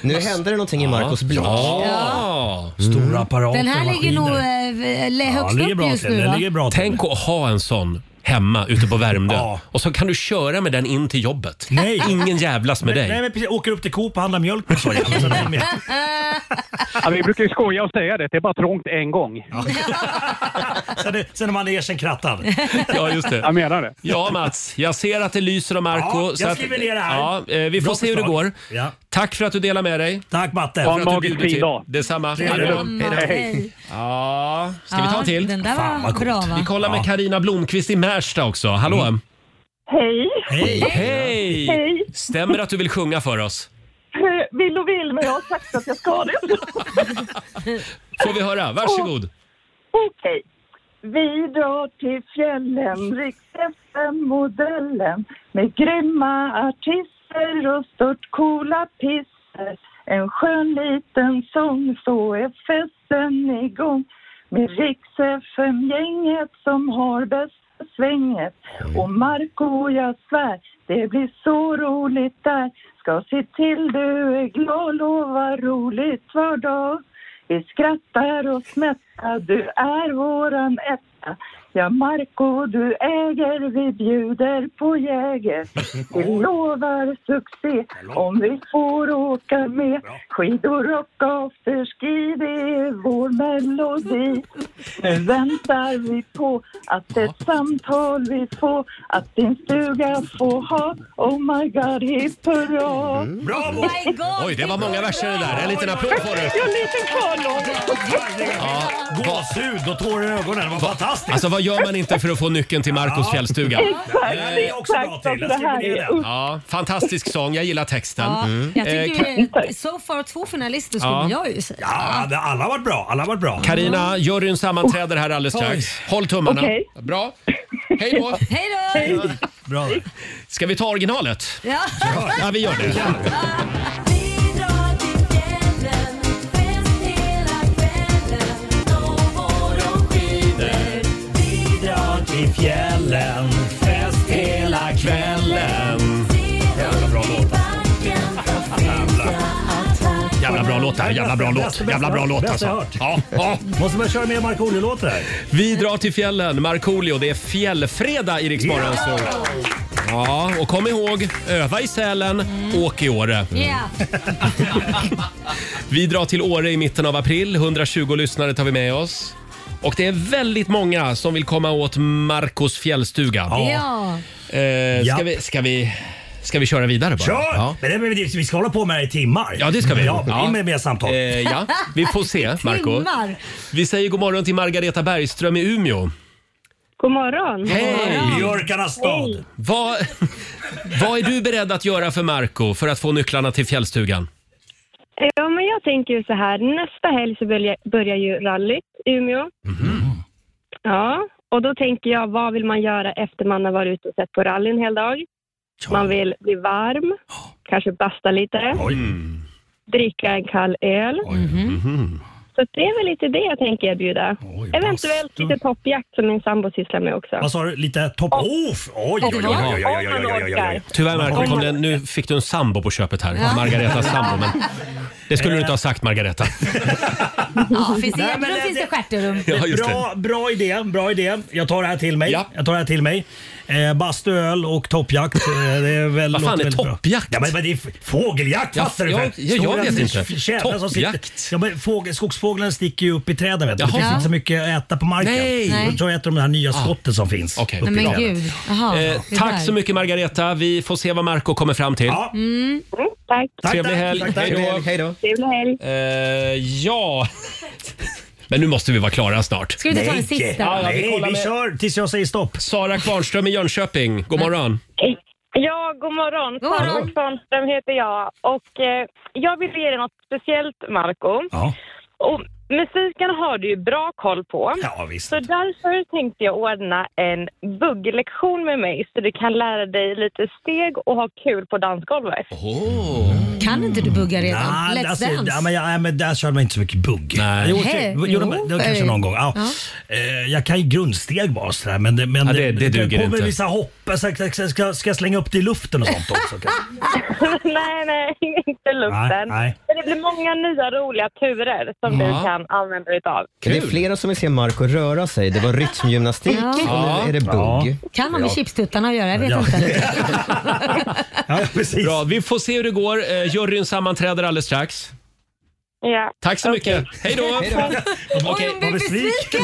S3: Nu hände det någonting i Marcos blod.
S1: Ja.
S10: Stora apparater
S2: Den här ligger nog eh, eh, högst upp just nu va?
S1: Tänk att ha en sån hemma ute på Värmdö och så kan du köra med den in till jobbet.
S10: Nej.
S1: Ingen jävlas med
S10: Men-
S1: dig.
S10: Nej, men precis. Åker upp till Coop och handlar mjölk och så. jävlar. Så det är med.
S16: Ja, vi brukar ju skoja och säga det, det är bara trångt en gång.
S10: Sen är- Sen är man ner sen krattad.
S1: Ja, just det.
S16: Jag menar det.
S1: Ja, Mats. Jag ser att det lyser om Marco.
S10: Ja, jag
S1: så att,
S10: skriver ner det här.
S1: Ja, eh, vi får
S10: Bra
S1: se hur det
S10: förslag.
S1: går.
S10: Ja.
S1: Tack för att du delar med dig.
S10: Tack Matte.
S1: För att du
S16: magisk
S1: bjuder
S16: fin
S1: till.
S16: dag.
S1: Detsamma.
S16: Trevlig
S1: Hej då.
S16: lugn. Hej då. Hej.
S1: Ja, ska vi
S16: Ja,
S1: ta en till?
S16: den där Fan, vad var bra, coolt. va?
S1: Vi kollar
S16: Ja.
S1: med Karina Blomqvist i Märsta också. Hallå!
S10: Mm.
S17: Hej!
S1: Hej! Hej!
S17: Hej.
S1: Stämmer det att du vill sjunga för oss?
S17: Vill och vill, men jag har sagt att jag ska det.
S1: Får vi höra? Varsågod.
S17: Okej. Vi drar till fjällen, Riks-FM-modellen med grymma artister och stört coola pisser. En skön liten sång, så är festen igång med Riks-FM-gänget som har bästa svänget. Och Marco, jag svär, det blir så roligt där. Ska se till du är glad, lova roligt var dag. Vi skrattar och smättar, du är våran etta. Ja, Marco, du äger, vi bjuder på Jäger. Vi lovar succé om vi får åka med. Skidor och afterski, det är vår melodi. Nu väntar vi på att ett samtal vi får, att din stuga får ha. Oh my god, hipp hurra!
S16: Oh
S1: Bravo! Oj, det var många verser det där. En liten applåd får du.
S17: Jag är en liten
S1: Ja,
S10: Gåshud och tårar i ögonen. Det var fantastiskt.
S1: Alltså vad gör man inte för att få nyckeln till Marcos fjällstuga?
S17: Exakt,
S10: Ja, det är också bra
S17: exakt.
S10: till.
S17: Alltså, det här är
S1: Ja, fantastisk sång. Jag gillar texten.
S2: Ja,
S1: Mm.
S2: Jag
S1: Eh,
S2: tycker
S1: Ka-
S2: ju, so far två finalister skulle
S1: Ja.
S2: jag ju säga.
S10: alla har varit bra. Alla har varit bra.
S1: Karina, juryn sammanträder här alldeles strax. Håll tummarna.
S2: Okej.
S1: Bra. Hej då!
S2: Hej då!
S10: Bra.
S1: Ska vi ta originalet?
S2: Ja.
S1: Ja, vi gör det.
S10: Vi drar till fjällen, fest hela kvällen. Jävla bra låt.
S1: Jävla bra låt här, jävla bra låt.
S10: Bästa, bästa,
S1: Jävla bra låt
S10: bästa jag
S1: alltså.
S10: hört.
S1: Ja, ja.
S10: Måste man köra mer Markoolio-låtar här?
S1: Vi drar till fjällen, Markoolio. Det är fjällfredag i Rix Morgon Zoo. Ja, och kom ihåg, öva i Sälen,
S10: Mm.
S1: åk i Åre.
S2: Yeah.
S1: Vi drar till Åre i mitten av april. 120 lyssnare tar vi med oss. Och det är väldigt många som vill komma åt Marcos fjällstuga.
S2: Ja.
S1: Eh,
S10: Ja.
S1: ska, vi, ska, vi, ska vi köra vidare bara?
S10: Kör!
S1: Ja.
S10: Men det, men det, vi ska hålla på med det här i timmar.
S1: Ja, det ska vi.
S10: Ja,
S1: Ja.
S10: in med mer samtal.
S1: Eh, ja, vi får se, Marco.
S2: Timmar.
S1: Vi säger god morgon till Margareta Bergström i Umeå.
S17: God morgon.
S1: Hej!
S10: Björkarnas stad.
S1: Vad, vad är du beredd att göra för Marco för att få nycklarna till fjällstugan?
S14: Ja, men jag tänker ju så här. Nästa helg så börjar, börjar ju rallyt i Umeå.
S1: Mhm.
S14: Ja, och då tänker jag, vad vill man göra efter man har varit ute och sett på rally en hel dag? Man vill bli varm, kanske basta lite,
S17: Mm.
S14: dricka en kall öl.
S17: Mhm.
S1: Mhm.
S14: Så det är väl lite det jag tänker erbjuda. Eventuellt lite toppjakt som min sambo sysslar med också.
S10: Vad sa du? Lite topp... Oh, f- oj, oj, oj, oj, oj, oj, oj, oj, oj, oj.
S1: Tyvärr Marco,
S10: Oj.
S1: kom det, nu fick du en sambo på köpet här.
S10: Ja.
S1: Margaretas sambo. Men det skulle du inte ha sagt Margareta.
S2: Ja, finns det
S10: Nej,
S2: hjärtan
S10: men det-
S2: finns det stjärterum.
S1: Ja, just det.
S10: Bra, bra idé, bra idé. Jag tar det här till mig. Jag tar det här till mig. Eh, bastu, öl och toppjakt. Eh, det är väl,
S1: Vad fan
S10: låter
S1: är
S10: väldigt bra.
S1: toppjakt?
S10: Ja, men, men det är f- fågeljakt
S1: Ja,
S10: fattar du
S1: ja,
S10: väl?
S1: ja, jag
S10: Stora
S1: vet
S10: f-
S1: inte.
S10: fjädrar som sitter-
S1: Toppjakt?
S10: Ja, men fågel, skogsfåglarna sticker ju upp i träden. Vet du.
S1: Jaha.
S10: Det finns
S1: Ja.
S10: inte så mycket att äta på marken.
S1: Nej. Nej.
S10: Då tror jag äter de här nya skotten som finns.
S1: Ah. Okej.
S10: uppe i
S2: Nej, men
S10: träden.
S2: gud. Jaha,
S1: Eh,
S2: det där.
S1: tack så mycket Margareta. Vi får se vad Marco kommer fram till.
S10: Ja.
S2: Mm.
S14: Tack.
S1: Trevlig helg.
S3: Hej då.
S14: Trevlig helg.
S1: Eh, ja. Men nu måste vi vara klara snart.
S2: Ska vi inte ta den sista?
S10: Nej, vi kör tills jag säger stopp.
S1: Sara Kvarnström i Jönköping, god morgon.
S14: Ja, god morgon.
S2: God morgon.
S14: Sara Kvarnström heter jag. Och eh, jag vill ge dig något speciellt, Marco. Och musiken har du ju bra koll på.
S10: Ja, visst.
S14: Så därför tänkte jag ordna en bugglektion med mig så du kan lära dig lite steg och ha kul på dansgolvet.
S2: Kan inte du bugga redan?
S10: Nej,
S2: Let's
S10: alltså,
S2: dance.
S10: ja, men, jag- nej, men där körde man inte så mycket bugg. Nej. Jo,
S2: Hej.
S10: jo, jo, men, det var kanske
S2: Jo.
S10: någon gång. Ja.
S2: Ja.
S10: Eh, Jag kan ju grundsteg bara sådär men, det- men
S1: Ja, det- det duger
S10: kommer
S1: inte.
S10: vissa hopp. Jag Ska, ska- ska, ska jag slänga upp det i luften och sånt också? kanske?
S14: nej, nej, inte luften.
S10: Nej, nej.
S14: Men det blir många nya roliga turer som
S3: Ja.
S14: du kan använda dig av.
S3: Det är flera som vill se Marco röra sig. Det var rytmgymnastik
S2: Ja.
S3: och nu är det bugg.
S2: Kan ha med
S3: Ja.
S2: chipstuttarna att göra, jag vet inte.
S1: Bra, vi får se hur det går. Eh, juryn sammanträder alldeles strax.
S14: Ja.
S1: Tack så mycket. Hej då!
S10: Hej då.
S1: Okej,
S10: Vad besviken.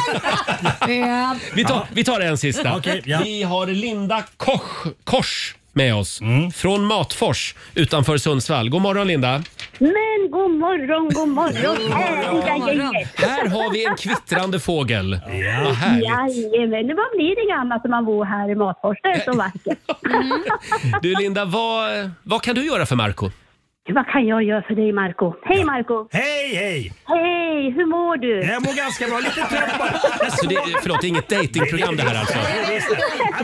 S2: ja.
S1: vi, tar, vi tar en sista.
S10: Okej, ja.
S1: Vi har Linda Koch, Kors med oss
S10: Mm.
S1: från Matfors utanför Sundsvall. God morgon Linda!
S19: Men god morgon, god morgon, ärliga gänget.
S1: Här har vi en kvittrande fågel. Vad härligt.
S19: Jajamän, det bara blir inget annat när man bor här i Matfors. Det är så vackert.
S1: Du Linda, vad, vad kan du göra för Marco?
S19: Vad kan jag göra för dig Marco? Hej Marco!
S10: Hej, hej!
S19: Hej, hur mår du?
S10: Jag mår ganska bra, lite trött bara.
S1: Så Alltså, det, förlåt, det är inget datingprogram det här alltså?
S10: Ja,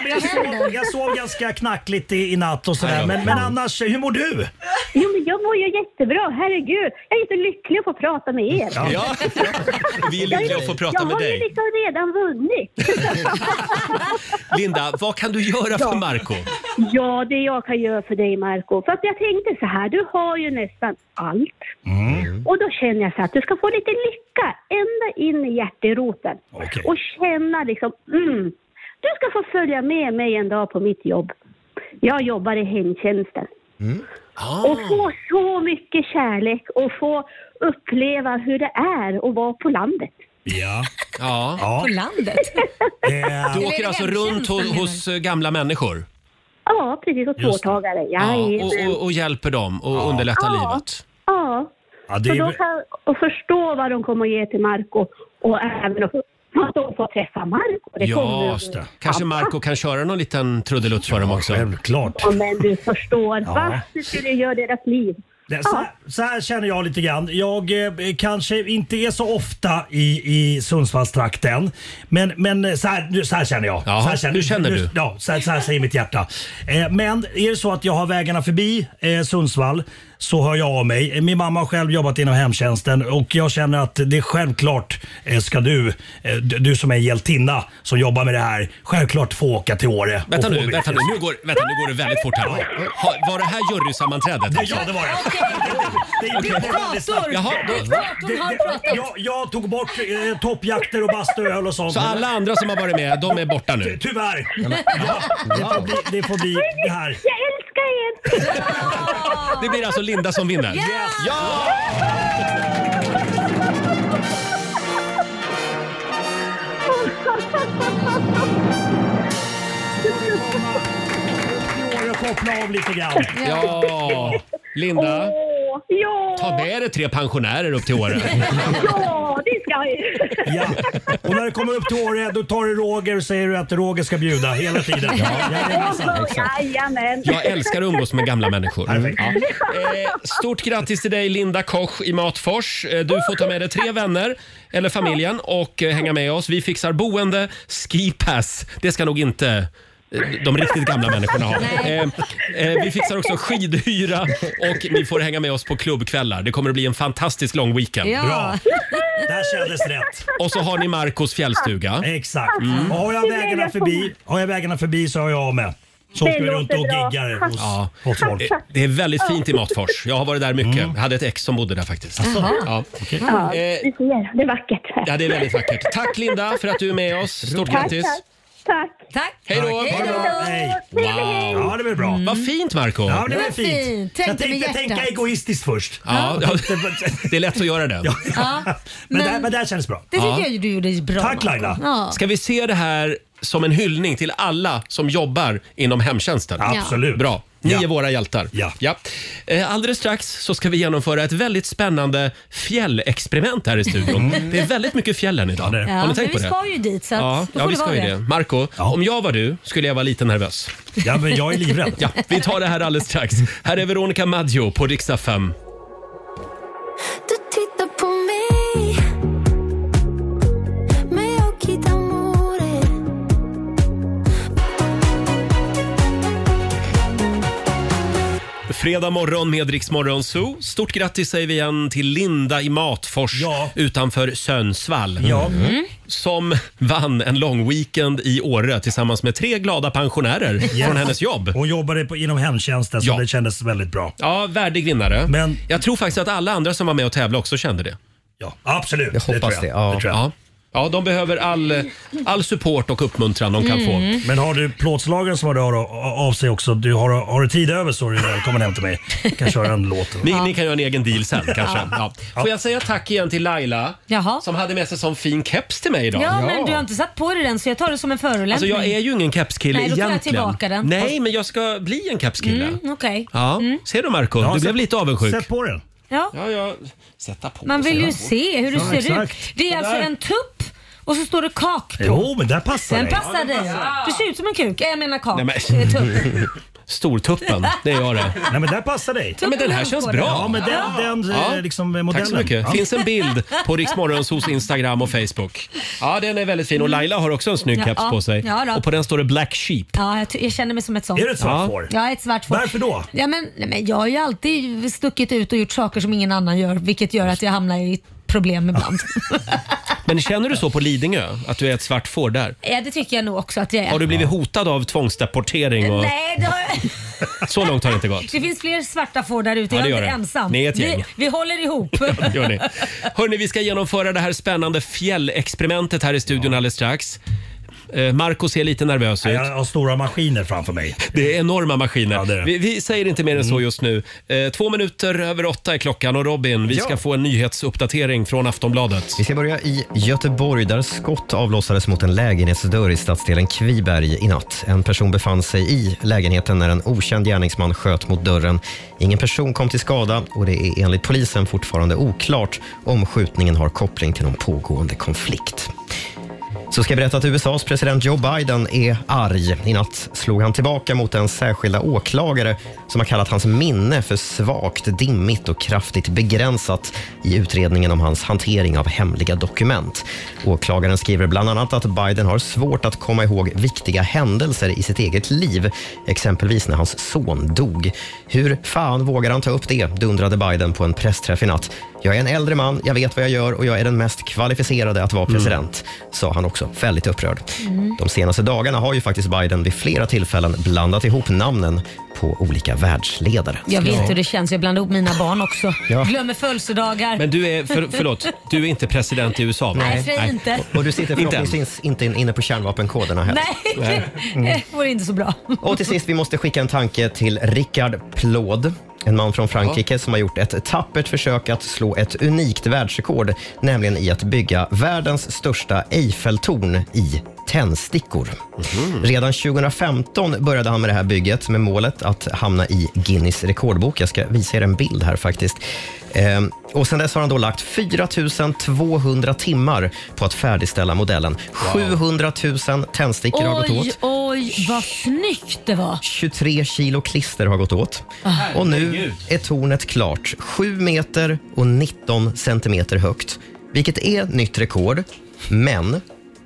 S10: men Jag sov, jag sov ganska knackligt i, i natt och sådär. Men, men annars, hur mår du?
S19: Jo, men jag mår ju jättebra, herregud. Jag är så lycklig att få prata med er.
S1: Ja, vi är
S19: Jag är-
S1: lyckliga att få prata
S19: jag
S1: med
S19: har ju
S1: dig.
S19: liksom redan vunnit.
S1: Linda, vad kan du göra för Marco?
S19: Ja, det jag kan göra för dig Marco. För att jag tänkte så här, du har ju nästan allt.
S1: Mm.
S19: Och då känner jag så här att du ska få lite lycka ända in i hjärteroten. Och känna liksom, mm, du ska få följa med mig en dag på mitt jobb. Jag jobbar i hemtjänsten.
S1: Mm. Ah.
S19: Och få så mycket kärlek och få uppleva hur det är att vara på landet.
S10: Ja.
S1: ja.
S19: På landet?
S1: Du åker alltså runt hos, hos eh, gamla människor
S19: Ja, precis. Och
S1: Just det.
S19: tvåtagare.
S1: ja,
S19: Jajamän.
S1: och, och, och hjälper dem och underlättar
S19: Ja.
S1: livet?
S19: Ja.
S1: Ja, det är
S19: Så då
S1: väl-
S19: kan och förstå vad de kommer att ge till Marco och även att att de får träffa Marco. Det kommer
S1: Ja,
S19: att-
S1: just det. kanske Marco kan köra någon liten trudelutt för dem också?
S10: Självklart.
S19: Ja, men du förstår.
S10: Ja.
S19: Varför skulle du göra deras liv?
S10: Det, så, här, så här känner jag lite grann. Jag eh, kanske inte är så ofta i, i Sundsvallstrakten. Men, men eh, så, här, nu, så här känner jag.
S1: Jaha,
S10: så här känner,
S1: hur känner
S10: nu,
S1: du?
S10: Ja, så här, så här säger mitt hjärta. Eh, men är det så att jag har vägarna förbi eh, Sundsvall så hör jag av mig. Eh, Min mamma har själv jobbat inom hemtjänsten och jag känner att det är självklart eh, ska du, eh, d- du som är en hjältinna som jobbar med det här, självklart få åka till Åre. och
S1: Vänta
S10: få-
S1: nu, vänta nu, nu går, vänta, nu går det väldigt fort här. Ha, var det här jurysammanträdet? alltså?
S10: Ja, det var det.
S1: Jaha, då,
S10: Det- det- jag, jag tog bort eh, toppjakter och bastuöl och sånt.
S1: så alla andra som har varit med, de är borta nu?
S10: Tyvärr. Ja, det, får bli, det får bli det här.
S19: Jag älskar er!
S1: Det blir alltså Linda som vinner? Ja!
S10: Jag koppla av lite grann.
S1: Ja, Linda.
S19: Åh, ja,
S1: Ta med dig tre pensionärer upp till Åre.
S19: ja, det ska jag ju.
S10: Ja. Och när det kommer upp till Åre, då tar du Roger och säger du att Roger ska bjuda hela tiden.
S19: Åh, Jajamän.
S1: Jag älskar att umgås med gamla människor. Ja. Eh, stort grattis till dig Linda Koch i Matfors. Eh, Du får ta med dig tre vänner eller familjen och eh, hänga med oss. Vi fixar boende, skipass. Det ska nog inte eh, de riktigt gamla människorna ha. Eh, eh, vi fixar också skidhyra och ni får hänga med oss på klubbkvällar. Det kommer att bli en fantastisk lång weekend.
S10: Bra. Där kändes rätt.
S1: Och så har Mm. ni Marcos fjällstuga.
S10: Exakt. Och har jag vägarna förbi, har jag vägarna förbi så har jag av med. Så
S1: Det
S10: åker vi
S1: låter
S10: runt och
S1: bra.
S10: giggar hos,
S1: Ja.
S10: hos folk.
S1: Eh, Det är väldigt fint i Matfors. Jag har varit där mycket.
S10: Mm.
S1: Jag hade ett ex som bodde där faktiskt.
S19: Jaha.
S1: Ja.
S19: Ja, du ser, det är vackert.
S1: Eh, Ja, det är väldigt vackert. Tack Linda för att du är med oss. Stort
S19: Tack,
S1: grattis.
S19: Tack.
S2: Tack.
S1: Hej då. Tack.
S10: Ha det bra. Hej.
S1: Wow.
S10: Ja, det blir bra.
S1: Vad fint Marco
S10: Ja, det var
S2: Vad fint. Tänkte
S10: fint. Jag tänkte
S2: med hjärtat.
S10: tänka egoistiskt först.
S1: Ja, det är lätt att göra det.
S2: Ja,
S10: Men,
S2: men-
S10: där, men där kändes bra.
S2: det tycker
S1: Ja.
S2: jag ju du gjorde bra.
S10: Tack, Laila.
S2: Marco. Ja.
S1: Ska vi se det här som en hyllning till alla som jobbar inom hemtjänsten?
S2: Ja. Absolut.
S1: Bra. Ni är våra hjältar. Ja. Eh, Alldeles strax så ska vi genomföra ett väldigt spännande fjällexperiment här i studion.
S2: Mm.
S1: Det är väldigt mycket fjällen idag.
S2: Ja,
S1: Har ni
S2: men
S1: tänkt på det?
S2: Vi ska ju dit så att
S1: ja,
S2: då får
S1: ja,
S2: det
S1: vi ska
S2: vara
S1: ju det. Marco, om jag var du skulle jag vara lite nervös.
S10: Ja, men jag är livrädd.
S1: ja, vi tar det här alldeles strax. Här är Veronica Maggio på riksdag 5.
S7: Du tittar på mig med occhi d'amore
S1: Fredag morgon med Rix Morgon Zoo. Stort grattis säger vi igen till Linda i Matfors utanför Sönsvall.
S10: Ja. Mm.
S1: Som vann en lång weekend i Åre tillsammans med tre glada pensionärer
S10: Yes.
S1: från hennes jobb.
S10: Hon jobbade på, inom hemtjänsten så det kändes väldigt bra.
S1: Ja, värdig vinnare. Men... Jag tror faktiskt att alla andra som var med och tävlade också kände det.
S10: Ja, absolut.
S1: Jag
S10: hoppas det tror jag. det. Ja. Det tror jag.
S1: Ja. Ja, de behöver all, all support och uppmuntran de kan få.
S2: Mm.
S10: Mm. Men har du plåtslagen som har hör av sig också, du har, har du tid över så är du välkommen hem till mig. kan köra en låt.
S1: Ni, ni kan göra en egen deal sen kanske. Ja. Får jag säga tack igen till Laila
S2: Jaha.
S1: som hade med sig sån fin keps till mig
S2: Ja,
S1: idag.
S2: men du har inte satt på dig den så jag tar det som en förolämpning.
S1: Alltså jag är ju ingen kepskille
S2: Nej, då tar jag
S1: egentligen.
S2: tillbaka den.
S1: Nej, men jag ska bli en kepskille.
S2: Mm, Okej.
S1: Ja. Ser du Marco?
S10: Ja,
S1: Du
S10: sätt-
S1: blev lite avundsjuk.
S10: sätt på den.
S2: Ja.
S1: Sätta på.
S2: Man vill
S1: säger
S2: ju
S1: jag.
S2: se hur du
S1: Ja,
S2: ser ut.
S1: exakt.
S2: Det är alltså
S1: Sådär.
S2: en tupp och så står det kak på.
S1: Jo, men där passar
S2: Den
S1: dig.
S2: passar
S1: Ja, den
S2: dig. Du ser ut som en kuk. Jag menar kak.
S1: Nej, men...
S2: Eh, Tupp.
S1: Stortuppen, det är jag det.
S10: Nej men där passar dig.
S1: Ja, men den här känns bra.
S10: Ja, men den- den, eh, liksom, eh, modellen.
S1: Tack så mycket.
S10: Ja.
S1: Finns en bild på Riksmorgonsos Instagram och Facebook. Ja, den är väldigt fin och Laila har också en snygg
S2: Ja,
S1: keps på sig.
S2: ja då.
S1: och på den står det Black Sheep.
S2: Ja, jag, ty- jag känner mig som ett sånt.
S1: Är du ett svart Ja. får?
S2: Ja, ett svart får.
S1: Varför då?
S2: Ja, men, nej, men jag har ju alltid stuckit ut och gjort saker som ingen annan gör, vilket gör att jag hamnar i problem ibland.
S1: Men känner du så på Lidingö? Att du är ett svart får där?
S2: ja, det tycker jag nog också att jag är.
S1: Har du blivit hotad av tvångsdeportering? Och...
S2: Nej, det, har jag...
S1: Så långt har det inte gått.
S2: det finns fler svarta får där ute.
S1: Ja, det
S2: jag är
S1: gör
S2: inte
S1: det.
S2: ensam.
S1: Ni är ett
S2: vi,
S1: gäng.
S2: vi håller ihop.
S1: Gör ni. Hörrni, vi ska genomföra det här spännande fjällexperimentet här i studion alldeles strax. Eh, Marco ser lite nervös ut.
S10: Jag har stora maskiner framför mig.
S1: Det är enorma maskiner.
S10: det Mm. är det.
S1: Vi, vi säger inte mer än så just nu. Eh, två minuter över åtta är klockan och Robin, vi
S3: Ja.
S1: ska få en nyhetsuppdatering från Aftonbladet.
S3: Vi ska börja i Göteborg där skott avlossades mot en lägenhetsdörr i stadsdelen Kviberg i natt. En person befann sig i lägenheten när en okänd gärningsman sköt mot dörren. Ingen person kom till skada och det är enligt polisen fortfarande oklart om skjutningen har koppling till någon pågående konflikt. Så ska jag berätta att USAs president Joe Biden är arg. I natt slog han tillbaka mot den särskilda åklagare som har kallat hans minne för svagt, dimmigt och kraftigt begränsat i utredningen om hans hantering av hemliga dokument. Åklagaren skriver bland annat att Biden har svårt att komma ihåg viktiga händelser i sitt eget liv, exempelvis när hans son dog. Hur fan vågar han ta upp det, dundrade Biden på en pressträff i natt. Jag är en äldre man, jag vet vad jag gör och jag är den mest kvalificerade att vara president, sa han också, väldigt upprörd.
S2: Mm.
S3: De senaste dagarna har ju faktiskt Biden vid flera tillfällen blandat ihop namnen på olika världsledare.
S2: Jag vet
S3: Ja.
S2: hur det känns. Jag blandar ihop mina barn också.
S3: Ja.
S2: Glömmer födelsedagar.
S1: Men du är, för, förlåt, du är inte president i USA va?
S2: Nej, säg inte.
S3: Och, och du sitter
S1: Inte än.
S3: förhoppningsvis inte in- inne på kärnvapenkoderna heller.
S2: Nej,
S3: Nej. Mm.
S2: det vore inte så bra.
S3: Och till sist, vi måste skicka en tanke till Rickard Plåd. En man från Frankrike som har gjort ett tappert försök att slå ett unikt världsrekord, nämligen i att bygga världens största Eiffeltorn i tändstickor. Redan 2015 började han med det här bygget med målet att hamna i Guinness rekordbok. Jag ska visa er en bild här faktiskt. Ehm, och sen dess har han då lagt 4 200 timmar på att färdigställa modellen. 700 000 tändstickor har gått åt.
S2: Oj, oj, vad snyggt det var.
S3: 23 kilo klister har gått åt. Och nu är tornet klart. 7 meter och 19 centimeter högt, vilket är nytt rekord. Men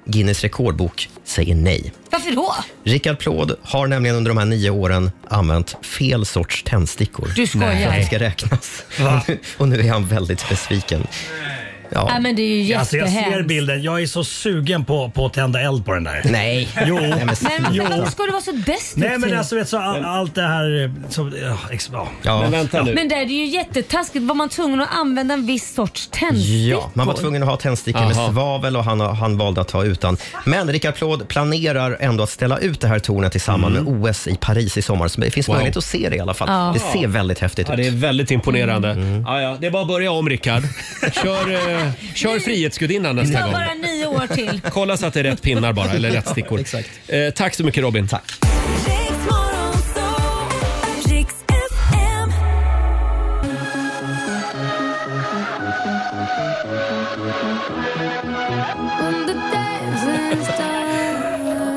S3: Guinness rekordbok säger nej.
S2: Varför då?
S3: Rickard Plåd har nämligen under de här nio åren använt fel sorts tändstickor.
S2: Du skojar.
S3: För att det ska räknas. Och nu, och nu är han väldigt besviken. Ja.
S2: Nej, men det är ju
S10: Alltså, jag ser
S2: jättehemskt.
S10: bilden. Jag är så sugen på, på att tända eld på den där.
S3: Nej.
S10: Jo.
S2: men
S10: jo.
S2: varför ska du vara så destruktiv?
S10: Nej men alltså vet så, all, allt det här... eh, Som, ja, ex, ja.
S3: Men vänta nu.
S2: Men det är ju jättetaskigt. Var man tvungen att använda en viss sorts tändstickor?
S3: Ja, man var tvungen att ha tändstickor med
S2: Aha.
S3: svavel och han, han valde att ta utan. Men Rickard Plåd planerar ändå att ställa ut det här tornet i samband med OS i Paris i sommar. Så det finns
S1: Mm. Wow.
S3: möjlighet att se det i alla fall.
S1: Ja.
S3: Det ser väldigt häftigt ut. Mm.
S1: Ja, det är väldigt imponerande. Ja, ja, det är bara att börja om Rickard. Kör, eh, kör Frihetsgudinnan
S2: Det
S1: nästa
S2: tar
S1: gång.
S2: bara nio år till.
S1: Kolla så att det är rätt pinnar bara, eller rätt stickor. Eh, tack så mycket Robin. Tack.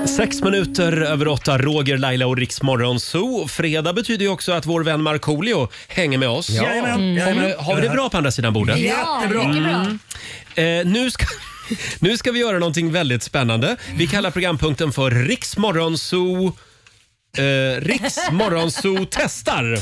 S1: Sex minuter över åtta, Roger, Laila och Riks Morgonzoo. Fredag betyder ju också att vår vän Markoolio hänger med oss.
S10: Ja. Jajamän, jajamän.
S1: Har vi- Har vi det bra på andra sidan bordet?
S10: Jättebra.
S2: mycket bra.
S1: Eh, nu, ska, nu ska vi göra någonting väldigt spännande. Vi kallar programpunkten för Riks Morgonzoo... Eh, Riks Morgonzoo testar.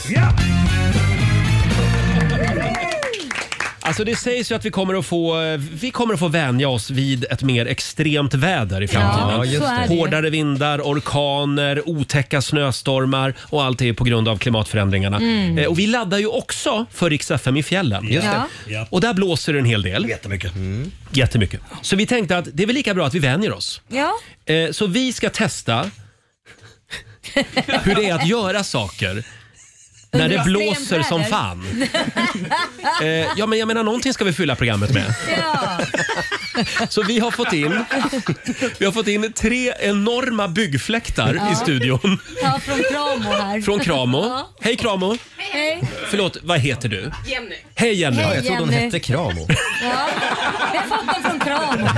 S1: Alltså det sägs ju att vi kommer att få, eh, vi kommer att få vänja oss vid ett mer extremt väder i framtiden.
S11: Ja, just det.
S1: Hårdare vindar, orkaner, otäcka snöstormar och allt det är på grund av klimatförändringarna.
S11: Mm.
S1: Eh, Och vi laddar ju också för riks FM i fjällen.
S11: Just det.
S1: Ja. Och där blåser det en hel del. Jättemycket.
S2: Mm.
S1: Jättemycket. Så vi tänkte att det är väl lika bra att vi vänjer oss.
S2: Ja.
S1: Eh, Så vi ska testa hur det är att göra saker när det
S2: Under
S1: blåser
S2: extremt
S1: som
S2: väder.
S1: fan. Eh, ja, men jag menar någonting ska vi fylla programmet med.
S2: ja.
S1: Så vi har fått in, vi har fått in tre enorma byggfläktar
S2: Ja.
S1: i studion
S2: ja, från Kramo här.
S1: från Kramo.
S2: Ja.
S1: Hej Kramo!
S2: Hej.
S1: Förlåt, vad heter du?
S2: Jenny.
S1: Hej Jenny!
S2: Hej, Ja, jag trodde hon Jenny. hette
S1: Kramo.
S2: Ja, jag fattar från Kramo.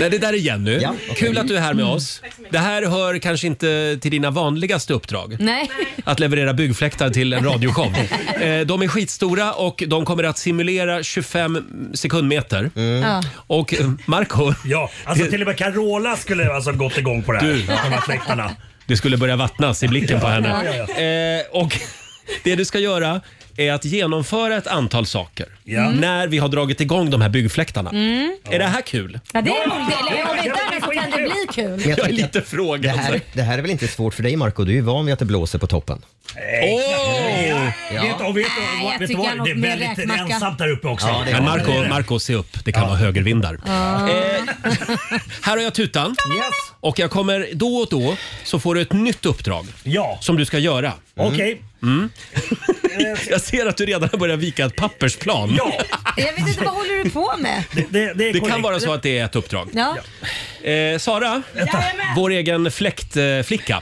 S1: Nej, det där är Jenny. Kul att du är här
S2: Mm.
S1: med oss. Det här hör kanske inte till dina vanligaste uppdrag.
S2: Nej.
S1: Att leverera byggfläktar till en radioshow. Eh, De är skitstora och de kommer att simulera 25 sekundmeter.
S10: Ja.
S1: Och eh, Marco
S10: Ja, alltså till och med Carola skulle alltså gått igång på det här.
S1: Du. Eh,
S10: På de här fläktarna.
S1: Det skulle börja vattnas i blicken på
S10: Ja,
S1: henne.
S10: ja,
S1: Eh, och det du ska göra är att genomföra ett antal saker
S2: Mm.
S1: när vi har dragit igång de här byggfläktarna.
S2: Mm.
S1: Är det här kul?
S2: Ja, det är roligt. Eller om inte annat så kan det bli kul.
S1: Jag är lite
S3: Det
S1: frågad.
S3: här, det här är väl inte svårt för dig Marco? Du är ju van vid att det blåser på toppen.
S1: Åh!
S10: Vet, och vet, och,
S2: jag
S10: vet du
S2: tycker
S10: vad?
S2: jag
S10: Det är
S2: något mer
S10: väldigt
S2: räkmacka.
S10: ensamt där uppe också.
S1: Ja, det är Men Marco, Marco, se upp. Det kan vara högervindar.
S2: Ja.
S10: Eh,
S1: Här har jag tutan. Och jag kommer då och då så får du ett nytt uppdrag som du ska göra.
S10: Okej.
S1: Mm. jag ser att du redan har börjat vika ett pappersplan.
S2: Jag vet inte, vad håller du på med?
S10: Det,
S1: Det kan vara så att det är ett uppdrag.
S2: Ja.
S1: Eh, Sara, vår egen fläktflicka. Eh, flicka.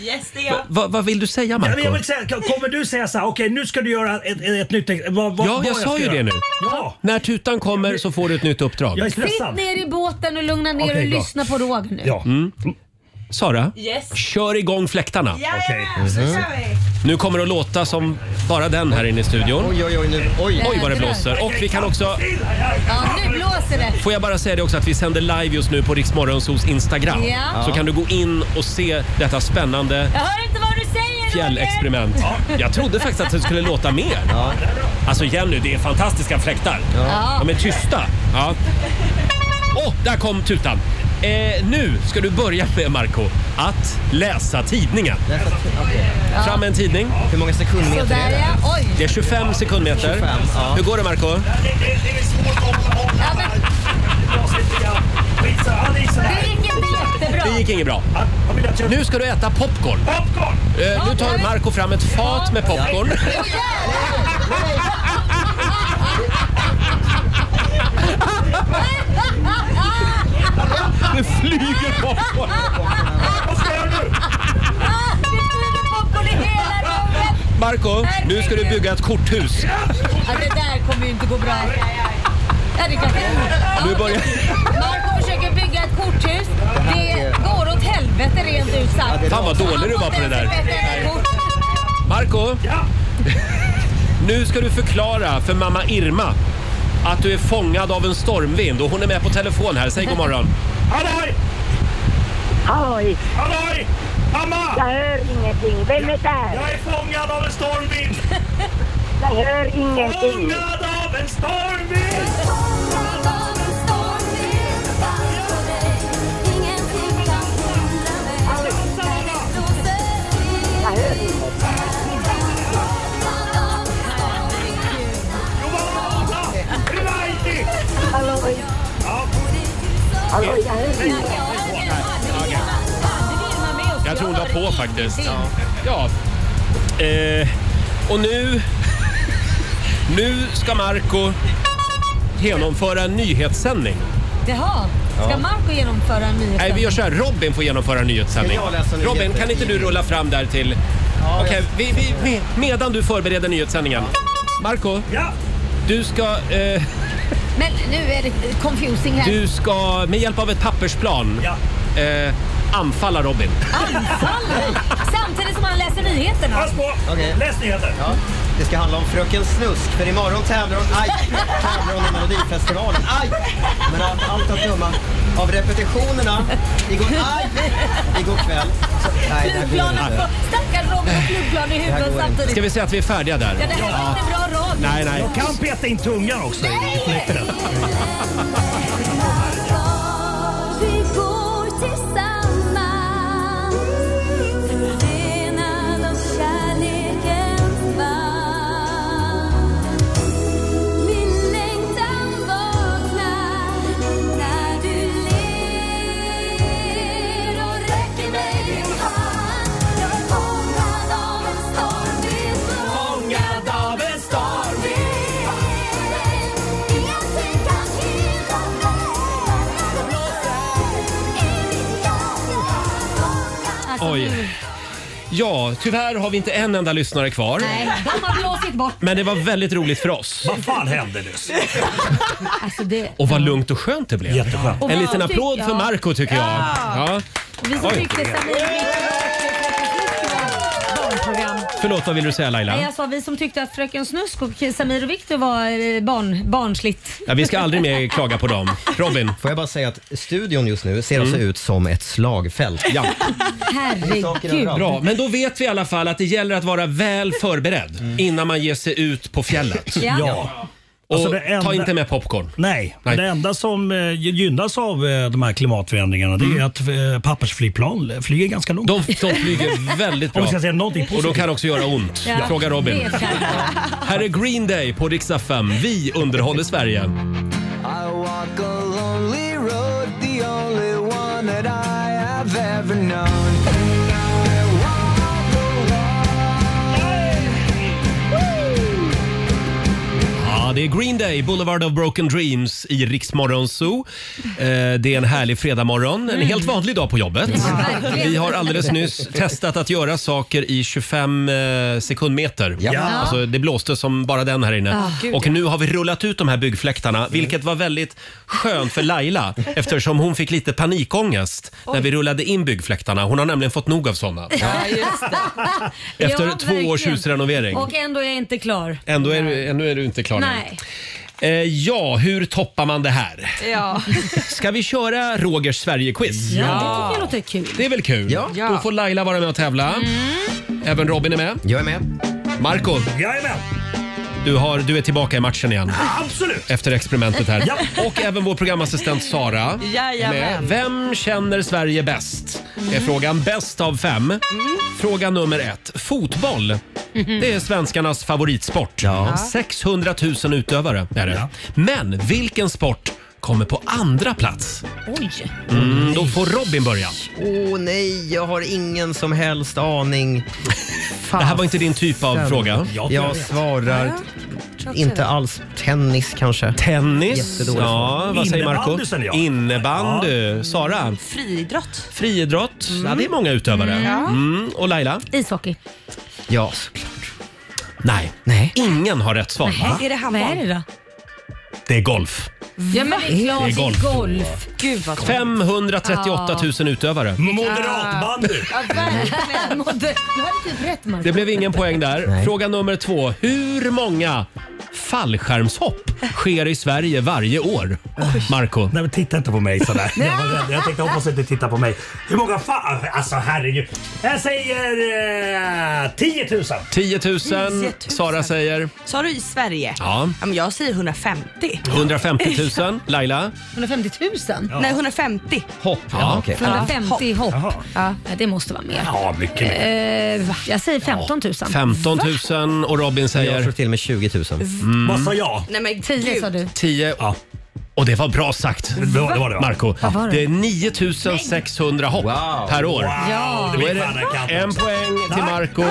S17: Yes, det är
S1: Va- va- vad vill du säga
S10: Ja,
S1: Marco?
S10: men jag vill säga, kommer du säga så här, okej nu ska du göra ett, ett, ett nytt... Vad, vad,
S1: Ja,
S10: vad
S1: jag
S10: ska
S1: sa ju
S10: göra?
S1: det nu.
S10: Ja.
S1: När tutan kommer så får du ett nytt uppdrag.
S10: Jag är
S2: Sitt ner i båten och lugna ner
S1: Okej,
S2: och
S1: bra.
S2: lyssna på Roger nu.
S1: Mm. Sara,
S2: Yes.
S1: kör igång fläktarna.
S2: Jajamän,
S1: Mhm. Nu kommer det att låta som bara den här inne i studion. Oj, oj, oj, nu. oj. oj vad det blåser. Och vi kan också,
S2: Ja, nu blåser det.
S1: får jag bara säga det också att vi sänder live just nu på Riksmorgonsos Instagram.
S2: Ja.
S1: Så kan du gå in och se detta spännande
S2: Jag hör inte vad du säger
S1: fjällexperiment. Jag trodde faktiskt att det skulle låta mer. Alltså Jenny, det är fantastiska fläktar.
S11: Ja.
S1: De är tysta. Ja. Åh, där kom tutan. Eh, nu ska du börja med, Marco att läsa tidningen.
S2: Ja.
S1: Fram med en tidning. Hur många sekundmeter
S2: Sådär ja. Oj.
S1: Det är 25 sekundmeter.
S3: 25, ja.
S1: Hur går det, Marco?
S2: Ja, men, det gick inte jättebra.
S1: Det gick inget bra. Nu ska du äta popcorn.
S10: Popcorn!
S1: Eh, nu tar Marco fram ett fat med popcorn. Det flyger popcorn!
S11: Vad ska jag göra nu? Det flyger popcorn i hela rummet!
S1: Marco, nu ska du bygga ett korthus.
S2: Ja, det där kommer ju inte gå bra. Ja, det kan
S1: Nu börjar...
S2: Marco försöker bygga ett korthus. Det går åt helvete rent ut sagt.
S1: Fan, vad dålig
S2: Han
S1: du var
S2: får
S1: på det där.
S2: inte ens ett kort.
S1: Marco, nu ska du förklara för mamma Irma att du är fångad av en stormvind och hon är med på telefon här. Säg god morgon.
S17: Halloj! Halloj! Halloj! Mamma! Jag hör ingenting. Vem är där? Jag är fångad av en stormvind! Jag hör ingenting. Fångad av en stormvind! Halloj! Halloj, jag hör ingenting.
S1: Jag tror hon var på faktiskt. Ja. Eh, och nu... Nu ska Marco genomföra en nyhetssändning.
S2: Jaha, ska
S1: Ja.
S2: Marco genomföra en nyhet?
S1: Nej, vi gör så här. Robin får genomföra en nyhetssändning.
S2: Ska jag läsa nyheter?
S1: Robin, kan inte du rulla fram där till... Okej, vi, vi, vi, medan du förbereder nyhetssändningen. Marco, du ska... Eh,
S2: Men nu är det confusing här.
S1: Du ska med hjälp av ett pappersplan eh, anfalla Robin.
S2: Anfaller! Samtidigt som han läser nyheterna. Pass
S10: på!
S3: Okej.
S10: Läs nyheter.
S3: Ja. Det ska handla om Fröken Snusk, för imorgon tävlar hon, aj, tävlar hon i Melodifestivalen. Aj! Men av allt att döma av repetitionerna igår, aj, igår kväll. Så, nej, det här går
S2: Flygplanet
S3: inte.
S2: får... Stackars Robin har flygplan i
S3: Det här
S2: huvudet
S3: går inte.
S2: samtidigt.
S1: Ska vi säga att vi är färdiga där?
S2: Ja, det här var inte bra
S1: Nej, nej.
S10: Jag kan peta in tungan också i i fläkten.
S11: Vi går tillsammans Förvenad av kärlekens band Min längtan vaknar när du ler och räcker mig din hand Jag är fångad av en stormvind Fångad av en stormvind Ingenting kan hindra
S1: Oj. Ja, tyvärr har vi inte en enda lyssnare kvar.
S2: Nej, de har blåsit bort.
S1: Men det var väldigt roligt för oss.
S10: Vad fan hände nyss?
S2: Alltså det,
S1: Och vad lugnt och skönt det blev.
S10: Jätteskönt.
S1: En liten
S2: Och vad
S1: applåd
S2: tyck-
S1: för
S2: ja.
S1: Marco tycker jag.
S2: Ja.
S1: Ja.
S2: Och vi som
S1: Oj.
S2: tyckte Samir
S1: Förlåt, vad vill du säga
S2: Nej,
S1: Laila?
S2: jag sa vi som tyckte att Fröken Snusk och Samir och Viktor var eh, barn, barnsligt.
S1: Ja, vi ska aldrig mer klaga på dem. Robin? Mm.
S3: Får jag bara säga att studion just nu ser alltså ut som ett slagfält.
S1: Ja.
S2: Herregud.
S1: Bra, men då vet vi i alla fall att det gäller att vara väl förberedd innan man ger sig ut på fjället.
S10: Ja. Ja.
S1: Och
S10: Alltså, det enda-
S1: ta inte med popcorn.
S10: Nej,
S1: Nej.
S10: det enda som eh, gynnas av eh, de här klimatförändringarna det är att eh, pappersflygplan flyger ganska långt.
S1: Mm. De, de flyger väldigt bra.
S10: Om vi ska säga någonting
S1: och de
S10: positivt.
S1: kan också göra ont.
S10: Ja.
S1: Fråga Robin.
S10: Det kan
S1: Här är Green Day på riksdag 5. Vi underhåller Sverige.
S11: I walk a lonely road, the only one that I have ever known.
S1: Ja, det är Green Day, Boulevard of Broken Dreams i Riksmorgon Zoo. Eh, det är en härlig fredagmorgon, en helt vanlig dag på jobbet.
S11: Mm. verkligen.
S1: Vi har alldeles nyss testat att göra saker i 25 eh, sekundmeter.
S11: Ja.
S1: Alltså, det blåste som bara den här inne.
S11: Ah, gud,
S1: Och
S11: ja. Mm.
S1: nu har vi rullat ut de här byggfläktarna, vilket var väldigt skönt för Laila eftersom hon fick lite panikångest när vi rullade in byggfläktarna. Hon har nämligen fått nog av sådana. Efter
S2: Ja,
S1: två års
S2: verkligen.
S1: husrenovering.
S2: Och ändå är jag inte klar.
S1: Ändå är, du, ändå är du inte klar nu.
S2: Nej.
S1: Eh, ja, hur toppar man det här?
S2: Ja.
S1: Ska vi köra Rogers Sverige-quiz?
S2: ja, det tycker jag låter kul.
S1: Det är väl kul?
S2: Ja. Ja. Mm.
S1: Då får Laila vara med och tävla. Även Robin är med.
S3: Jag är med.
S1: Marco,
S10: Jag är med.
S1: du, har, du är tillbaka i matchen igen.
S10: Absolut.
S1: Efter experimentet här.
S10: Ja.
S1: Och även vår programassistent Sara.
S4: Jajamän. Mm.
S1: Med. Vem känner Sverige bäst? Är frågan bäst av fem. Fråga nummer ett. Fotboll.
S4: Mm-hmm.
S1: Det är svenskarnas favoritsport. 600 000 utövare är det. Men vilken sport kommer på andra plats?
S2: Oj.
S1: Mm, då får Robin börja.
S3: Åh nej, jag har ingen som helst aning.
S1: Det här var inte din typ av fråga.
S3: Jag, svarar inte alls tennis kanske.
S1: Tennis?
S3: Jättedåligt
S1: Ja, vad säger Marco?
S3: Innebandy säger jag.
S1: Innebandy. Sara?
S4: Friidrott. Mm.
S1: Friidrott. Ja, det är många utövare.
S4: Ja.
S1: Mm. Och Laila?
S2: Ishockey.
S3: Ja,
S1: Nej. Ingen har rätt svar.
S2: Nej, är det handboll? Vad är det då?
S1: Det är golf.
S2: Ja men det är
S1: Det
S2: klart det
S1: är
S2: är
S1: golf.
S2: golf. Gud vad
S1: 538 000 utövare.
S10: Moderatbandy!
S2: Ja, verkligen. Moder- Du hade typ rätt Marco.
S1: Det blev ingen poäng där.
S2: Nej.
S1: Fråga nummer två. Hur många fallskärmshopp sker i Sverige varje år? Marco.
S10: Nej men titta inte på mig sådär. Jag var rädd. Jag tänkte hoppas att du tittar på mig. Hur många fan... Alltså herregud. Jag säger eh, 10 000.
S1: 10 000.
S4: 000.
S1: Sara säger?
S4: Sa du i Sverige?
S1: Ja.
S4: men jag säger 150.
S1: 150 000. Laila?
S2: 150 000?
S4: Nej, 150.
S1: Hopp. Ja, okej.
S2: 150 hopp. Ja, det måste vara mer.
S1: Ja, mycket
S2: Eh, va? jag säger 15 000.
S1: 15 000 och Robin säger?
S3: Jag slår till med 20 000.
S10: Vad sa jag?
S4: Mm. Nej, men
S2: 10 sa du.
S1: 10. Och det var bra sagt.
S10: Det var- det var det, va?
S1: Marco.
S2: Vad var det?
S1: Det är 9600 hopp per år.
S4: Ja.
S1: Då är det en poäng till Marco.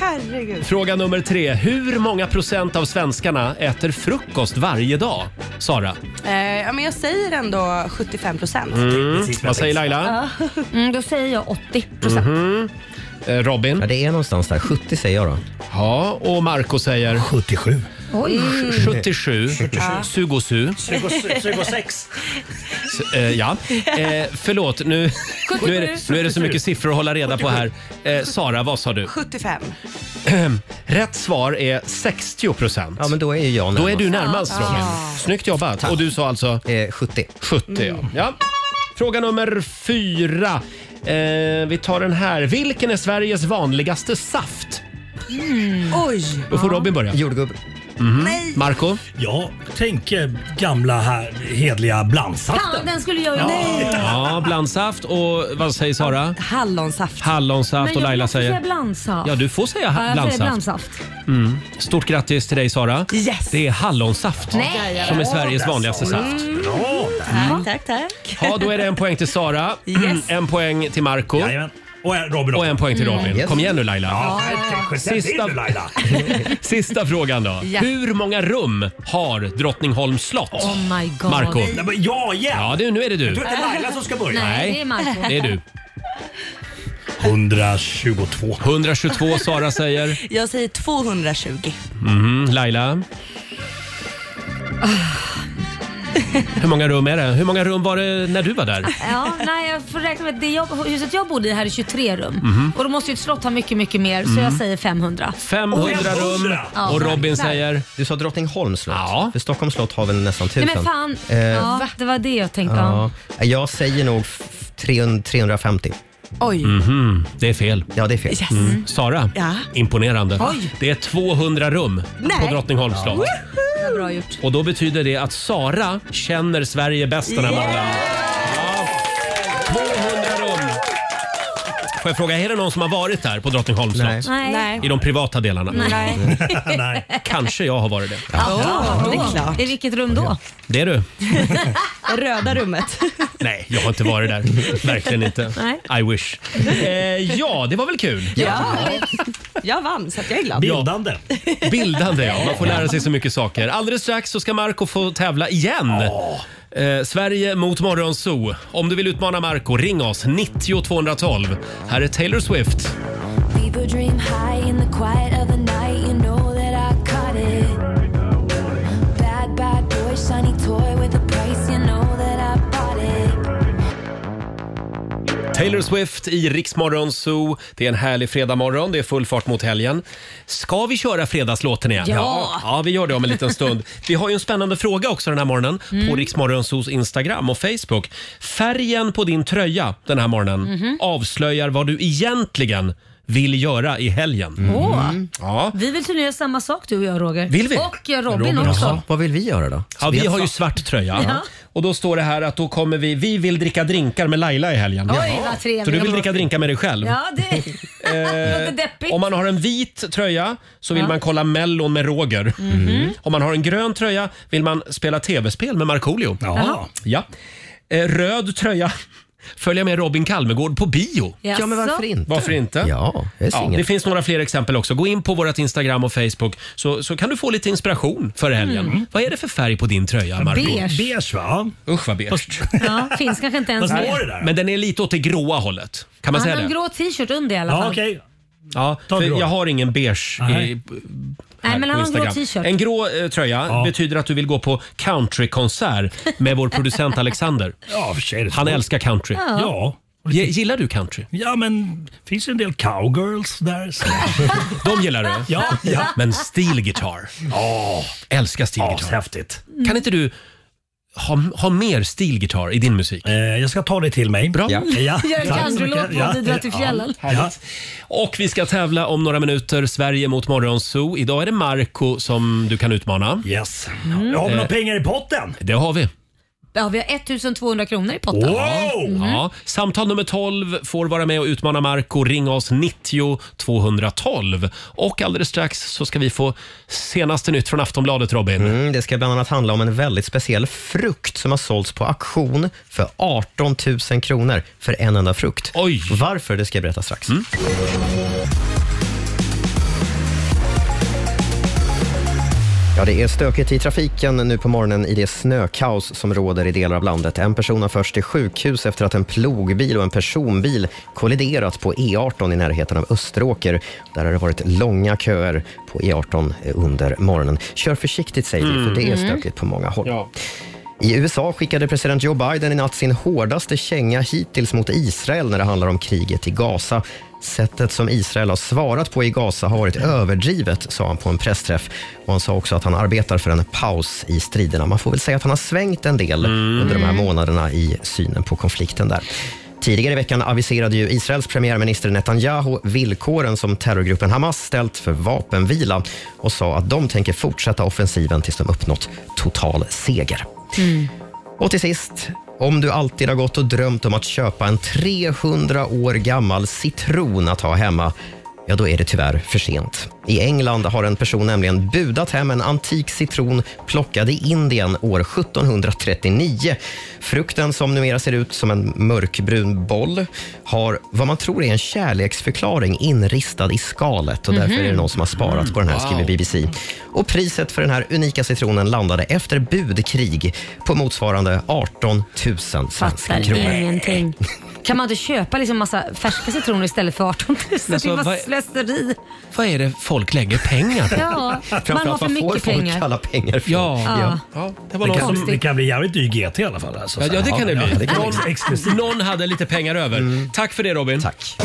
S4: Herregud.
S1: Fråga nummer tre. Hur många procent av svenskarna äter frukost varje dag? Sara?
S4: Eh, ja, men jag säger ändå 75 procent.
S1: Mm. Vad säger Laila?
S2: Mm, då säger jag 80
S1: Mhm. Eh, Robin?
S3: Ja, det är någonstans där. 70 säger jag då.
S1: Ja, och Marco säger?
S10: 77.
S2: Oj.
S11: Mm.
S1: 77.
S2: Ja.
S1: Sugosu.
S10: 26.
S1: Eh, ja. Eh, förlåt, nu, nu, är det, nu är det så mycket siffror att hålla reda på här. Eh, Sara, vad sa du?
S4: 75.
S2: Mm.
S1: Rätt svar är 60 procent. Ja, men
S3: då är ju jag
S1: Då är du närmast
S4: Ja.
S1: Robin.
S4: Ja.
S1: Snyggt jobbat. Och du sa alltså?
S3: 70.
S1: 70 ja. ja. Fråga nummer fyra. Eh, vi tar den här. Vilken är Sveriges vanligaste saft?
S4: Oj.
S1: Då får Robin börja. Mhm.
S3: Jordgubb.
S2: Nej.
S1: Marco?
S10: Jag tänker eh, gamla här, hedliga blandsaften.
S2: Fan, den skulle jag ju...
S1: Ja, blandsaft och vad säger Sara?
S4: Hallonsaft.
S2: Men
S1: Hallonsaft och
S2: jag
S1: Laila
S2: måste säga
S1: säger?
S2: blandsaft.
S1: Ja, du får säga
S2: Ja,
S1: ha-
S2: jag säger
S1: blandsaft.
S2: blandsaft.
S1: Mm. Stort grattis till dig Sara.
S2: Yes.
S1: Det är hallonsaft
S2: Nej.
S1: som är Sveriges
S2: Bra
S1: vanligaste
S2: där, Sara.
S1: saft.
S10: Bra
S4: Tack, tack, tack.
S1: Ja, då är det en poäng till Sara, Mm, en poäng till Marco
S10: och,
S1: och en poäng till
S10: Mm.
S1: Robin.
S10: Yes.
S1: Kom igen nu Laila.
S10: Ja, kanske. Sätt in nu, Laila.
S1: Sista frågan då.
S2: Ja.
S1: Hur många rum har Drottningholms slott?
S2: Oh my god.
S1: Marco.
S2: Nej,
S10: men jag igen!
S1: Ja, det, nu är det du.
S10: Jag tror att det är Laila som ska börja.
S2: Nej, det är Marco.
S1: Det är du.
S10: 122.
S1: 122 Sara säger.
S4: Jag säger 220.
S1: Mhm, Laila.
S2: Ah.
S1: Hur många rum är det? Hur många rum var det när du var där?
S2: Ja, nej, jag får räkna med att det jag, huset jag bodde i här är 23 rum.
S1: Mhm.
S2: Och då måste ju ett slott ha mycket, mycket mer. Så
S1: Mm.
S2: jag säger 500.
S1: 500 rum
S2: Ja.
S1: och Robin
S2: Jäklar.
S1: säger?
S3: Du sa Drottningholms slott. För Stockholms slott har väl nästan
S2: Nej
S3: tusen.
S2: men fan.
S3: Eh,
S2: ja, det var det jag tänkte. Ja.
S3: ja. Jag säger nog f- 300 350.
S2: Oj.
S1: Mhm, det är fel.
S3: Ja, det är fel.
S1: Mm. Sara,
S2: Ja.
S1: imponerande.
S2: Oj.
S1: Det är 200 rum på
S2: Nej.
S1: Drottningholms slott.
S2: Det var bra gjort.
S1: Och då betyder det att Sara känner Sverige bäst den här
S2: Yeah!
S1: måndagen. Ja. 200 rum. Får jag fråga, är det någon som har varit där på Drottningholms slott?
S4: Nej. Nej.
S1: I de privata delarna?
S4: Nej.
S1: Kanske jag har varit det.
S2: Ja,
S4: det är
S2: I vilket rum då?
S1: Det är du.
S4: Det Ah. röda rummet.
S1: Nej, jag har inte varit där. Verkligen inte.
S4: Nej.
S1: I wish. Eh, ja, det var väl kul?
S4: Ja. Jag vann så att jag är glad.
S1: Ja. Bildande, ja. Man får lära sig så mycket saker. Alldeles strax så ska Marco få tävla igen. Eh, Sverige mot Morgonzoo. Om du vill utmana Marco, ring oss. 90 212. Här är Taylor Swift.
S11: Fever dream high in the quiet of the night. You know that I caught it. Bad, bad boy, shiny toy with a price. You know that I bought it.
S1: Taylor Swift i Rix Morgonzoo. Det är en härlig fredagmorgon. Det är full fart mot helgen. Ska vi köra fredagslåten igen?
S11: Ja.
S1: Ja, vi gör det om en liten stund. Vi har ju en spännande fråga också den här morgonen på
S2: Mm.
S1: Rix Morgonzoos Instagram och Facebook. Färgen på din tröja den här morgonen
S2: Mhm.
S1: avslöjar vad du egentligen vill göra i helgen.
S2: Mm. Åh.
S1: Ja.
S2: Vi vill tydligen göra samma sak du och jag Roger.
S1: Vill vi?
S2: Och jag, Robin, också.
S1: Vad vill vi göra då? Ja, vi har ju svart tröja.
S2: Ja.
S1: Och då står det här att då kommer vi, vi vill dricka drinkar med Laila i helgen.
S2: Oj, Jaha. vad trevligt.
S1: Så du vill dricka drinkar med dig själv?
S2: Ja, det låter deppigt.
S1: Eh, Om man har en vit tröja så vill
S2: Ja.
S1: man kolla Mellon med Roger.
S2: Mhm.
S1: Om man har en grön tröja vill man spela tv-spel med Markoolio.
S2: Jaha.
S1: Ja. Eh, Röd tröja följa med Robin Kalmegård på bio.
S3: Ja, men varför inte?
S1: Varför inte?
S3: Ja, jag är
S1: Ja,
S3: singel.
S1: det finns några fler exempel också. Gå in på vårt Instagram och Facebook så, så kan du få lite inspiration för helgen.
S2: Mm.
S1: Vad är det för färg på din tröja, Marco?
S2: Beige.
S10: Beige, va?
S1: Usch vad beige.
S2: Ja, finns kanske inte ens
S1: Nej, Men den är lite åt det gråa hållet. Kan man
S2: Han
S1: säga
S2: har en
S1: det?
S2: grå t-shirt under i alla fall.
S1: Ja, för jag har ingen beige i,
S2: Nej, men
S1: på
S2: han har en grå
S1: Instagram.
S2: t-shirt.
S1: En grå eh, tröja betyder att du vill gå på countrykonsert med vår producent Alexander.
S10: Ja, för sig är det så.
S1: Han älskar country.
S10: Ja. Ja.
S1: Ge- Gillar du country?
S10: Ja, men finns det en del cowgirls där? Så.
S1: De gillar du?
S10: Ja, ja.
S1: Men steel guitar.
S10: Ja.
S1: Älskar steel guitar.
S10: häftigt.
S1: Kan inte du ha, ha mer steel guitar i din musik?
S10: Eh, jag ska ta det till mig.
S1: Bra.
S10: Ja. Ja, Gör en tack så countrylåt mycket. på Ja,
S1: du
S10: att du drar till ja, fjällen. härligt.
S1: Och vi ska tävla om några minuter. Sverige mot Morgonzoo. Idag är det Marco som du kan utmana. Eh.
S10: Yes. Har vi några pengar i potten?
S1: Det har vi.
S2: Ja, vi har 1200 kronor i potten. Mm.
S1: Ja. Samtal nummer 12 får vara med och utmana Marco. Ring oss 90 212. Och alldeles strax så ska vi få senaste nytt från Aftonbladet, Robin.
S3: Mm, det ska bland annat handla om en väldigt speciell frukt som har sålts på auktion för 18 000 kronor för en enda frukt.
S1: Oj. Mm.
S3: Varför, det ska jag berätta strax. Ja, det är stökigt i trafiken nu på morgonen i det snökaos som råder i delar av landet. En person har först till sjukhus efter att en plogbil och en personbil kolliderat på E18 i närheten av Österåker. Där har det varit långa köer på E18 under morgonen. Kör försiktigt säger vi,
S11: Mm.
S3: för det är
S11: Mm.
S3: stökigt på många håll. I USA skickade president Joe Biden i natt sin hårdaste känga hittills mot Israel när det handlar om kriget i Gaza. Sättet som Israel har svarat på i Gaza har varit överdrivet, sa han på en pressträff. Och han sa också att han arbetar för en paus i striderna. Man får väl säga att han har svängt en del under de här månaderna i synen på konflikten där. Tidigare i veckan aviserade ju Israels premiärminister Netanyahu villkoren som terrorgruppen Hamas ställt för vapenvila och sa att de tänker fortsätta offensiven tills de uppnått total seger. Mm. Och till sist, om du alltid har gått och drömt om att köpa en 300 år gammal citron att ha hemma, ja då är det tyvärr för sent. I England har en person nämligen budat hem en antik citron plockad i Indien år 1739. Frukten, som numera ser ut som en mörkbrun boll, har vad man tror är en kärleksförklaring inristad i skalet och därför är det
S20: Mhm.
S3: någon som har sparat på den här,
S20: Wow.
S3: skriver BBC. Och priset för den här unika citronen landade efter budkrig på motsvarande 18 000 svenska
S2: Fattar
S3: kronor.
S2: ingenting. Kan man inte köpa liksom massa färska citroner istället för 18 000? det
S1: Alltså,
S2: är bara
S1: vad-
S2: slöseri.
S1: Vad är det folk lägger pengar på?
S2: Ja, man har för mycket pengar.
S3: pengar
S1: från? Ja,
S2: Ja.
S1: ja. det var
S10: det,
S1: någon
S10: kan,
S1: som...
S10: det kan bli jävligt dyr GT i alla fall. Alltså,
S1: Ja, ja, det kan det
S10: Ja,
S1: bli.
S10: kan
S1: Någon,
S10: bli.
S1: någon hade lite pengar över. Tack för det Robin. Mm. Tack.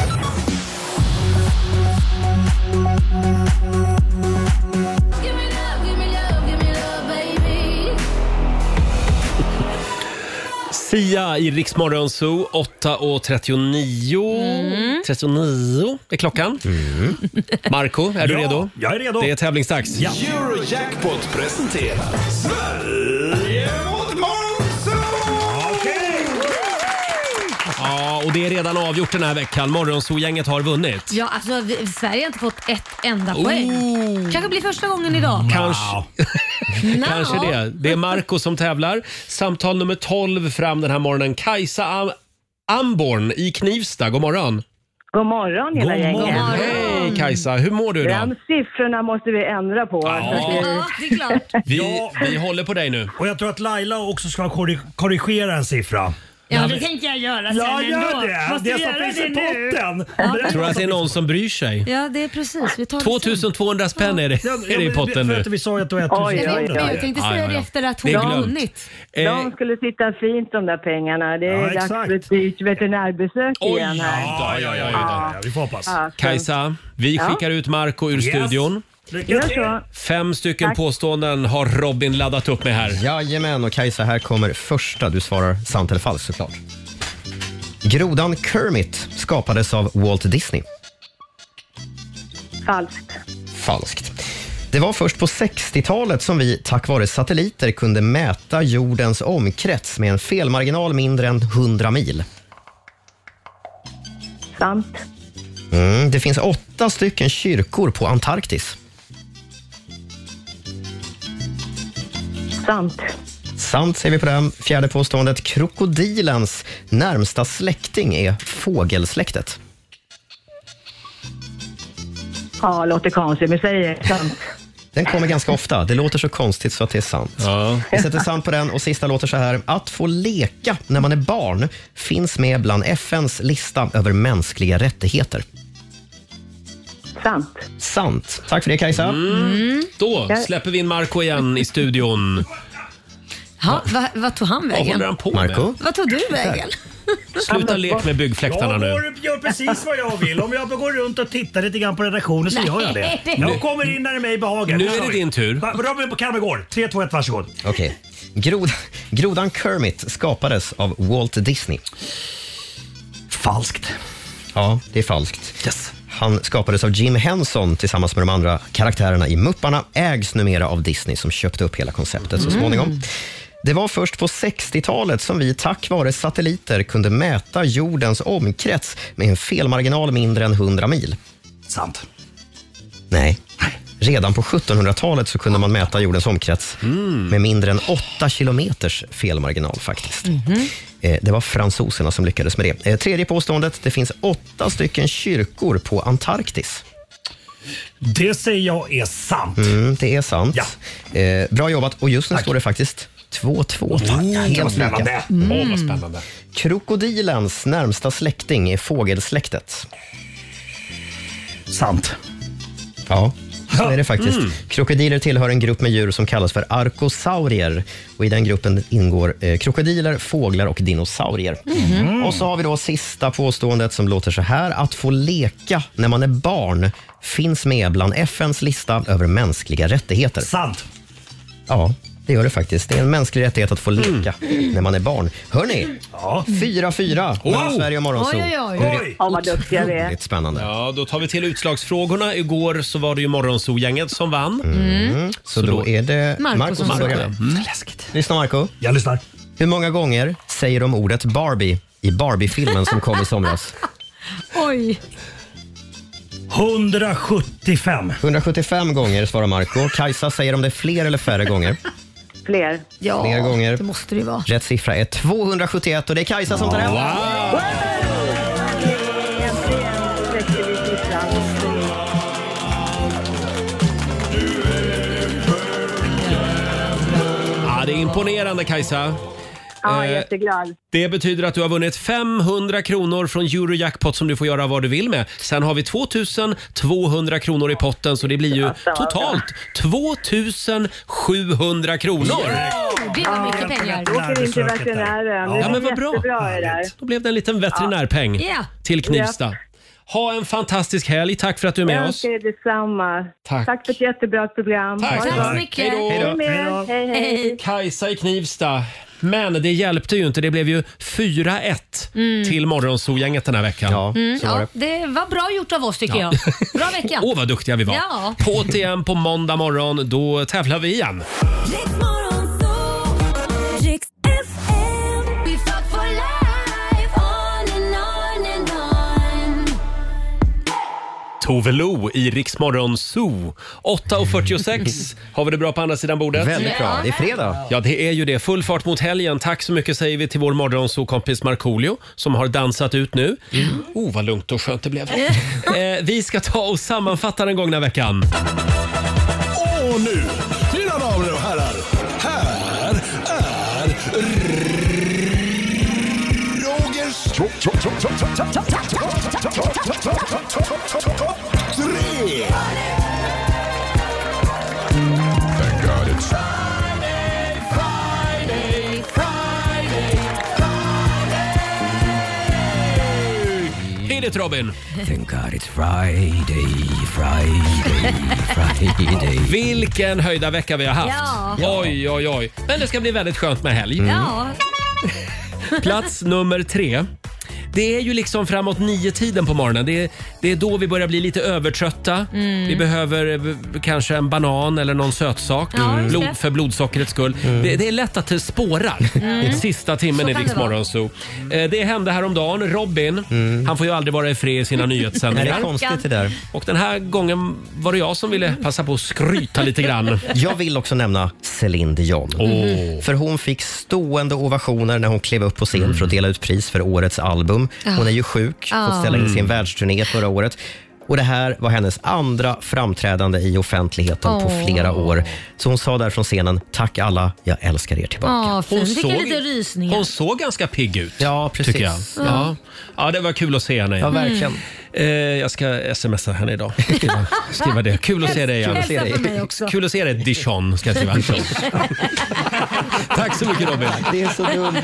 S1: Sia i Rix Morgon Zoo, 8.39.
S9: Mm.
S1: 39 är klockan. Marco, är du
S9: Ja,
S1: redo?
S9: jag är redo.
S1: Det är tävlingsdags.
S9: Eurojackpot presenterar Sverige mot
S1: Ja, och det är redan avgjort den här veckan. Morgonzoo-gänget har vunnit.
S2: Ja, alltså, vi, Sverige har inte fått ett enda poäng. kanske blir första gången idag.
S1: Oh. Kanske,
S2: Nå.
S1: kanske det. Det är Marco som tävlar. Samtal nummer 12 fram den här morgonen. Kajsa Am- Amborn i Knivsta. God morgon.
S21: God morgon hela
S1: God
S21: gänget.
S1: morgon. Hej Kajsa, hur mår du idag?
S21: Den siffrorna måste vi ändra på. Så att det-
S1: Vi, vi håller på dig nu.
S10: Och jag tror att Laila också ska korri- korrigera en siffra.
S2: Ja, det tänkte jag göra sen
S10: Ja, gör
S2: ändå.
S10: det.
S2: Måste
S10: Det
S2: vi
S10: som
S2: göra
S10: finns
S2: det
S10: i
S2: nu?
S10: potten.
S1: Jag tror att det är någon som bryr sig.
S2: Ja, det är precis. Vi tar det sen.
S1: 2200 spänn är det,
S10: Ja,
S1: är det i
S10: men
S1: potten
S10: för
S1: nu.
S10: att vi sa ju att det var ett
S21: Oj, oj, oj.
S2: Jag tänkte säga det efter att hon
S1: Det är
S2: har
S1: glömt. Eh,
S2: vunnit.
S21: De skulle sitta fint de där pengarna. Det är
S1: Ja,
S21: dags
S1: exakt.
S21: för ett dyrt veterinärbesök
S1: Oj,
S21: igen här.
S1: ja, ja,
S21: Ja.
S1: ja, ja.
S10: Vi får hoppas.
S21: Ja, så-
S1: Kajsa, vi
S21: Ja.
S1: skickar ut Marco ur
S21: Yes.
S1: studion.
S21: Gör så.
S1: Fem stycken
S21: Tack.
S1: påståenden har Robin laddat upp med här.
S3: Jajamän, och Kajsa, här kommer första. Du svarar sant eller falskt såklart. Grodan Kermit skapades av Walt Disney.
S21: Falskt.
S3: Falskt. Det var först på 60-talet som vi tack vare satelliter kunde mäta jordens omkrets med en felmarginal mindre än 100 mil.
S21: Sant.
S3: Mm, det finns åtta stycken kyrkor på Antarktis.
S21: Sant.
S3: Sant säger vi på den. Fjärde påståendet. Krokodilens närmsta släkting är fågelsläktet.
S21: Ja, låter konstigt men säger sant.
S3: Den kommer ganska ofta. Det låter så konstigt så att det är sant. Vi sätter sant på den och sista låter så här. Att få leka när man är barn finns med bland FNs lista över mänskliga rättigheter.
S21: Sant.
S3: Sant. Tack för det Kajsa.
S1: Mm.
S3: Mm.
S1: Då släpper vi in Marco igen i studion.
S2: Ja, vad, vad tog han
S1: Vad
S2: vägen?
S1: håller han på med? Marco?
S2: Vad tog du vägen?
S1: Sluta lek med byggfläktarna
S10: Jag
S1: nu.
S10: går, gör precis vad jag vill. Om jag bara går runt och tittar lite grann på redaktionen så
S2: Nej.
S10: gör jag det.
S3: Nu-
S10: Jag kommer in när det mig behagar.
S3: Nu är det din tur.
S10: Va- Robin Calmegård, 3, 2, 1, varsågod.
S3: Okej. Grod, grodan Kermit skapades av Walt Disney. Falskt. Ja, det är falskt. Yes. Han skapades av Jim Henson tillsammans med de andra karaktärerna i Mupparna. Ägs numera av Disney som köpte upp hela konceptet så
S20: Mm.
S3: småningom. Det var först på 60-talet som vi tack vare satelliter kunde mäta jordens omkrets med en felmarginal mindre än 100 mil.
S10: Sant.
S3: Nej. Redan på 1700-talet så kunde man mäta jordens omkrets med mindre än 8 kilometers felmarginal faktiskt.
S2: Mhm.
S3: Eh, Det var fransoserna som lyckades med det. Eh, Tredje påståendet, det finns åtta stycken kyrkor på Antarktis.
S10: Det säger jag är sant.
S3: Mm, det är sant. Eh, Bra jobbat och just nu står det faktiskt 2-2.
S10: Jäklar vad spännande. Åh, vad spännande.
S3: Krokodilens närmsta släkting är fågelsläktet.
S10: Sant.
S3: Ja, så är det faktiskt.
S10: Mm.
S3: Krokodiler tillhör en grupp med djur som kallas för arkosaurier. Och I den gruppen ingår eh, krokodiler, fåglar och dinosaurier.
S20: Mhm.
S3: Och så har vi då sista påståendet som låter så här. Att få leka när man är barn finns med bland FNs lista över mänskliga rättigheter.
S10: Sant.
S3: Ja, Det gör det faktiskt. Det är en mänsklig rättighet att få leka när man är barn. Hörni, 4-4 mellan
S1: Wow.
S3: Sverige och Morgonzoo.
S1: Oj, oj, oj.
S3: Nu är det
S1: Oj. Ja, vad duktiga vi är.
S3: otroligt spännande.
S1: Ja, då tar vi till utslagsfrågorna. Igår så var det ju Morgonzoo-gänget som vann.
S3: Mm. Så då är det
S1: Marco
S3: Marco som
S1: som
S3: börjar.
S1: börjar.
S3: Mm. Lyssna Marco.
S10: Jag lyssnar.
S3: Hur många gånger säger de ordet Barbie i Barbie-filmen som kom i somras?
S2: Mm. Oj.
S10: 175.
S3: 175 gånger svarar Marco. Kajsa, säger de det fler eller färre gånger?
S21: Fler.
S2: Ja,
S3: fler gånger.
S2: det måste det ju vara.
S3: Rätt siffra är 271 och det är Kajsa som tar hem den.
S1: Ja, det är imponerande Kajsa.
S21: Ja,
S1: Eh,
S21: jätteglad.
S1: Det betyder att du har vunnit 500 kronor från Eurojackpot som du får göra vad du vill med. Sen har vi 2200 kronor i potten så det blir ju totalt 2700 kronor.
S2: Det var mycket pengar.
S21: Då åker vi till veterinären.
S1: Ja,
S21: Det blir
S1: men vad bra.
S21: jättebra det där.
S1: Då blev det en liten veterinärpeng
S21: Ja.
S1: till Knivsta. Ha en fantastisk helg. Tack för att du är med
S21: Jag
S1: oss.
S21: önskar er detsamma.
S1: Tack.
S21: för ett jättebra program.
S1: Tack.
S21: Ha det
S1: Tack så
S21: bra.
S1: mycket. Hej då.
S21: Hej med
S1: Hej då.
S21: er. Hej, hej.
S1: Kajsa i Knivsta. Men det hjälpte ju inte. Det blev ju 4-1
S2: Mm.
S1: till Morgonzoo-gänget den här veckan. Ja,
S2: Mm, ja, det var bra gjort av oss tycker
S1: Ja.
S2: jag. Bra vecka.
S1: Åh, vad duktiga vi var.
S2: Ja.
S1: På återigen på måndag morgon, då tävlar vi igen. Tove Lo i Rix Morgon Zoo. 8.46. Har vi det bra på andra sidan bordet?
S3: Väldigt bra. Det är fredag.
S1: Ja, det är ju det. Full fart mot helgen. Tack så mycket säger vi till vår morgonsokompis Markoolio som har dansat ut nu. Oh, vad lugnt och skönt det blev. eh, vi ska ta och sammanfatta den gångna veckan.
S9: Och nu, mina damer och herrar, här är Rogers... Tre! Thank God it's...
S1: Hej det Robin!
S3: Thank God it's Friday, Friday, Friday.
S1: Vilken höjda vecka vi har
S2: Ja.
S1: haft.
S2: Ja. Mm.
S1: Oj, oj, oj. Men det ska bli väldigt skönt med helg.
S2: Ja.
S1: Plats nummer tre. Det är ju liksom framåt nio tiden på morgonen. Det är, det är då vi börjar bli lite övertrötta.
S2: Mm.
S1: Vi behöver eh, b- kanske en banan eller någon sötsak
S2: Ja, just
S1: blod,
S2: det.
S1: för blodsockrets skull. Det, det är lätt att det spårar
S2: Mm.
S1: sista timmen
S2: Så
S1: i
S2: kan
S1: Rix
S2: det vara.
S1: Morgonzoo. Eh, Det hände häromdagen. Robin, han får ju aldrig vara i fred i sina nyhetssändningar.
S3: Nej, Mm. det är konstigt det där.
S1: Och den här gången var det jag som ville passa på att skryta lite grann.
S3: Jag vill också nämna Céline Dion.
S1: Åh.
S3: För hon fick stående ovationer när hon klev upp på scen för att dela ut pris för årets album. Hon är ju sjuk,
S1: Ah.
S3: fått ställa in sin
S1: Mm.
S3: världsturné förra året. Och Det här var hennes andra framträdande i offentligheten på
S2: Åh.
S3: flera år. Så hon sa där från scenen, tack alla, jag älskar er tillbaka.
S2: Ja, fin.
S1: Hon
S2: Fick jag
S1: såg-
S2: lite rysningar.
S1: Hon såg ganska pigg ut.
S3: Ja, precis.
S1: Tycker jag. Ja. ja, det var kul att se henne.
S3: Ja, verkligen.
S1: Eh, jag ska smsa henne idag. Skriva, skriva det. Kul att se dig igen.
S2: Hälsa Kul att se dig. från mig också.
S1: Kul att se dig Dijon, ska jag skriva. Tack så mycket Robin.
S3: Det är så dumt.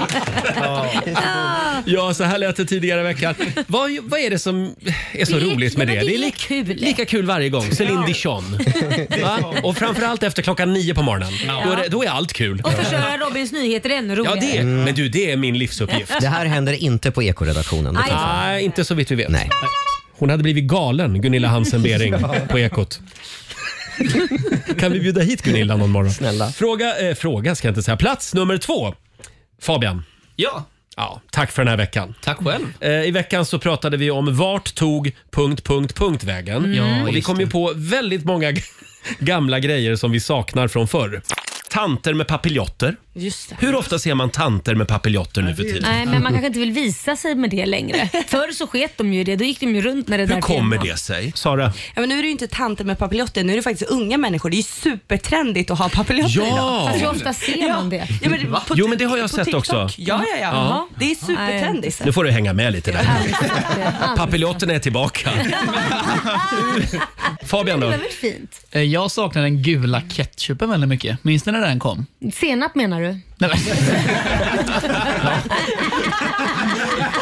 S1: Ja, så här lät det tidigare i veckan. Vad, vad är det som är så
S2: Det är-
S1: roligt med
S2: ja,
S1: det?
S2: men det är
S1: li-
S2: kul.
S1: lika kul varje gång. Céline Dijon. Va? Och framförallt efter klockan nio på morgonen. Då, är det, då är allt kul.
S2: Och förstöra Robins nyheter ännu
S1: Ja,
S2: roligare.
S1: det är, men du, det är min livsuppgift.
S3: Mm. Det här händer inte på Ekoredaktionen. det
S2: Aj.
S3: kan jag säga.
S1: Nej, inte så vitt vi vet. Hon hade blivit galen, Gunilla Hansen-Bering, på Ekot. Kan vi bjuda hit Gunilla någon morgon? Snälla. Fråga, eh, fråga ska jag inte säga. Plats nummer två. Fabian.
S5: Ja.
S1: Ja, tack för den här veckan.
S5: Tack själv.
S1: Eh, I veckan så pratade vi om vart tog punkt, punkt, punkt vägen.
S5: Mm. Ja,
S1: och vi
S5: just
S1: kom ju på väldigt många g- gamla grejer som vi saknar från förr. Tanter med papiljotter.
S2: Just det.
S1: Hur ofta ser man tanter med papiljotter nu för tiden?
S2: Nej, men man kanske inte vill visa sig med det längre. Förr så sket de ju i det. Då gick de ju runt när det där
S1: Hur kommer
S2: temat.
S1: det sig? Sara?
S4: Ja, men nu är det ju inte tanter med papiljotter, nu är det faktiskt unga människor. Det är ju supertrendigt att ha papiljotter
S1: Ja!
S4: idag.
S2: Fast hur ofta ser man det?
S4: Ja, men på
S1: Jo,
S4: Tik-
S1: men det har jag
S4: på
S1: sett
S4: TikTok.
S1: också.
S4: Ja, ja, ja.
S1: Ja.
S4: Det är supertrendigt.
S1: Nu får du hänga med lite där.
S2: Pappa
S1: Papiljotten är tillbaka. Fabian då?
S2: fint.
S5: Eh, Jag saknar den gula ketchupen väldigt mycket. Minns ni när den kom?
S2: Senap menar du?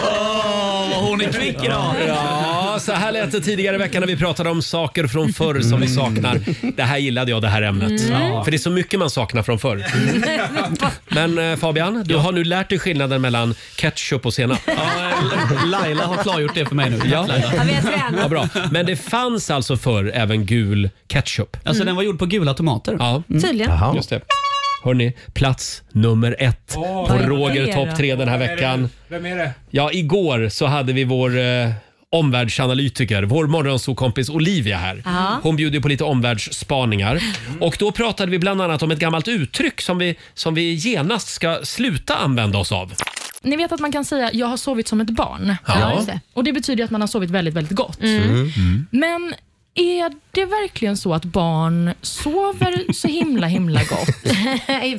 S5: Åh, hon är kvick idag.
S1: Ja, så här lät det tidigare i veckan när vi pratade om saker från förr som vi saknar. Det här gillade jag, det här ämnet.
S2: Mm.
S1: Ja. För det är så mycket man saknar från förr. Men eh, Fabian, du har nu lärt dig skillnaden mellan ketchup och senap.
S5: Laila har klargjort det för mig nu.
S1: Ja.
S5: Tack, Laila. Ja, vi har tränat.
S1: ja, bra. Men det fanns alltså förr även gul ketchup?
S5: Alltså, Mm. den var gjord på gula tomater. Mm.
S1: Ja.
S5: Tydligen.
S1: Jaha. Just det. Hörni, plats nummer ett
S6: Åh.
S1: på
S6: Vad är
S1: Roger
S6: det då?
S1: topp tre den här
S6: Vad är det?
S1: veckan.
S6: Vem är det?
S1: Ja, igår så hade vi vår eh, omvärldsanalytiker, vår morgonsokompis Olivia här.
S2: Ja.
S1: Hon bjuder på lite omvärldsspaningar.
S20: Mm.
S1: Och då pratade vi bland annat om ett gammalt uttryck som vi, som vi genast ska sluta använda oss av.
S20: Ni vet att man kan säga “jag har sovit som ett barn”.
S1: Ja. Ja, just
S20: det. Och Det betyder ju att man har sovit väldigt, väldigt gott.
S1: Mm.
S20: Men är det verkligen så att barn sover så himla, himla gott?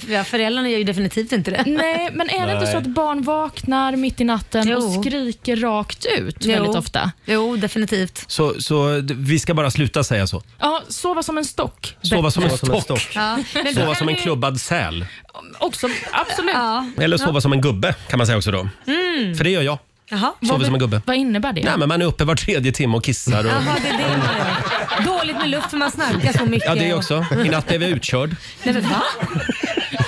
S2: Ja, Föräldrarna gör ju definitivt inte det.
S20: Nej, men är det inte
S2: Nej.
S20: så att barn vaknar mitt i natten
S2: Jo.
S20: och skriker rakt ut
S2: Jo.
S20: väldigt ofta?
S2: Jo, definitivt.
S1: Så, så d- vi ska bara sluta säga så.
S20: Ja, sova som en stock.
S1: Sova som en stock. Sova
S20: Bättre.
S1: som en stock.
S20: Ja. Men då
S1: Sova
S20: kan
S1: som en
S20: du-
S1: klubbad säl.
S20: Också, absolut.
S1: Eller sova som en gubbe kan man säga också då.
S20: Mm.
S1: För det gör jag.
S2: Jaha.
S1: Sover som en gubbe.
S20: Vad innebär det?
S1: Nej, men man är uppe var tredje timme och kissar. Och...
S2: Jaha, det är det man gör. Dåligt med luft för man snarkar så mycket.
S1: Ja, det också. I natt blev jag utkörd.
S2: Nej, men va?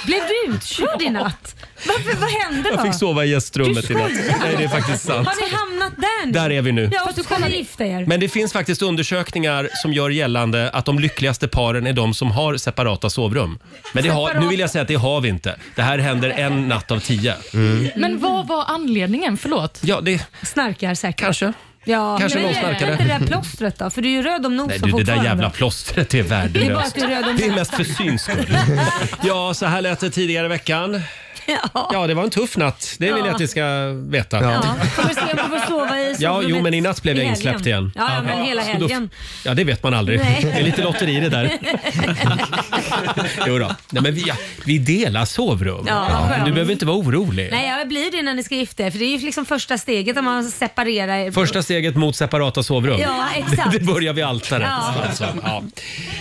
S2: Blev du utkörd i natt? Varför, vad hände då?
S1: Jag fick sova i gästrummet i natt.
S2: skojar.
S1: Nej, det är faktiskt sant.
S2: Har ni hamnat där nu?
S1: Där är vi nu.
S2: Ja, och så kommer ni gifta er.
S1: Men det finns faktiskt undersökningar som gör gällande att de lyckligaste paren är de som har separata sovrum. Men det har, nu vill jag säga att det har vi inte. Det här händer en natt av tio.
S2: Mm.
S20: Men vad var anledningen? Förlåt.
S1: Mm. Ja, det...
S2: Snarkar säkert.
S1: Kanske.
S2: Ja,
S1: Kanske
S2: men
S1: någon
S2: är det
S1: snarkade.
S2: inte det där plåstret då? För du är ju röd om nosen
S1: Nej du, det där
S2: fortfarande.
S1: jävla plåstret det är
S2: Det är bara
S1: värdelöst.
S2: att du är röd om
S1: Det är
S2: näsan.
S1: mest för syns skull. Ja, så här lät det tidigare i veckan.
S2: Ja.
S1: Ja, det var en tuff natt. Det vill jag
S2: Ja.
S1: att ni ska veta.
S2: Ja, får vi se om du får sova i
S1: Ja,
S2: sovrummet
S1: jo, men i natt blev jag
S2: i helgen.
S1: insläppt igen.
S2: Ja, ja, men hela
S1: Så då-
S2: helgen.
S1: Ja, det vet man aldrig.
S2: Nej.
S1: Det är lite lotteri det där. Jo då. Nej, men vi, ja, vi delar sovrum.
S2: Ja, vad skönt.
S1: Du behöver inte vara orolig.
S2: Nej, jag blir det när ni ska gifta er. För det är ju liksom första steget om man separerar er.
S1: Första steget mot separata sovrum.
S2: Ja, exakt.
S1: Det, det börjar vid altaret.
S2: Ja.
S1: Ja. Alltså, ja.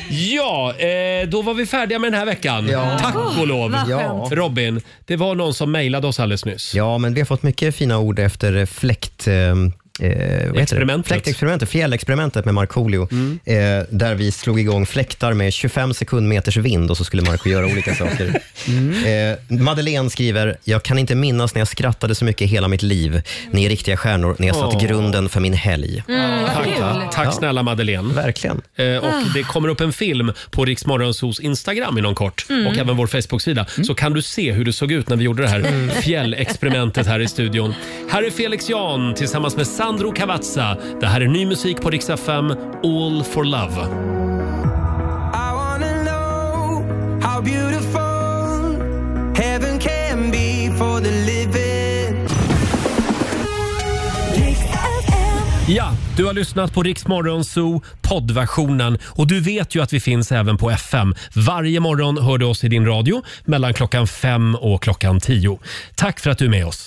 S1: ja, eh, då var vi färdiga med den här veckan. Tack och lov.
S3: Vad skönt.
S1: Robin, det var någon som mejlade oss alldeles nyss.
S3: Ja, men vi har fått mycket fina ord efter fläkt... eh, Eh, vad heter det?
S1: Experimentet.
S3: Fläktexperimentet, fjällexperimentet med Markoolio.
S1: Mm.
S3: Eh, där vi slog igång fläktar med 25 sekundmeters vind och så skulle Marco göra olika saker. Eh, Madeleine skriver, jag kan inte minnas när jag skrattade så mycket i hela mitt liv. Ni är riktiga stjärnor, ni har satt
S1: Åh.
S3: grunden för min helg.
S2: Mm, vad
S1: Tack,
S2: kul.
S1: tack snälla Madeleine.
S3: Verkligen.
S1: Eh, och
S2: Ah.
S1: det kommer upp en film på Riksmorgonsos Instagram inom kort
S2: Mm.
S1: och även vår Facebook-sida. Så kan du se hur det såg ut när vi gjorde det här fjällexperimentet här i studion. Här är Felix Jan tillsammans med Sandro Cavazza. Det här är ny musik på Rix FM, All for Love.
S22: I wanna know how beautiful heaven can be for the living.
S1: Ja, du har lyssnat på Riksmorgonzoo poddversionen och du vet ju att vi finns även på FM. Varje morgon hör du oss i din radio mellan klockan fem och klockan tio. Tack för att du är med oss.